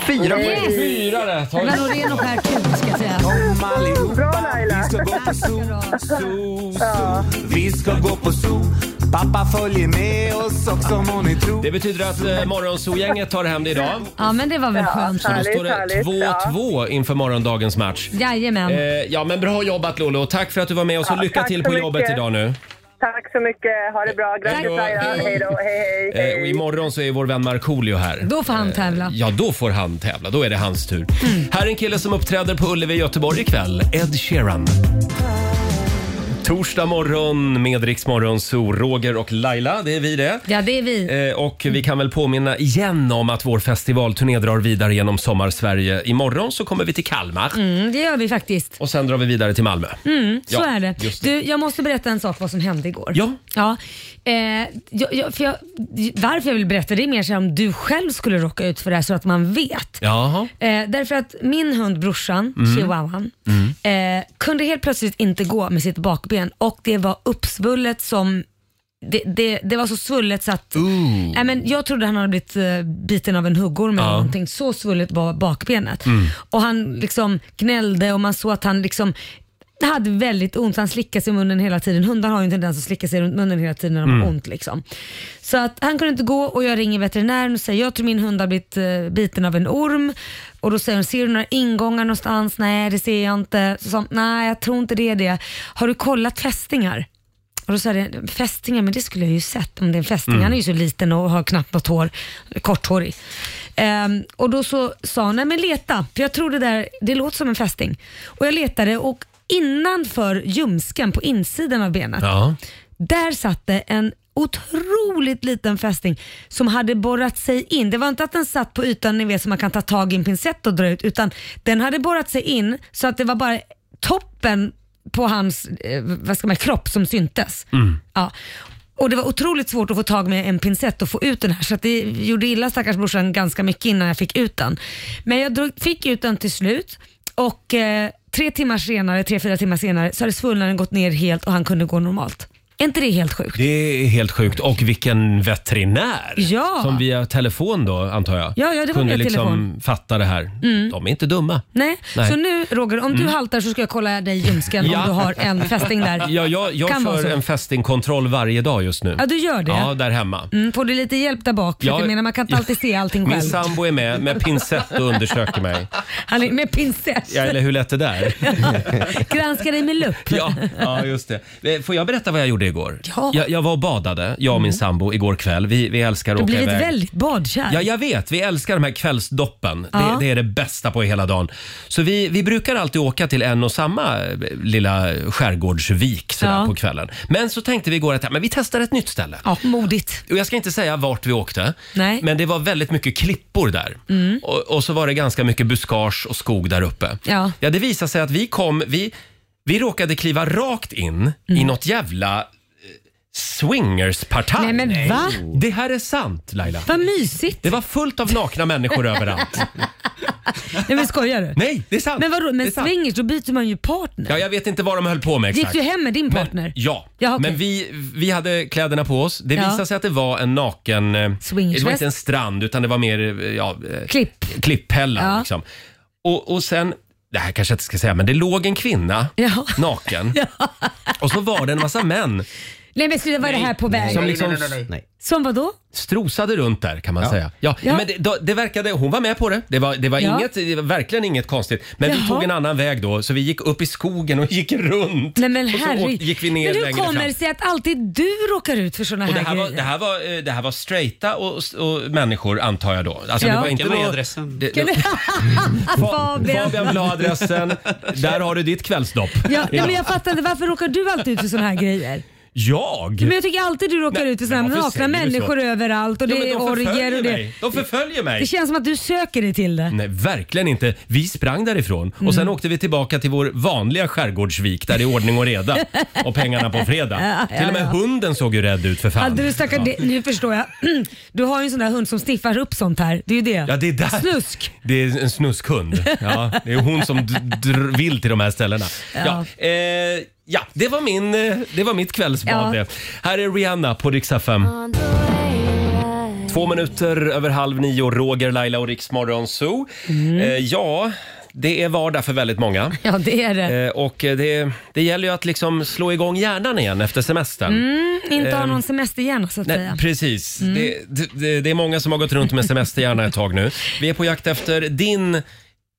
[SPEAKER 7] fyra poäng.
[SPEAKER 1] Fyra rätt har
[SPEAKER 3] Det var nog ren och skär kul ska jag säga.
[SPEAKER 6] Bra Laila.
[SPEAKER 2] Vi ska gå på zoo. Pappa följer med oss också må ni tro.
[SPEAKER 1] Det betyder att eh, Morgonzoo-gänget tar hem det idag.
[SPEAKER 3] Ja, men det var väl skönt.
[SPEAKER 1] Då
[SPEAKER 6] Härligt,
[SPEAKER 1] står det
[SPEAKER 6] härligt. Mm.
[SPEAKER 1] 2-2 inför morgondagens match.
[SPEAKER 3] Jajamän.
[SPEAKER 1] Eh, ja, men bra jobbat Lolo. Tack för att du var med oss och
[SPEAKER 6] Ja,
[SPEAKER 1] lycka
[SPEAKER 6] tack
[SPEAKER 1] till
[SPEAKER 6] så
[SPEAKER 1] på jobbet
[SPEAKER 6] mycket.
[SPEAKER 1] idag nu.
[SPEAKER 6] Tack så mycket. Ha det bra. Grattis
[SPEAKER 1] Hej då.
[SPEAKER 6] Laila. Hej då. Hej, hej,
[SPEAKER 1] Eh, och
[SPEAKER 6] hej.
[SPEAKER 1] imorgon så är vår vän Markoolio här.
[SPEAKER 3] Då får han tävla.
[SPEAKER 1] eh, *laughs* Ja, då får han tävla. Då är det hans tur. Här är en kille som uppträder på Ullevi i Göteborg ikväll. Ed Sheeran. Torsdag morgon med Rix Morgon, så Roger och Laila, det är vi det.
[SPEAKER 3] Ja, det är vi.
[SPEAKER 1] Eh, Och vi kan väl påminna igen om att vår festivalturné drar vidare genom sommarsverige. Imorgon så kommer vi till Kalmar
[SPEAKER 3] Mm, det gör vi faktiskt.
[SPEAKER 1] och sen drar vi vidare till Malmö.
[SPEAKER 3] Så
[SPEAKER 1] Ja,
[SPEAKER 3] är det.
[SPEAKER 1] just det.
[SPEAKER 3] Du, jag måste berätta en sak vad som hände igår.
[SPEAKER 1] Ja.
[SPEAKER 3] ja eh, jag, jag, för jag, varför jag vill berätta det är mer så här om du själv skulle råka ut för det här så att man vet.
[SPEAKER 1] Jaha.
[SPEAKER 3] Eh, därför att min hund brorsan,
[SPEAKER 1] Mm.
[SPEAKER 3] chihuahuan, eh, kunde helt plötsligt inte gå med sitt bakben och det var uppsvullet som det, det, det var så svullet så att nej, men jag trodde han hade blivit eh, biten av en huggorm eller någonting. Så svullet var bakbenet. Och Han liksom gnällde och man såg att han liksom hade väldigt ont, han slickade sig i munnen hela tiden. Hundar har ju en tendens att slicka sig runt munnen hela tiden när de har
[SPEAKER 10] Mm.
[SPEAKER 3] ont. Liksom. Så att han kunde inte gå och jag ringer veterinären och säger jag tror min hund har blivit eh, biten av en orm. Och då säger hon, ser du några ingångar någonstans? Nej, det ser jag inte. Så sa hon, nej jag tror inte det är det. Har du kollat fästingar? Och då sa jag, fästingar, men det skulle jag ju sett om det är en fästing.
[SPEAKER 10] Mm.
[SPEAKER 3] Han är ju så liten och har knappt något hår, korthårig. Ehm, och då så sa hon, nej men leta, för jag tror det där, det låter som en fästing. Och jag letade och innanför ljumsken på insidan av benet,
[SPEAKER 1] Ja.
[SPEAKER 3] där satt det en otroligt liten fästing som hade borrat sig in. Det var inte att den satt på ytan ni vet som man kan ta tag i en pincett och dra ut utan den hade borrat sig in så att det var bara toppen på hans eh, vad ska man, kropp som syntes.
[SPEAKER 10] Mm.
[SPEAKER 3] Ja. Och det var otroligt svårt att få tag med en pincett och få ut den här så att det gjorde illa stackars brorsan ganska mycket innan jag fick ut den. Men jag drog, fick ut den till slut och eh, tre timmar senare, tre, fyra timmar senare så hade svullnaden gått ner helt och han kunde gå normalt. Är inte det helt sjukt?
[SPEAKER 1] Det är helt sjukt. Och vilken veterinär!
[SPEAKER 3] Ja.
[SPEAKER 1] Som via telefon då, antar jag,
[SPEAKER 3] Ja, ja, det var
[SPEAKER 1] kunde
[SPEAKER 3] via
[SPEAKER 1] liksom
[SPEAKER 3] telefon.
[SPEAKER 1] fatta det här.
[SPEAKER 3] Mm.
[SPEAKER 1] De är inte dumma.
[SPEAKER 3] Nej.
[SPEAKER 1] Nej.
[SPEAKER 3] så nu Roger, om du
[SPEAKER 1] Mm.
[SPEAKER 3] haltar så ska jag kolla dig i ljumsken om du har en fästing där.
[SPEAKER 1] *laughs* Ja, jag jag
[SPEAKER 3] Kan vara
[SPEAKER 1] för
[SPEAKER 3] så.
[SPEAKER 1] en fästingkontroll varje dag just nu.
[SPEAKER 3] Ja, du gör det?
[SPEAKER 1] Ja, där hemma.
[SPEAKER 3] Mm, får du lite hjälp där bak? För
[SPEAKER 1] Ja.
[SPEAKER 3] att jag menar, man kan inte alltid se allting
[SPEAKER 1] Min
[SPEAKER 3] själv.
[SPEAKER 1] sambo är med med pincett och undersöker mig.
[SPEAKER 3] Han är med pincett.
[SPEAKER 1] Ja, eller hur lätt det
[SPEAKER 3] *laughs*
[SPEAKER 1] där?
[SPEAKER 3] Granska dig med lupp.
[SPEAKER 1] Ja, ja, just det. Eh, Får jag berätta vad jag gjorde igår?
[SPEAKER 3] Ja. Mm.
[SPEAKER 1] Jag, jag var och badade, jag och min sambo, igår kväll. Vi, vi älskar att
[SPEAKER 3] Du
[SPEAKER 1] åka
[SPEAKER 3] har blivit
[SPEAKER 1] iväg.
[SPEAKER 3] väldigt badkär.
[SPEAKER 1] Ja, jag vet. Vi älskar de här kvällsdoppen.
[SPEAKER 3] Ja.
[SPEAKER 1] Det, det är det bästa på hela dagen. Så vi, vi brukar alltid åka till en och samma eh, lilla skärgårdsvik sådär
[SPEAKER 3] Ja.
[SPEAKER 1] på kvällen. Men så tänkte vi igår att ja, men vi testar ett nytt ställe.
[SPEAKER 3] Ja, modigt.
[SPEAKER 1] Och jag ska inte säga vart vi åkte,
[SPEAKER 3] Nej.
[SPEAKER 1] men det var väldigt mycket klippor där.
[SPEAKER 3] Mm.
[SPEAKER 1] Och, och så var det ganska mycket buskage och skog där uppe.
[SPEAKER 3] Ja.
[SPEAKER 1] Ja, det visade sig att vi kom, vi, vi råkade kliva rakt in i
[SPEAKER 3] Mm.
[SPEAKER 1] något jävla eh, swingersparti.
[SPEAKER 3] Nej, men Nej. va?
[SPEAKER 1] Det här är sant Laila.
[SPEAKER 3] Vad mysigt.
[SPEAKER 1] Det var fullt av nakna människor överallt.
[SPEAKER 3] Nej men skojar du?
[SPEAKER 1] *laughs* Nej, det är sant.
[SPEAKER 3] Men vadå,
[SPEAKER 1] Det
[SPEAKER 3] men
[SPEAKER 1] är sant.
[SPEAKER 3] swingers, då byter man ju partner.
[SPEAKER 1] Ja, jag vet inte vad de höll på med
[SPEAKER 3] Gick
[SPEAKER 1] exakt.
[SPEAKER 3] du hem med din partner?
[SPEAKER 1] Ja,
[SPEAKER 3] Ja, okej.
[SPEAKER 1] men vi, vi hade kläderna på oss. Det
[SPEAKER 3] Ja.
[SPEAKER 1] visade sig att det var en naken... eh, Det var
[SPEAKER 3] Swingersfest.
[SPEAKER 1] inte en strand utan det var mer eh, ja, eh,
[SPEAKER 3] Klipp.
[SPEAKER 1] klipphällan.
[SPEAKER 3] Ja.
[SPEAKER 1] Liksom. Och, och sen, det här kanske jag inte ska säga, men det låg en kvinna
[SPEAKER 3] *laughs* Ja.
[SPEAKER 1] naken. Och så var det en massa män
[SPEAKER 3] Nej men sluta, vad är det här på väg?
[SPEAKER 1] som liksom
[SPEAKER 3] Som vadå?
[SPEAKER 1] strosade runt där kan man säga. Ja,
[SPEAKER 3] Ja.
[SPEAKER 1] Men det, då- det verkade, hon var med på det. Det var, det var,
[SPEAKER 3] Ja.
[SPEAKER 1] inget, det var verkligen inget konstigt. Men vi
[SPEAKER 3] Jaha.
[SPEAKER 1] tog en annan väg då, så vi gick upp i skogen och *laughs* gick runt.
[SPEAKER 3] Nej men
[SPEAKER 1] och så
[SPEAKER 3] herregud.
[SPEAKER 1] åkte- gick vi ner
[SPEAKER 3] Men hur
[SPEAKER 1] längre fram.
[SPEAKER 3] kommer det sig att alltid du råkar ut för sådana
[SPEAKER 1] Och
[SPEAKER 3] här,
[SPEAKER 1] det, här var,
[SPEAKER 3] grejer?
[SPEAKER 1] det, här var, eh, det här var straighta och, och människor antar jag då. Alltså, det
[SPEAKER 3] Ja.
[SPEAKER 1] var inte
[SPEAKER 3] Kan man ge
[SPEAKER 1] någon-
[SPEAKER 8] adressen?
[SPEAKER 1] Det, det,
[SPEAKER 3] Fabian.
[SPEAKER 1] Fabian vill ha adressen.
[SPEAKER 3] *laughs*
[SPEAKER 1] Där har du ditt kvällsdopp.
[SPEAKER 3] Ja, nej, men jag fattar inte, varför råkar du alltid ut för sådana här grejer?
[SPEAKER 1] Jag?
[SPEAKER 3] Men jag tycker alltid du råkar ut för sådana här
[SPEAKER 1] varför
[SPEAKER 3] nakna
[SPEAKER 1] säger du så?
[SPEAKER 3] människor överallt och
[SPEAKER 1] Ja,
[SPEAKER 3] det
[SPEAKER 1] men
[SPEAKER 3] är
[SPEAKER 1] de förföljer
[SPEAKER 3] orgier och det.
[SPEAKER 1] mig. Mm. De förföljer mig.
[SPEAKER 3] Det känns som att du söker dig till det.
[SPEAKER 1] Nej, verkligen inte. Vi sprang därifrån och sen
[SPEAKER 3] Mm.
[SPEAKER 1] åkte vi tillbaka till vår vanliga skärgårdsvik där det är ordning och
[SPEAKER 3] *laughs*
[SPEAKER 1] reda och pengarna på fredag.
[SPEAKER 3] Ja, ja,
[SPEAKER 1] till och med
[SPEAKER 3] ja.
[SPEAKER 1] hunden såg ju rädd ut för fan.
[SPEAKER 3] Hade du stackar,
[SPEAKER 1] Ja.
[SPEAKER 3] det, nu förstår jag. *clears throat* Du har ju en sån där hund som sniffar upp sånt här. Det är ju det.
[SPEAKER 1] Ja, det är där.
[SPEAKER 3] Snusk.
[SPEAKER 1] Det är en snuskhund. Ja, det är hon som d- dr- vill till de här ställena. Ja, eh, ja det, var min, eh, det var mitt kvällsbad
[SPEAKER 10] Ja.
[SPEAKER 1] det. Här är Rihanna på riksdag 5. Två minuter över halv nio, Roger, Laila och Riksmorgon Zoo.
[SPEAKER 3] Mm.
[SPEAKER 1] Eh, ja, det är vardag för väldigt många.
[SPEAKER 3] Ja, det är det.
[SPEAKER 1] Eh, och eh, det, det gäller ju att liksom slå igång hjärnan igen efter semestern.
[SPEAKER 3] Mm, inte ha
[SPEAKER 1] Ehm,
[SPEAKER 3] någon semesterhjärna så att
[SPEAKER 1] Nej,
[SPEAKER 3] säga.
[SPEAKER 1] precis.
[SPEAKER 3] Mm.
[SPEAKER 1] Det, det, det är många som har gått runt med semesterhjärna ett tag nu. Vi är på jakt efter din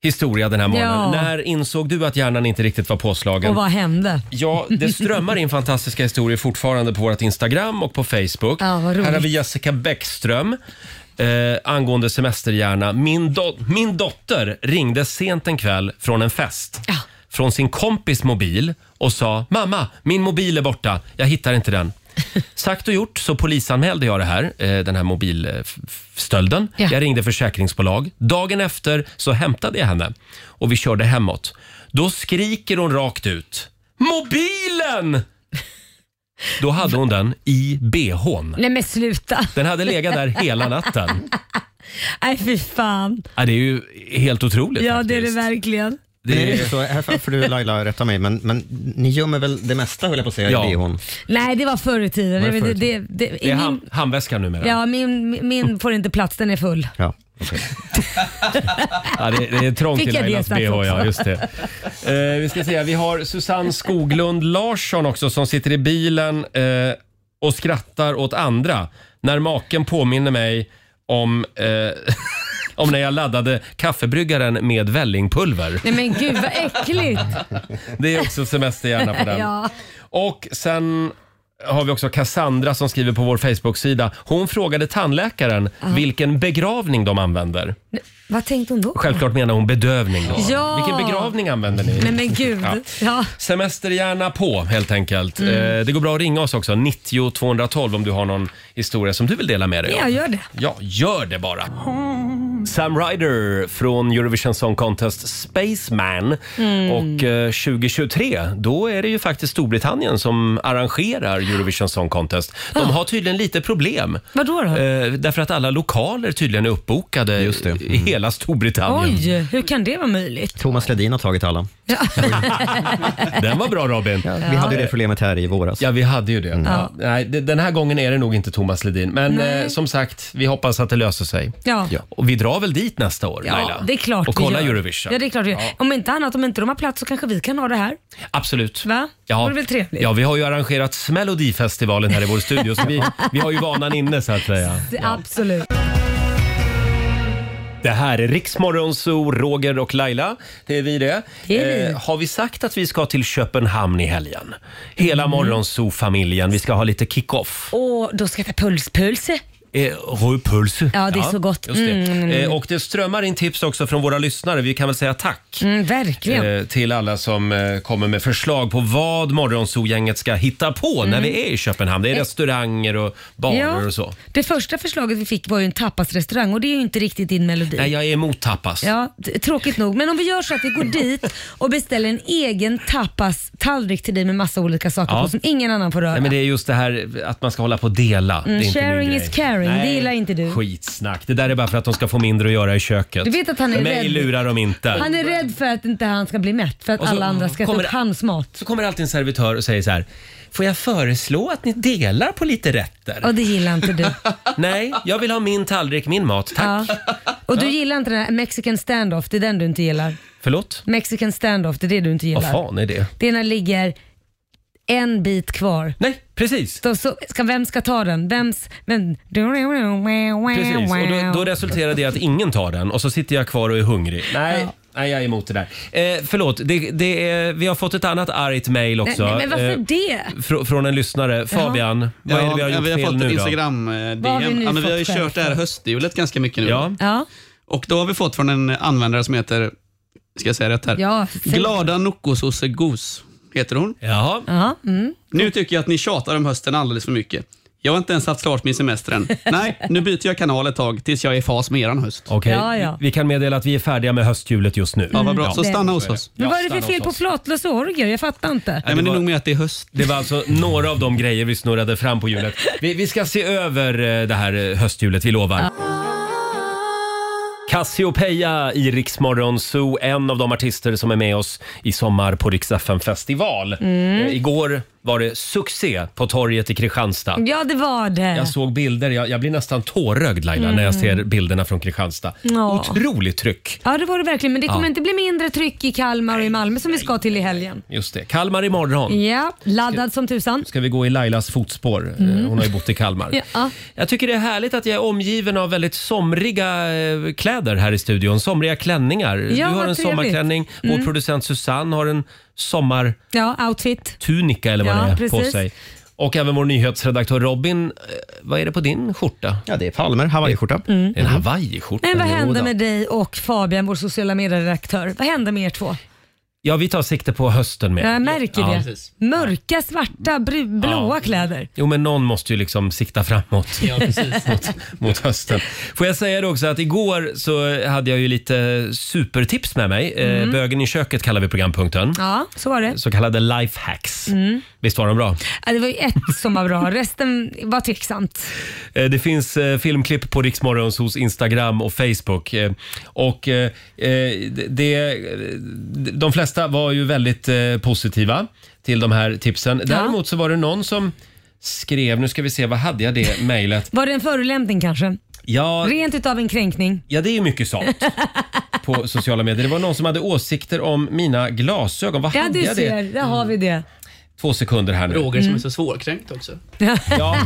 [SPEAKER 1] historia den här morgonen.
[SPEAKER 3] Ja.
[SPEAKER 1] När insåg du att hjärnan inte riktigt var påslagen?
[SPEAKER 3] Och vad hände?
[SPEAKER 1] Ja, det strömmar in fantastiska historier fortfarande på vårt Instagram och på Facebook.
[SPEAKER 3] Ja, vad roligt.
[SPEAKER 1] Här har vi Jessica Bäckström. Eh, angående semesterhjärna. Min, do- min dotter ringde sent en kväll från en fest. Från sin kompis mobil och sa “Mamma, min mobil är borta. Jag hittar inte
[SPEAKER 3] *laughs*
[SPEAKER 1] den”. Sagt och gjort så polisanmälde jag det här, eh, den här mobilstölden. Jag ringde försäkringsbolag. Dagen efter så hämtade jag henne och vi körde hemåt. Då skriker hon rakt ut
[SPEAKER 3] *laughs*
[SPEAKER 1] “Mobilen!” Då hade hon den i bhn.
[SPEAKER 3] Nej men sluta. *laughs*
[SPEAKER 1] Den hade legat där hela natten.
[SPEAKER 3] Nej fy fan.
[SPEAKER 1] Ja, det är ju helt otroligt.
[SPEAKER 3] Ja det är det verkligen.
[SPEAKER 7] *gasps* Det *laughs* är så, här får du Laila rätta mig, men, men ni gömmer väl det mesta höll jag på att säga
[SPEAKER 1] Ja.
[SPEAKER 7] i bhn?
[SPEAKER 3] Nej det var förr i tiden.
[SPEAKER 7] Var det
[SPEAKER 3] Det,
[SPEAKER 7] förr i
[SPEAKER 3] det, det, det,
[SPEAKER 1] Det är
[SPEAKER 3] min,
[SPEAKER 1] ham- handväskan numera.
[SPEAKER 3] ja, min, min- min får inte plats, den är full.
[SPEAKER 7] Ja.
[SPEAKER 1] Ja, det, det är trångt i
[SPEAKER 3] Fick jag det
[SPEAKER 1] Lailas
[SPEAKER 3] sagt
[SPEAKER 1] bh, ja.
[SPEAKER 3] också?
[SPEAKER 1] Just det. Eh, vi ska se, här. vi har Susanne Skoglund Larsson också som sitter i bilen eh, och skrattar åt andra. När maken påminner mig om, eh, *laughs* om när jag laddade kaffebryggaren med vällingpulver.
[SPEAKER 3] Nej men gud vad äckligt.
[SPEAKER 1] Det är också semesterhjärna på den.
[SPEAKER 3] *laughs* Ja.
[SPEAKER 1] Och sen har vi också Cassandra som skriver på vår Facebook-sida. Hon frågade tandläkaren vilken begravning de använder.
[SPEAKER 3] Vad tänkte hon då?
[SPEAKER 1] Självklart menar hon bedövning. Då.
[SPEAKER 3] Ja.
[SPEAKER 1] Vilken begravning använder ni?
[SPEAKER 3] Nej men gud.
[SPEAKER 1] Ja.
[SPEAKER 3] Ja.
[SPEAKER 1] Semestergärna på helt enkelt.
[SPEAKER 3] Mm.
[SPEAKER 1] Eh, det går bra att ringa oss också, 90 212 om du har någon historia som du vill dela med dig av.
[SPEAKER 3] Jag gör det.
[SPEAKER 1] Ja, gör det bara. Sam Ryder från Eurovision Song Contest Spaceman.
[SPEAKER 3] Mm.
[SPEAKER 1] Och eh, 2023, då är det ju faktiskt Storbritannien som arrangerar Eurovision Song Contest. De har tydligen lite problem.
[SPEAKER 3] Ah. Vadå då?
[SPEAKER 1] Eh, därför att alla lokaler tydligen är uppbokade
[SPEAKER 7] Just det. Mm.
[SPEAKER 1] i hela Storbritannien.
[SPEAKER 3] Oj, hur kan det vara möjligt?
[SPEAKER 7] Thomas Ledin har tagit alla.
[SPEAKER 1] Den var bra Robin.
[SPEAKER 7] Vi hade ju det problemet här i våras.
[SPEAKER 1] Ja, vi hade ju det.
[SPEAKER 3] Mm.
[SPEAKER 1] Ja. Nej, det- den här gången är det nog inte Thomas Ledin. Men
[SPEAKER 3] Nej.
[SPEAKER 1] eh, som sagt, vi hoppas att det löser sig.
[SPEAKER 3] Ja.
[SPEAKER 1] Ja. Och vi drar väl dit nästa år,
[SPEAKER 3] Ja,
[SPEAKER 1] Laila?
[SPEAKER 3] det är klart
[SPEAKER 1] Och kolla
[SPEAKER 3] vi gör.
[SPEAKER 1] Eurovision.
[SPEAKER 3] Ja, det är klart vi gör. Om inte annat, om inte de har plats så kanske vi kan ha det här.
[SPEAKER 1] Absolut.
[SPEAKER 3] Va? Vore väl trevligt?
[SPEAKER 1] ja, vi har ju arrangerat Melodifestivalen här i vår studio, så
[SPEAKER 3] *laughs*
[SPEAKER 1] vi, vi har ju vanan inne så att säga.
[SPEAKER 3] Det- Absolut.
[SPEAKER 1] Det här är Riksmorgon Zoo, Roger och Laila. Det är vi det.
[SPEAKER 3] Det är vi.
[SPEAKER 1] Eh, har vi sagt att vi ska till Köpenhamn i helgen? Hela mm. familjen Vi ska ha lite kick-off.
[SPEAKER 3] Och då ska jag ta pulspulse.
[SPEAKER 1] Eh, Rödpuls.
[SPEAKER 3] Ja, det är så gott.
[SPEAKER 1] Just det.
[SPEAKER 3] Mm, mm,
[SPEAKER 1] Eh, och det strömmar in tips också från våra lyssnare. Vi kan väl säga tack.
[SPEAKER 3] Mm, verkligen.
[SPEAKER 1] eh, till alla som eh, kommer med förslag på vad Morgonzoo-gänget ska hitta på
[SPEAKER 3] Mm.
[SPEAKER 1] när vi är i Köpenhamn. Det är restauranger och barer och så.
[SPEAKER 3] Det första förslaget vi fick var ju en tapasrestaurang och det är ju inte riktigt din melodi.
[SPEAKER 1] Nej, jag är emot tapas.
[SPEAKER 3] Ja, t- tråkigt nog. Men om vi gör så att vi går dit och beställer en egen tapas-tallrik till dig med massa olika saker
[SPEAKER 1] Ja.
[SPEAKER 3] på som ingen annan får röra.
[SPEAKER 1] Nej, men det är just det här att man ska hålla på och dela. det är inte min
[SPEAKER 3] Mm, sharing
[SPEAKER 1] grej.
[SPEAKER 3] is caring. Det
[SPEAKER 1] Nej,
[SPEAKER 3] gillar inte du.
[SPEAKER 1] Skitsnack. Det där är bara för att de ska få mindre att göra i köket.
[SPEAKER 3] Du vet att han är
[SPEAKER 1] Mig
[SPEAKER 3] rädd.
[SPEAKER 1] lurar de inte.
[SPEAKER 3] Han är rädd för att inte han ska bli mätt, för att
[SPEAKER 1] Och så
[SPEAKER 3] alla andra ska äta
[SPEAKER 1] kommer
[SPEAKER 3] upp
[SPEAKER 1] det-
[SPEAKER 3] hans mat.
[SPEAKER 1] Så kommer alltid en servitör och säger så här. Får jag föreslå att ni delar på lite rätter?
[SPEAKER 3] Och det gillar
[SPEAKER 1] *laughs*
[SPEAKER 3] inte du.
[SPEAKER 1] Nej, jag vill ha min tallrik, min mat. Tack.
[SPEAKER 3] Ja. Och du gillar inte den här mexican standoff, det är den du inte gillar.
[SPEAKER 1] Förlåt?
[SPEAKER 3] Mexican standoff, det är det du inte
[SPEAKER 1] Vad
[SPEAKER 3] gillar.
[SPEAKER 1] fan är det?
[SPEAKER 3] Det är när det ligger en bit kvar.
[SPEAKER 1] Nej, precis.
[SPEAKER 3] Så, så, ska, vem ska ta den? Vems... Vem?
[SPEAKER 1] Precis, och då, då resulterar det i att ingen tar den och så sitter jag kvar och är hungrig. Nej,
[SPEAKER 3] Ja.
[SPEAKER 1] nej jag är emot det där. Eh, förlåt, det, det är, vi har fått ett annat argt mejl också.
[SPEAKER 3] Nej, men varför
[SPEAKER 1] eh,
[SPEAKER 3] det?
[SPEAKER 1] fr- från en lyssnare. Fabian, vad är det vi har gjort
[SPEAKER 8] vi har
[SPEAKER 1] fel
[SPEAKER 8] fått
[SPEAKER 1] nu
[SPEAKER 8] ett
[SPEAKER 1] då?
[SPEAKER 8] Instagram-DM.
[SPEAKER 3] Vad har vi nu
[SPEAKER 8] ja, men vi har ju
[SPEAKER 3] fått
[SPEAKER 8] kört det här
[SPEAKER 3] själv?
[SPEAKER 8] hösthjulet ganska mycket nu.
[SPEAKER 1] Ja.
[SPEAKER 3] Ja,
[SPEAKER 8] Och då har vi fått från en användare som heter, ska jag säga rätt här?
[SPEAKER 3] ja. säg-
[SPEAKER 8] Glada Noccososse Gos heter hon.
[SPEAKER 1] Jaha.
[SPEAKER 3] Ja, mm.
[SPEAKER 8] Nu tycker jag att ni tjatar om hösten alldeles för mycket. Jag har inte ens haft klart min semester än. Nej, nu byter jag kanal ett tag tills jag är i fas med eran höst.
[SPEAKER 1] Okej,
[SPEAKER 3] Ja, ja.
[SPEAKER 1] Vi, vi kan meddela att vi är färdiga med hösthjulet just nu. Mm.
[SPEAKER 8] Ja, vad bra. Så
[SPEAKER 3] det-
[SPEAKER 8] stanna hos oss.
[SPEAKER 3] Men
[SPEAKER 1] Ja,
[SPEAKER 3] vad är det för
[SPEAKER 1] stanna
[SPEAKER 3] fel
[SPEAKER 1] hos
[SPEAKER 3] på
[SPEAKER 1] oss.
[SPEAKER 3] flatlös och orger? Jag fattar inte.
[SPEAKER 8] Nej, men det är nog med att det är höst.
[SPEAKER 1] Det var alltså några av de grejer vi snurrade fram på hjulet. Vi, vi ska se över eh, det här eh, hösthjulet, vi lovar. Cassiopeia i Rix Morgon Zoo, en av de artister som är med oss i sommar på Rix FM festival. Eh, Igår var det succé på torget i Kristianstad.
[SPEAKER 3] Ja, det var det.
[SPEAKER 1] Jag såg bilder, jag, jag blir nästan tårögd Laila när jag ser bilderna från Kristianstad.
[SPEAKER 3] Ja.
[SPEAKER 1] Otroligt tryck.
[SPEAKER 3] Ja, det var det verkligen. Men det kommer
[SPEAKER 1] Ja.
[SPEAKER 3] inte bli mindre tryck i Kalmar och i Malmö som vi ska till i helgen.
[SPEAKER 1] Just det, Kalmar imorgon.
[SPEAKER 3] Ja, laddad som tusan.
[SPEAKER 1] ska vi gå i Lailas fotspår. Eh, Hon har ju bott i Kalmar.
[SPEAKER 3] Mm. *laughs* Ja.
[SPEAKER 1] Jag tycker det är härligt att jag är omgiven av väldigt somriga eh, kläder här i studion. Somriga klänningar. du har en
[SPEAKER 3] vad trevligt. Mm.
[SPEAKER 1] sommarklänning. Vår producent Susanne har en
[SPEAKER 3] Ja, outfit.
[SPEAKER 1] sommartunika eller vad
[SPEAKER 3] Ja,
[SPEAKER 1] det är på
[SPEAKER 3] precis.
[SPEAKER 1] sig. Och även vår nyhetsredaktör Robin. eh, Vad är det på din skjorta?
[SPEAKER 7] Ja, det är palmer, hawaiiskjorta.
[SPEAKER 3] Mm.
[SPEAKER 1] En hawaiiskjorta.
[SPEAKER 3] Men Mm. vad hände
[SPEAKER 1] Jodå.
[SPEAKER 3] med dig och Fabian, vår sociala medieredaktör? Vad hände med er två?
[SPEAKER 1] Ja, vi tar sikte på hösten med.
[SPEAKER 3] Jag märker
[SPEAKER 1] Ja.
[SPEAKER 3] det. Mörka, svarta, bru- blåa kläder.
[SPEAKER 1] Jo, men någon måste ju liksom sikta framåt.
[SPEAKER 8] Ja, *laughs* precis.
[SPEAKER 1] *laughs* mot hösten. Får jag säga det också att igår så hade jag ju lite supertips med mig. Eh, Bögen i köket kallar vi programpunkten.
[SPEAKER 3] Ja, så var det.
[SPEAKER 1] Så kallade lifehacks. Visst var de bra?
[SPEAKER 3] Ja, det var ju ett som var bra, resten var tveksamt.
[SPEAKER 1] Eh, det finns eh, filmklipp på Riksmorgons hos Instagram och Facebook. Eh, och eh, eh, det, de flesta var ju väldigt eh, positiva till de här tipsen. Däremot så var det någon som skrev, nu ska vi se, vad hade jag det mejlet?
[SPEAKER 3] Var det en förolämpning kanske?
[SPEAKER 1] Ja,
[SPEAKER 3] Rent utav en kränkning.
[SPEAKER 1] ja, det är ju mycket
[SPEAKER 3] *laughs*
[SPEAKER 1] sånt på sociala medier. Det var någon som hade åsikter om mina glasögon. Vad
[SPEAKER 3] Ja,
[SPEAKER 1] hade
[SPEAKER 3] du
[SPEAKER 1] jag
[SPEAKER 3] ser.
[SPEAKER 1] det?
[SPEAKER 3] Där har vi det.
[SPEAKER 1] Två sekunder här nu.
[SPEAKER 8] Roger som är så svårkränkt också.
[SPEAKER 1] Ja,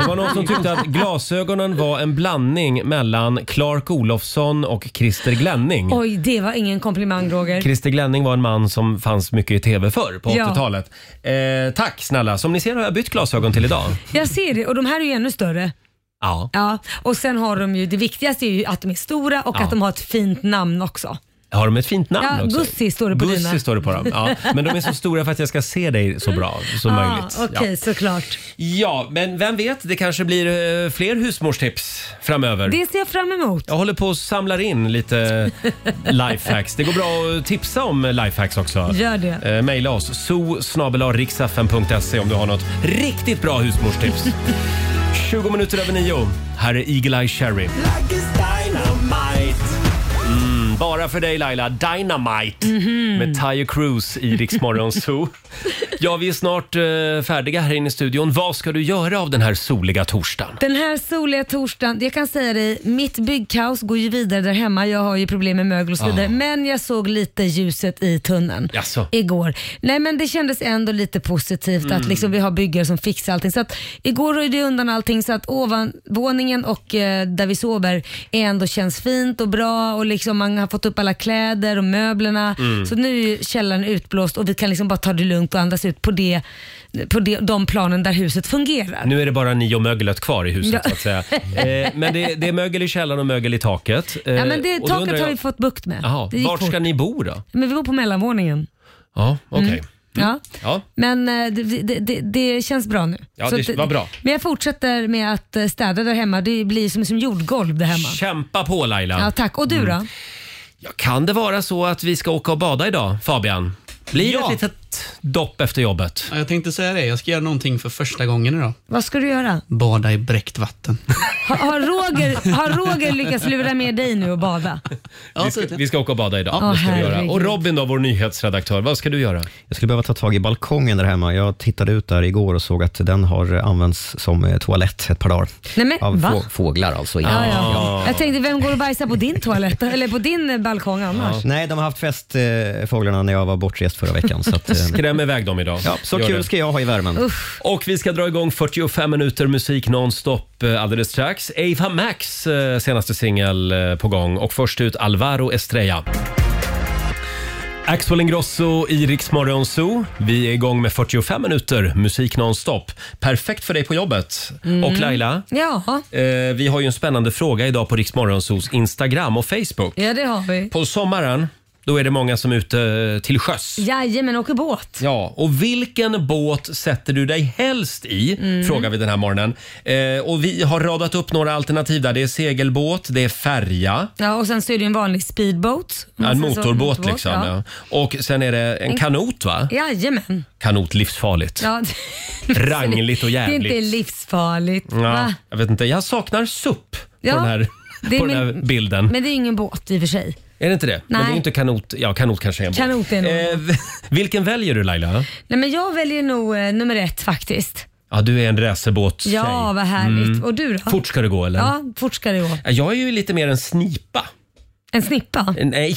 [SPEAKER 1] det var någon som tyckte att glasögonen var en blandning mellan Clark Olofsson och Christer Glenning.
[SPEAKER 3] *laughs* Oj, det var ingen komplimang Roger.
[SPEAKER 1] Christer Glenning var en man som fanns mycket i tv förr, på
[SPEAKER 3] Ja.
[SPEAKER 1] 80-talet. Eh, tack snälla! Som ni ser har jag bytt glasögon till idag.
[SPEAKER 3] Jag ser det och de här är ju ännu större.
[SPEAKER 1] Ja,
[SPEAKER 3] Ja, och sen har de ju, det viktigaste är ju att de är stora och
[SPEAKER 1] Ja.
[SPEAKER 3] att de har ett fint namn också.
[SPEAKER 1] har de ett fint namn
[SPEAKER 3] Ja,
[SPEAKER 1] också?
[SPEAKER 3] Gussi står det på
[SPEAKER 1] Gussi
[SPEAKER 3] dina.
[SPEAKER 1] står det på dem. Ja, men de är så stora för att jag ska se dig så bra som möjligt.
[SPEAKER 3] Ah, Okej,
[SPEAKER 1] Ja.
[SPEAKER 3] såklart.
[SPEAKER 1] ja, men vem vet, det kanske blir eh, fler husmorstips framöver.
[SPEAKER 3] Det ser jag fram emot.
[SPEAKER 1] Jag håller på och samlar in
[SPEAKER 3] *laughs*
[SPEAKER 1] lite lifehacks. Det går bra att tipsa om lifehacks också.
[SPEAKER 3] Gör det.
[SPEAKER 1] Eh, maila oss, zoo.riksfm.se om du har något riktigt bra
[SPEAKER 3] *laughs*
[SPEAKER 1] husmorstips. 20 minuter över nio. Här är Eagle-Eye Cherry. Mm, bara för dig Laila, Dynamite
[SPEAKER 3] Mhm.
[SPEAKER 1] med Tyre Cruz i Rix Morgon
[SPEAKER 3] *laughs*
[SPEAKER 1] Zoo. Ja, vi är snart eh, färdiga här inne i studion. Vad ska du göra av den här soliga torsdagen?
[SPEAKER 3] Den här soliga torsdagen, jag kan säga dig, mitt byggkaos går ju vidare där hemma. Jag har ju problem med mögel och så vidare. Men jag såg lite ljuset i tunneln
[SPEAKER 1] Jaså?
[SPEAKER 3] igår. Nej men det kändes ändå lite positivt att liksom vi har byggare som fixar allting. Så att igår röjde jag undan allting så att ovanvåningen och eh, där vi sover är ändå känns fint och bra och liksom man har fått upp alla kläder och möblerna. Så nu är ju källaren utblåst och vi kan liksom bara ta det lugnt och andas ut på, det, på det, de planen där huset fungerar.
[SPEAKER 1] Nu är det bara ni och möglet kvar i huset
[SPEAKER 3] Ja.
[SPEAKER 1] så att säga. Eh, men det, det är mögel i källaren och mögel i taket. Eh,
[SPEAKER 3] Ja, men det,
[SPEAKER 1] och då undrar
[SPEAKER 3] taket har
[SPEAKER 1] jag-
[SPEAKER 3] vi fått bukt med.
[SPEAKER 1] Jaha,
[SPEAKER 3] det gick
[SPEAKER 1] vart ska
[SPEAKER 3] fort.
[SPEAKER 1] ni Mm. bo då?
[SPEAKER 3] Men vi bor på mellanvåningen.
[SPEAKER 1] Ja, okej.
[SPEAKER 3] Ja.
[SPEAKER 1] Ja.
[SPEAKER 3] Men eh, det, det, det, det känns bra nu.
[SPEAKER 1] Ja,
[SPEAKER 3] Så
[SPEAKER 1] det
[SPEAKER 3] att
[SPEAKER 1] var bra.
[SPEAKER 3] Men jag fortsätter med att eh, städa där hemma. Det blir som, som jordgolv där hemma.
[SPEAKER 1] Kämpa på Laila.
[SPEAKER 3] Ja, tack. Och
[SPEAKER 1] Mm.
[SPEAKER 3] du då?
[SPEAKER 1] Ja, Kan det vara så att vi ska åka och bada idag, Fabian? Blir det
[SPEAKER 8] Ja.
[SPEAKER 1] ett litet dopp efter jobbet?
[SPEAKER 8] Ja, Jag tänkte säga det, jag ska göra någonting för första gången idag.
[SPEAKER 3] Vad ska du göra?
[SPEAKER 8] Bada i bräckt vatten.
[SPEAKER 3] Har, har, Roger, har Roger lyckats lura med dig nu och bada?
[SPEAKER 1] vi, ska, vi ska åka och bada idag.
[SPEAKER 3] Ja.
[SPEAKER 1] det ska vi göra.
[SPEAKER 3] Herregud.
[SPEAKER 1] Och Robin då, vår nyhetsredaktör, vad ska du göra?
[SPEAKER 7] Jag skulle behöva ta tag i balkongen där hemma. Jag tittade ut där igår och såg att den har använts som eh, toalett ett par dagar.
[SPEAKER 3] Nej, men,
[SPEAKER 7] Av
[SPEAKER 3] va?
[SPEAKER 7] få- fåglar alltså.
[SPEAKER 3] Ja, ja. Jag tänkte, vem går och bajsar på din toalett? Eller på din eh, balkong annars?
[SPEAKER 7] Nej, de har haft fest, eh, fåglarna, när jag var bortrest förra veckan.
[SPEAKER 3] *laughs*
[SPEAKER 7] Så, att, eh,
[SPEAKER 1] Skräm iväg dem idag.
[SPEAKER 7] ja, så
[SPEAKER 1] Gör
[SPEAKER 7] kul
[SPEAKER 1] det.
[SPEAKER 7] ska jag ha i värmen.
[SPEAKER 1] Och vi ska dra igång 45 minuter musik nonstop eh, alldeles strax. Ava Max eh, senaste singel eh, på gång och först ut Alvaro Estrella. Axel Ingrosso i Rix Morgon Zoo. Vi är igång med 45 minuter musik nonstop. Perfekt för dig på jobbet. Och Laila,
[SPEAKER 3] Ja,
[SPEAKER 1] eh, vi har ju en spännande fråga idag på Rix Morgon Zoos Instagram och Facebook.
[SPEAKER 3] ja det har vi.
[SPEAKER 1] På sommaren, då är det många som är ute eh, till sjöss.
[SPEAKER 3] Jajamän, åker båt.
[SPEAKER 1] Ja, och vilken båt sätter du dig helst i?
[SPEAKER 3] Mm.
[SPEAKER 1] Frågar vi den här morgonen. Eh, och vi har radat upp några alternativ där. Det är segelbåt, det är färja,
[SPEAKER 3] Ja, och sen så är det ju en vanlig speedboat. Alltså,
[SPEAKER 1] en
[SPEAKER 3] Sen så-
[SPEAKER 1] motorbåt liksom. Ja. Och sen är det en kanot va?
[SPEAKER 3] Jajamän.
[SPEAKER 1] Kanot, livsfarligt.
[SPEAKER 3] Ja.
[SPEAKER 1] Rangligt och jävligt.
[SPEAKER 3] *laughs* Det är inte livsfarligt.
[SPEAKER 1] Ja,
[SPEAKER 3] Va?
[SPEAKER 1] jag vet inte, jag saknar SUP
[SPEAKER 3] Ja,
[SPEAKER 1] på den här,
[SPEAKER 3] det är
[SPEAKER 1] på den här
[SPEAKER 3] min-
[SPEAKER 1] bilden.
[SPEAKER 3] Men det är ingen båt i och för sig.
[SPEAKER 1] är det inte det? Men det är
[SPEAKER 3] Nej.
[SPEAKER 1] ju inte kanot. Ja, kanot kanske är en båt.
[SPEAKER 3] Kanot är nog en
[SPEAKER 1] eh, v- *laughs* Vilken väljer du Laila?
[SPEAKER 3] Nej, men jag väljer nog eh, nummer ett faktiskt.
[SPEAKER 1] Ja, du är en racerbåtstjej.
[SPEAKER 3] Ja, vad härligt. Och du då?
[SPEAKER 1] Mm. Fort ska det gå eller?
[SPEAKER 3] Ja, fort ska det gå.
[SPEAKER 1] Jag är ju lite mer en snipa.
[SPEAKER 3] En snippa?
[SPEAKER 1] Nej.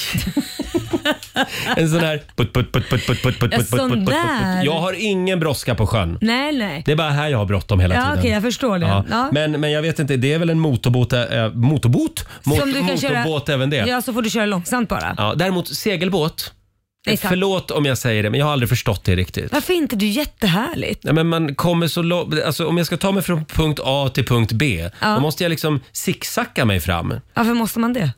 [SPEAKER 1] en sån här... Putt, putt, putt, putt, putt, putt, putt,
[SPEAKER 3] Ja,
[SPEAKER 1] putt, putt,
[SPEAKER 3] sån
[SPEAKER 1] putt, putt,
[SPEAKER 3] där.
[SPEAKER 1] putt. Jag har ingen brådska på sjön.
[SPEAKER 3] Nej, nej.
[SPEAKER 1] Det är bara här jag har bråttom hela
[SPEAKER 3] Ja,
[SPEAKER 1] tiden.
[SPEAKER 3] okej, jag förstår det.
[SPEAKER 1] Ja.
[SPEAKER 3] Ja.
[SPEAKER 1] Men, men jag vet inte, det är väl en motorbåt? Äh, motorbåt? Mot, motorbåt även det. Ja.
[SPEAKER 3] Ja, så får du köra långsamt bara.
[SPEAKER 1] däremot segelbåt. Eh,
[SPEAKER 3] Nej, tack.
[SPEAKER 1] Förlåt om jag säger det, men jag har aldrig förstått det riktigt.
[SPEAKER 3] Varför inte? Det är ju jättehärligt.
[SPEAKER 1] Nej, men man kommer så lo- alltså, om jag ska ta mig från punkt A till punkt B,
[SPEAKER 3] Ja.
[SPEAKER 1] då måste jag liksom zigzacka mig fram.
[SPEAKER 3] Varför måste man det?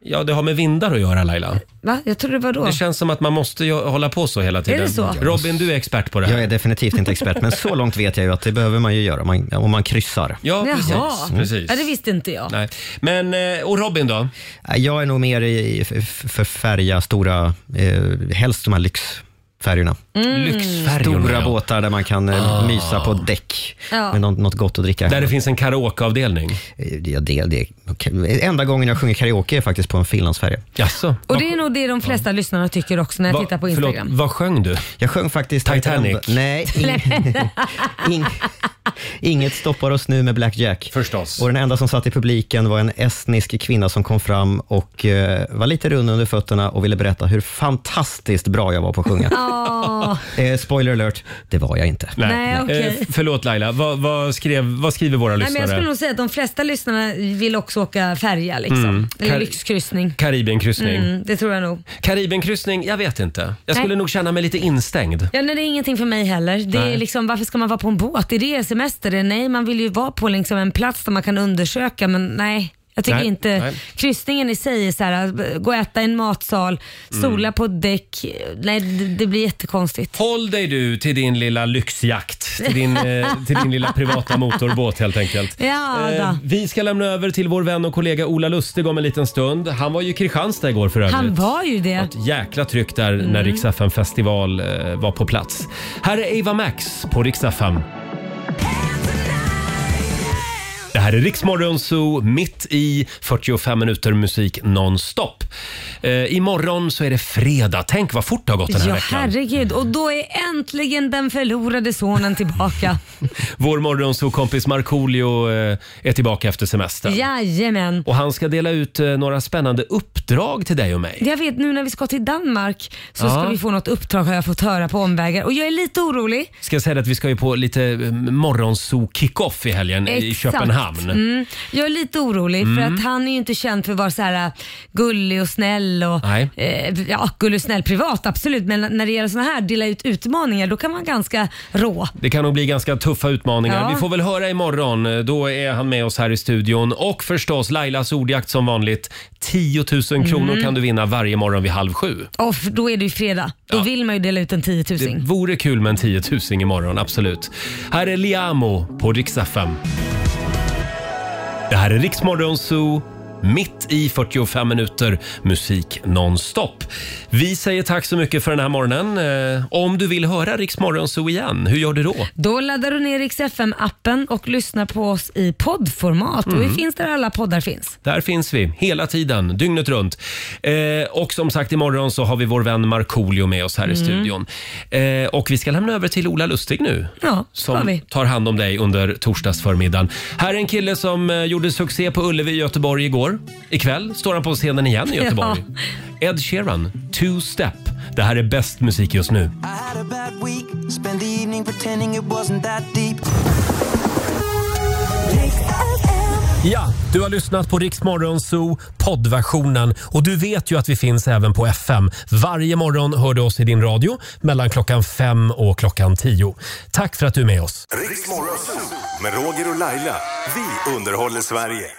[SPEAKER 1] Ja, det har med vindar att göra Laila.
[SPEAKER 3] Va? Jag trodde det var då.
[SPEAKER 1] Det känns som att man måste ju hålla på så hela tiden.
[SPEAKER 3] Är det så?
[SPEAKER 1] Robin, du är expert på det
[SPEAKER 7] Jag är
[SPEAKER 1] här.
[SPEAKER 7] definitivt inte expert, men så långt vet jag ju att det behöver man ju göra om man, om man kryssar.
[SPEAKER 1] Ja,
[SPEAKER 3] Jaha. Mm.
[SPEAKER 1] precis. precis.
[SPEAKER 3] Ja, det visste inte jag.
[SPEAKER 1] Nej. Men, eh, och Robin då?
[SPEAKER 7] Nej, Jag är nog mer i, i- f- för färja, stora, eh, helst de här lyx Färjorna.
[SPEAKER 3] Mm.
[SPEAKER 1] Lyxfärjorna,
[SPEAKER 7] Stora
[SPEAKER 1] ja.
[SPEAKER 7] båtar där man kan eh,
[SPEAKER 1] Ah.
[SPEAKER 7] mysa på däck
[SPEAKER 3] Ja.
[SPEAKER 7] med nå- något gott att dricka.
[SPEAKER 1] Där det finns en karaokeavdelning.
[SPEAKER 7] Eh, Ja, det, det, okej. Enda gången jag sjunger karaoke är faktiskt på en finlandsfärja.
[SPEAKER 1] Jaså?
[SPEAKER 3] Och det är nog det de flesta lyssnarna tycker också när jag
[SPEAKER 1] Va-
[SPEAKER 3] tittar på
[SPEAKER 1] förlåt,
[SPEAKER 3] Instagram.
[SPEAKER 1] vad sjöng du?
[SPEAKER 7] Jag sjöng faktiskt
[SPEAKER 1] Titanic.
[SPEAKER 7] Nej, ing,
[SPEAKER 3] *laughs*
[SPEAKER 7] ing, inget stoppar oss nu med Black Jack.
[SPEAKER 1] Förstås.
[SPEAKER 7] Och den enda som satt i publiken var en estnisk kvinna som kom fram och eh, var lite rund under fötterna och ville berätta hur fantastiskt bra jag var på att sjunga.
[SPEAKER 3] Åh,
[SPEAKER 7] eh, spoiler alert, det var jag inte.
[SPEAKER 3] Nej, okej.
[SPEAKER 1] Eh, förlåt Laila, vad, vad, skrev, vad skriver våra
[SPEAKER 3] Nej, men jag skulle
[SPEAKER 1] lyssnare?
[SPEAKER 3] nog säga att de flesta lyssnarna vill också åka färja liksom. Eller
[SPEAKER 1] Mm. Kar-
[SPEAKER 3] lyxkryssning.
[SPEAKER 1] Karibienkryssning.
[SPEAKER 3] Mm, det tror jag nog.
[SPEAKER 1] Karibienkryssning, jag vet inte. Jag skulle
[SPEAKER 3] Nej.
[SPEAKER 1] nog känna mig lite instängd.
[SPEAKER 3] Ja, nej, det är ingenting för mig heller. Det
[SPEAKER 1] Nej.
[SPEAKER 3] är liksom, varför ska man vara på en båt? Är det semester? det? Nej, man vill ju vara på liksom en plats där man kan undersöka, men nej. Jag tycker
[SPEAKER 1] Nej,
[SPEAKER 3] inte
[SPEAKER 1] nej.
[SPEAKER 3] kryssningen i sig är så här, att gå och äta i en matsal,
[SPEAKER 1] Mm.
[SPEAKER 3] sola på ett däck. Nej, det, det blir jättekonstigt.
[SPEAKER 1] Håll dig du till din lilla lyxjakt, till din, eh, till din lilla privata motorbåt helt enkelt.
[SPEAKER 3] Ja,
[SPEAKER 1] Eh,
[SPEAKER 3] då.
[SPEAKER 1] vi ska lämna över till vår vän och kollega Ola Lustig om en liten stund. Han var ju i Kristianstad igår för övrigt.
[SPEAKER 3] Han var ju det. Mm.
[SPEAKER 1] Ett jäkla tryck där när Rix FM festival eh, var på plats. Här är Ava Max på Rix FM. Det här är Riksmorgon Zoo, mitt i 45 minuter musik nonstop. Eh, imorgon så är det fredag. Tänk vad fort det har gått den här
[SPEAKER 3] Ja,
[SPEAKER 1] veckan.
[SPEAKER 3] herregud. Och då är äntligen den förlorade
[SPEAKER 1] *laughs*
[SPEAKER 3] sonen tillbaka.
[SPEAKER 1] Vår morgonzoo-kompis Markoolio eh, är tillbaka efter semestern.
[SPEAKER 3] Jajamän.
[SPEAKER 1] Och han ska dela ut eh, några spännande uppdrag till dig och mig.
[SPEAKER 3] Jag vet nu när vi ska till Danmark så
[SPEAKER 1] Ja.
[SPEAKER 3] ska vi få något uppdrag har jag fått höra på omvägar och jag är lite orolig.
[SPEAKER 1] Ska jag säga att vi ska ju på lite eh, morgonzoo-kick-off i helgen i
[SPEAKER 3] Exakt.
[SPEAKER 1] Köpenhamn. Mm.
[SPEAKER 3] Mm. Jag är lite orolig för att han är ju inte känd för att vara så här äh, gullig och snäll. Och,
[SPEAKER 1] Nej.
[SPEAKER 3] eh, ja, gullig och snäll privat, absolut. Men när det gäller såna här, dela ut utmaningar, då kan man ganska rå.
[SPEAKER 1] Det kan nog bli ganska tuffa utmaningar.
[SPEAKER 3] Ja.
[SPEAKER 1] Vi får väl höra imorgon. Då är han med oss här i studion. Och förstås Lailas ordjakt som vanligt. 10 000 kronor
[SPEAKER 3] Mm.
[SPEAKER 1] kan du vinna varje morgon vid halv sju.
[SPEAKER 3] Och f- då är det ju fredag. Då
[SPEAKER 1] Ja.
[SPEAKER 3] vill man ju dela ut en 10 000.
[SPEAKER 1] Det vore kul med en 10 000 imorgon, absolut. Här är Liamo på Rix FM. Det här är Riksmorgon Zoo. Mitt i 45 minuter musik nonstop. Vi säger tack så mycket för den här morgonen. Eh, Om du vill höra Riksmorgon Zoo igen, hur gör du då?
[SPEAKER 3] Då laddar du ner Rix FM-appen och lyssnar på oss i poddformat. Och
[SPEAKER 1] Mm.
[SPEAKER 3] vi finns där alla poddar finns.
[SPEAKER 1] Där finns vi hela tiden, dygnet runt. Eh, och som sagt, imorgon så har vi vår vän Markoolio med oss här
[SPEAKER 3] Mm.
[SPEAKER 1] i studion. Eh, och vi ska lämna över till Ola Lustig nu.
[SPEAKER 3] Ja, har
[SPEAKER 1] Som
[SPEAKER 3] vi.
[SPEAKER 1] tar hand om dig under torsdagsförmiddagen. Här är en kille som eh, gjorde succé på Ullevi i Göteborg igår. Ikväll står han på scenen
[SPEAKER 3] *laughs*
[SPEAKER 1] igen i Göteborg. Ed Sheeran, Two Step. Det här är bäst musik just nu. Ja, du har lyssnat på Rix Morgon Zoo poddversionen och du vet ju att vi finns även på FM. Varje morgon hör du oss i din radio mellan klockan fem och klockan tio. Tack för att du är med oss.
[SPEAKER 2] Riksmorgon med Roger och Laila. Vi underhåller Sverige.